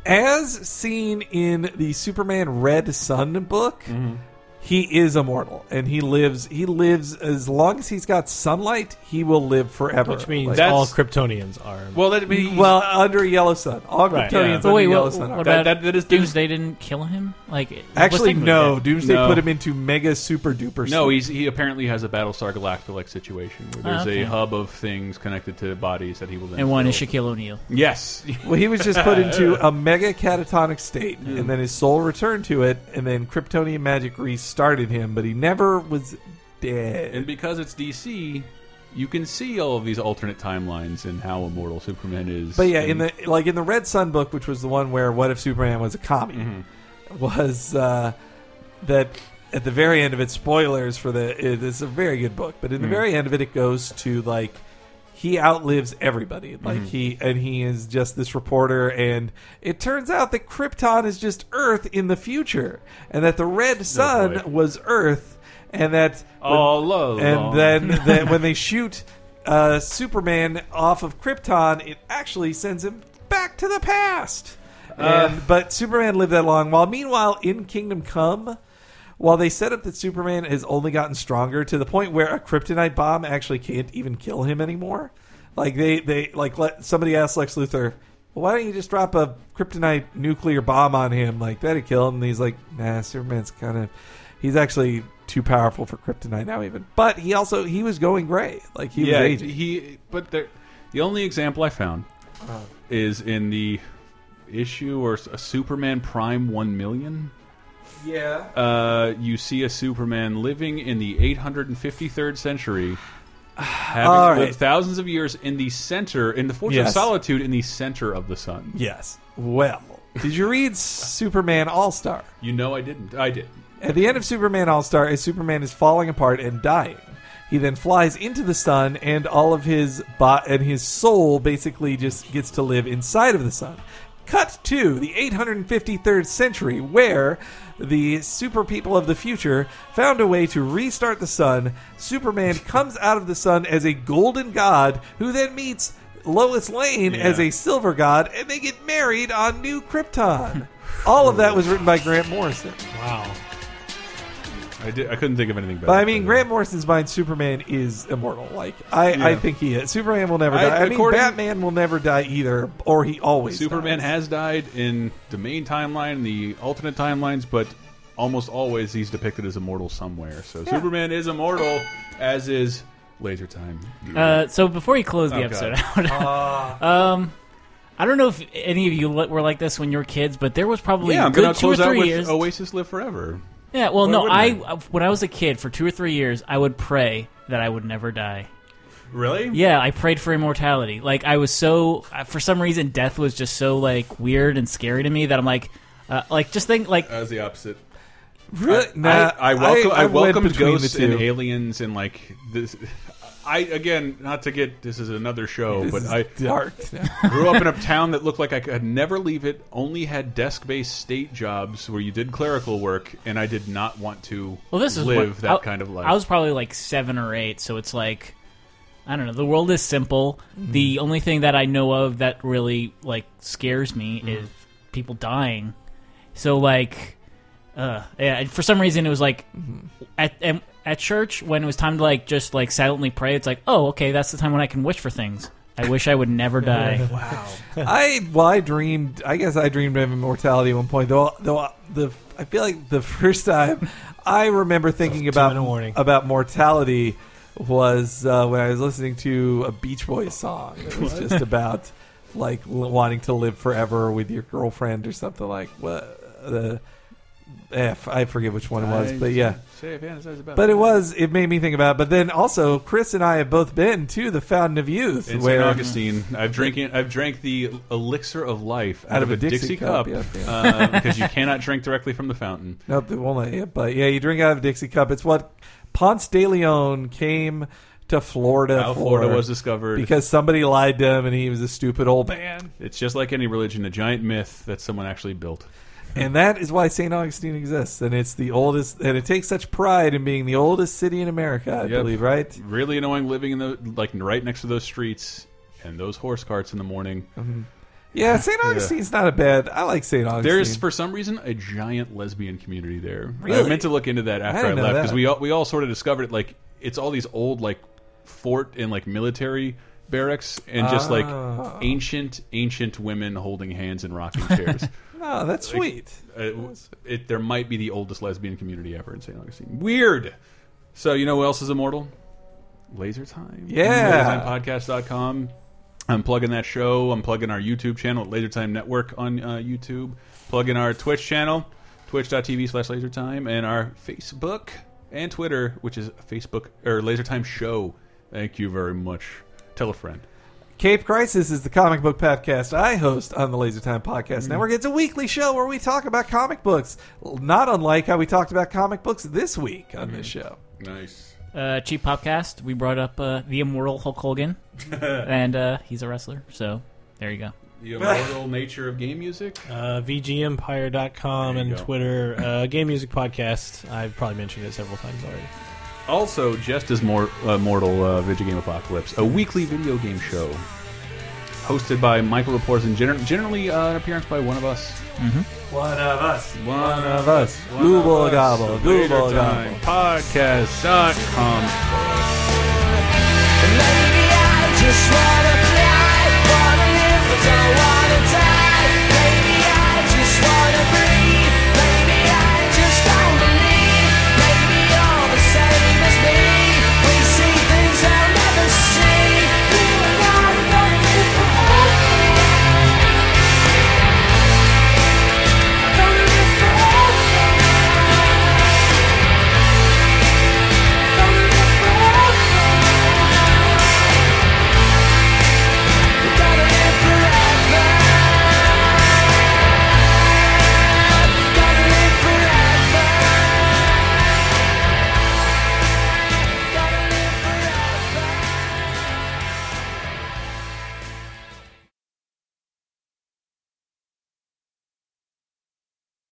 [SPEAKER 6] as seen in the Superman Red Sun book,
[SPEAKER 10] Mm-hmm.
[SPEAKER 6] he is immortal and he lives. He lives as long as he's got sunlight. He will live forever.
[SPEAKER 10] Which means
[SPEAKER 6] Like-
[SPEAKER 10] all Kryptonians are.
[SPEAKER 4] Well, that means
[SPEAKER 6] Mm, well uh, under yellow sun. All Kryptonians
[SPEAKER 5] But
[SPEAKER 6] under
[SPEAKER 5] wait,
[SPEAKER 6] yellow
[SPEAKER 5] what,
[SPEAKER 6] sun.
[SPEAKER 5] what
[SPEAKER 6] are.
[SPEAKER 5] about Doomsday? Didn't kill him? Like it- what's
[SPEAKER 6] Actually,
[SPEAKER 5] the-
[SPEAKER 6] no. Doomsday
[SPEAKER 4] No.
[SPEAKER 6] put him into mega super duper.
[SPEAKER 4] No,
[SPEAKER 6] suit.
[SPEAKER 4] he's he apparently has a Battlestar Galactica like situation where
[SPEAKER 6] Ah,
[SPEAKER 4] there's
[SPEAKER 6] okay.
[SPEAKER 4] a hub of things connected to bodies that he will. Then
[SPEAKER 5] And one
[SPEAKER 4] kill.
[SPEAKER 5] is Shaquille O'Neal.
[SPEAKER 4] Yes.
[SPEAKER 6] Well, he was just
[SPEAKER 5] [laughs]
[SPEAKER 6] put into a mega catatonic state, and then his soul returned to it, and then Kryptonian magic restarted him, but he never was
[SPEAKER 4] [laughs]
[SPEAKER 6] dead.
[SPEAKER 4] And because it's DC, you can see all of these alternate timelines and how immortal Superman is.
[SPEAKER 6] But yeah,
[SPEAKER 4] and
[SPEAKER 6] in the like in the Red Sun book, which was the one where what if Superman was a commie, was uh, that at the very end of it, spoilers for the it, it's a very good book, but in the
[SPEAKER 10] Mhm.
[SPEAKER 6] very end of it, it goes to like he outlives everybody, like
[SPEAKER 10] Mhm.
[SPEAKER 6] he and he is just this reporter, and it turns out that Krypton is just Earth in the future, and that the Red Sun was Earth, and that
[SPEAKER 4] All along.
[SPEAKER 6] and then that when they shoot uh, Superman off of Krypton, it actually sends him back to the past.
[SPEAKER 4] Uh.
[SPEAKER 6] And, but Superman lived that long. While meanwhile, in Kingdom Come, while they set up that Superman has only gotten stronger to the point where a kryptonite bomb actually can't even kill him anymore. Like they, they like let somebody asked Lex Luthor, well, why don't you just drop a kryptonite nuclear bomb on him? Like that'd kill him. And he's like, nah, Superman's kind of, he's actually too powerful for kryptonite now even. But he also he was going gray, like he
[SPEAKER 4] yeah,
[SPEAKER 6] was aging.
[SPEAKER 4] he. But there, the only example I found
[SPEAKER 6] Oh.
[SPEAKER 4] is in the issue or s- a Superman Prime One Million.
[SPEAKER 6] Yeah.
[SPEAKER 4] Uh, you see a Superman living in the 853rd century, having
[SPEAKER 6] All right.
[SPEAKER 4] lived thousands of years in the center, in the Fortress
[SPEAKER 6] Yes.
[SPEAKER 4] of Solitude, in the center of the sun.
[SPEAKER 6] Yes. Well, did you read Superman All Star?
[SPEAKER 4] You know I didn't. I did.
[SPEAKER 6] At the end of Superman All Star, as Superman is falling apart and dying, he then flies into the sun, and all of his bo- and his soul basically just gets to live inside of the sun. Cut to the 853rd century, where the super people of the future found a way to restart the sun. Superman comes out of the sun as a golden god, who then meets Lois Lane as a silver god, and they get married on New Krypton. all of that was written by Grant Morrison.
[SPEAKER 10] Wow.
[SPEAKER 4] I did. I couldn't think of anything better.
[SPEAKER 6] But I mean, Grant Morrison's mind, Superman is immortal. Like I, I
[SPEAKER 4] Yeah.
[SPEAKER 6] think he is. Superman will never
[SPEAKER 4] I-
[SPEAKER 6] die. I mean,
[SPEAKER 4] according-
[SPEAKER 6] Batman will never die either, or he always.
[SPEAKER 4] Superman has died in the main timeline, the alternate timelines, but almost always he's depicted as immortal somewhere. So Superman is immortal, as is Laser Time.
[SPEAKER 5] Uh, so before you close the
[SPEAKER 4] Oh,
[SPEAKER 5] episode
[SPEAKER 4] God. [laughs]
[SPEAKER 5] out, [laughs] um, I don't know if any of you li- were like this when you were kids, but there was probably
[SPEAKER 4] yeah,
[SPEAKER 5] a
[SPEAKER 4] I'm
[SPEAKER 5] good
[SPEAKER 4] gonna
[SPEAKER 5] two or
[SPEAKER 4] close out
[SPEAKER 5] three
[SPEAKER 4] with
[SPEAKER 5] years.
[SPEAKER 4] Oasis Live Forever.
[SPEAKER 5] yeah, well,
[SPEAKER 4] Why
[SPEAKER 5] no,
[SPEAKER 4] wouldn't
[SPEAKER 5] I uh, when I was a kid for two or three years, I would pray that I would never die.
[SPEAKER 4] Really?
[SPEAKER 5] Yeah, I prayed for immortality. Like I was so uh, for some reason death was just so like weird and scary to me that I'm like uh, like just think like
[SPEAKER 4] as the opposite.
[SPEAKER 6] Really?
[SPEAKER 4] I,
[SPEAKER 6] Nah,
[SPEAKER 4] I, I welcome.
[SPEAKER 6] I-
[SPEAKER 4] I,
[SPEAKER 6] I went
[SPEAKER 4] welcome
[SPEAKER 6] between the
[SPEAKER 4] ghosts
[SPEAKER 6] two.
[SPEAKER 4] and aliens and like this. I again, not to get this is another show,
[SPEAKER 6] This
[SPEAKER 4] but
[SPEAKER 6] is
[SPEAKER 4] I
[SPEAKER 6] dark.
[SPEAKER 4] grew up in a town that looked like I could never leave it. Only had desk-based state jobs where you did clerical work, and I did not want to
[SPEAKER 5] Well, this is
[SPEAKER 4] live
[SPEAKER 5] what-
[SPEAKER 4] that
[SPEAKER 5] I-
[SPEAKER 4] kind of life.
[SPEAKER 5] I was probably like seven or eight, so it's like I don't know. The world is simple.
[SPEAKER 4] Mm-hmm.
[SPEAKER 5] The only thing that I know of that really like scares me
[SPEAKER 4] Mm-hmm.
[SPEAKER 5] is people dying. So like, uh, yeah. and For some reason, it was like
[SPEAKER 4] Mm-hmm.
[SPEAKER 5] at and at church when it was time to like just like silently pray. It's like, oh, okay, that's the time when I can wish for things. I wish I
[SPEAKER 4] [laughs]
[SPEAKER 5] would never die.
[SPEAKER 6] I well, I dreamed. I guess I dreamed of immortality at one point. Though, though uh, the I feel like the [laughs] first time I remember thinking about about mortality was uh, when I was listening to a Beach Boys song. It was
[SPEAKER 10] What?
[SPEAKER 6] just about like l- wanting to live forever with your girlfriend or something like what the. eh, F. I forget which one it was,
[SPEAKER 4] I-
[SPEAKER 6] but yeah.
[SPEAKER 4] Say, fantasize about
[SPEAKER 6] But
[SPEAKER 4] it.
[SPEAKER 6] it was. It made me think about. It. But then also, Chris and I have both been to the Fountain of Youth,
[SPEAKER 4] In St.
[SPEAKER 6] where
[SPEAKER 4] Augustine, I've drinking, I've drank the elixir of life out, of a Dixie, cup uh,
[SPEAKER 6] yep,
[SPEAKER 4] because
[SPEAKER 6] yeah.
[SPEAKER 4] you cannot drink directly from the
[SPEAKER 6] [laughs]
[SPEAKER 4] fountain.
[SPEAKER 6] Nope, they won't let you. But yeah, you drink out of a Dixie cup. It's what Ponce de Leon came to Florida
[SPEAKER 4] How
[SPEAKER 6] for.
[SPEAKER 4] Florida was discovered.
[SPEAKER 6] because somebody lied to him, and he was a stupid old man.
[SPEAKER 4] It's just like any religion, a giant myth that someone actually built.
[SPEAKER 6] And that is why St. Augustine exists, and it's the oldest, and it takes such pride in being the oldest city in America, I
[SPEAKER 4] Yep.
[SPEAKER 6] believe, right?
[SPEAKER 4] Really annoying living in the like right next to those streets and those horse carts in the morning.
[SPEAKER 6] Yeah, St. Augustine's not a bad. I like St. Augustine.
[SPEAKER 4] There's for some reason a giant lesbian community there. I
[SPEAKER 6] Really?
[SPEAKER 4] meant to look into that after I,
[SPEAKER 6] didn't know
[SPEAKER 4] left
[SPEAKER 6] that.
[SPEAKER 4] because we all, we all sort of discovered it. Like it's all these old like fort and like military barracks and just
[SPEAKER 6] Ah.
[SPEAKER 4] like ancient ancient women holding hands in rocking chairs.
[SPEAKER 6] [laughs] Oh,
[SPEAKER 4] Like,
[SPEAKER 6] that's sweet.
[SPEAKER 4] uh, it, there might be the oldest lesbian community ever in St. Augustine. Weird. So you know who else is immortal? Laser Time.
[SPEAKER 6] Yeah.
[SPEAKER 4] LaserTimePodcast.com. I'm plugging that show. I'm plugging our YouTube channel at Laser Time Network on uh, YouTube. Plugging our Twitch channel, twitch.tv slash lasertime, and our Facebook and Twitter, which is Facebook or Lasertime Show. Thank you very much. Tell a friend.
[SPEAKER 6] Cape Crisis is the comic book podcast I host on the Laser Time Podcast
[SPEAKER 4] Mm.
[SPEAKER 6] Network. It's a weekly show where we talk about comic books, not unlike how we talked about comic books this week on this show.
[SPEAKER 4] Nice.
[SPEAKER 5] Uh, Cheap Popcast, we brought up uh, the immortal Hulk Hogan,
[SPEAKER 4] [laughs]
[SPEAKER 5] and uh, he's a wrestler, so there you go.
[SPEAKER 4] The immortal nature of game music.
[SPEAKER 10] Uh, VGEmpire.com and
[SPEAKER 4] go.
[SPEAKER 10] Twitter. Uh, Game Music Podcast. I've probably mentioned it several times already.
[SPEAKER 4] Also, just as more uh, mortal uh, video game apocalypse, a weekly video game show hosted by Michael Reports and gener generally uh, an appearance by one of us.
[SPEAKER 6] One of us.
[SPEAKER 4] One,
[SPEAKER 6] of us. Google gobble. Google gobble.
[SPEAKER 4] Podcast.com.
[SPEAKER 14] Maybe I just wanna fly, wanna live as I want.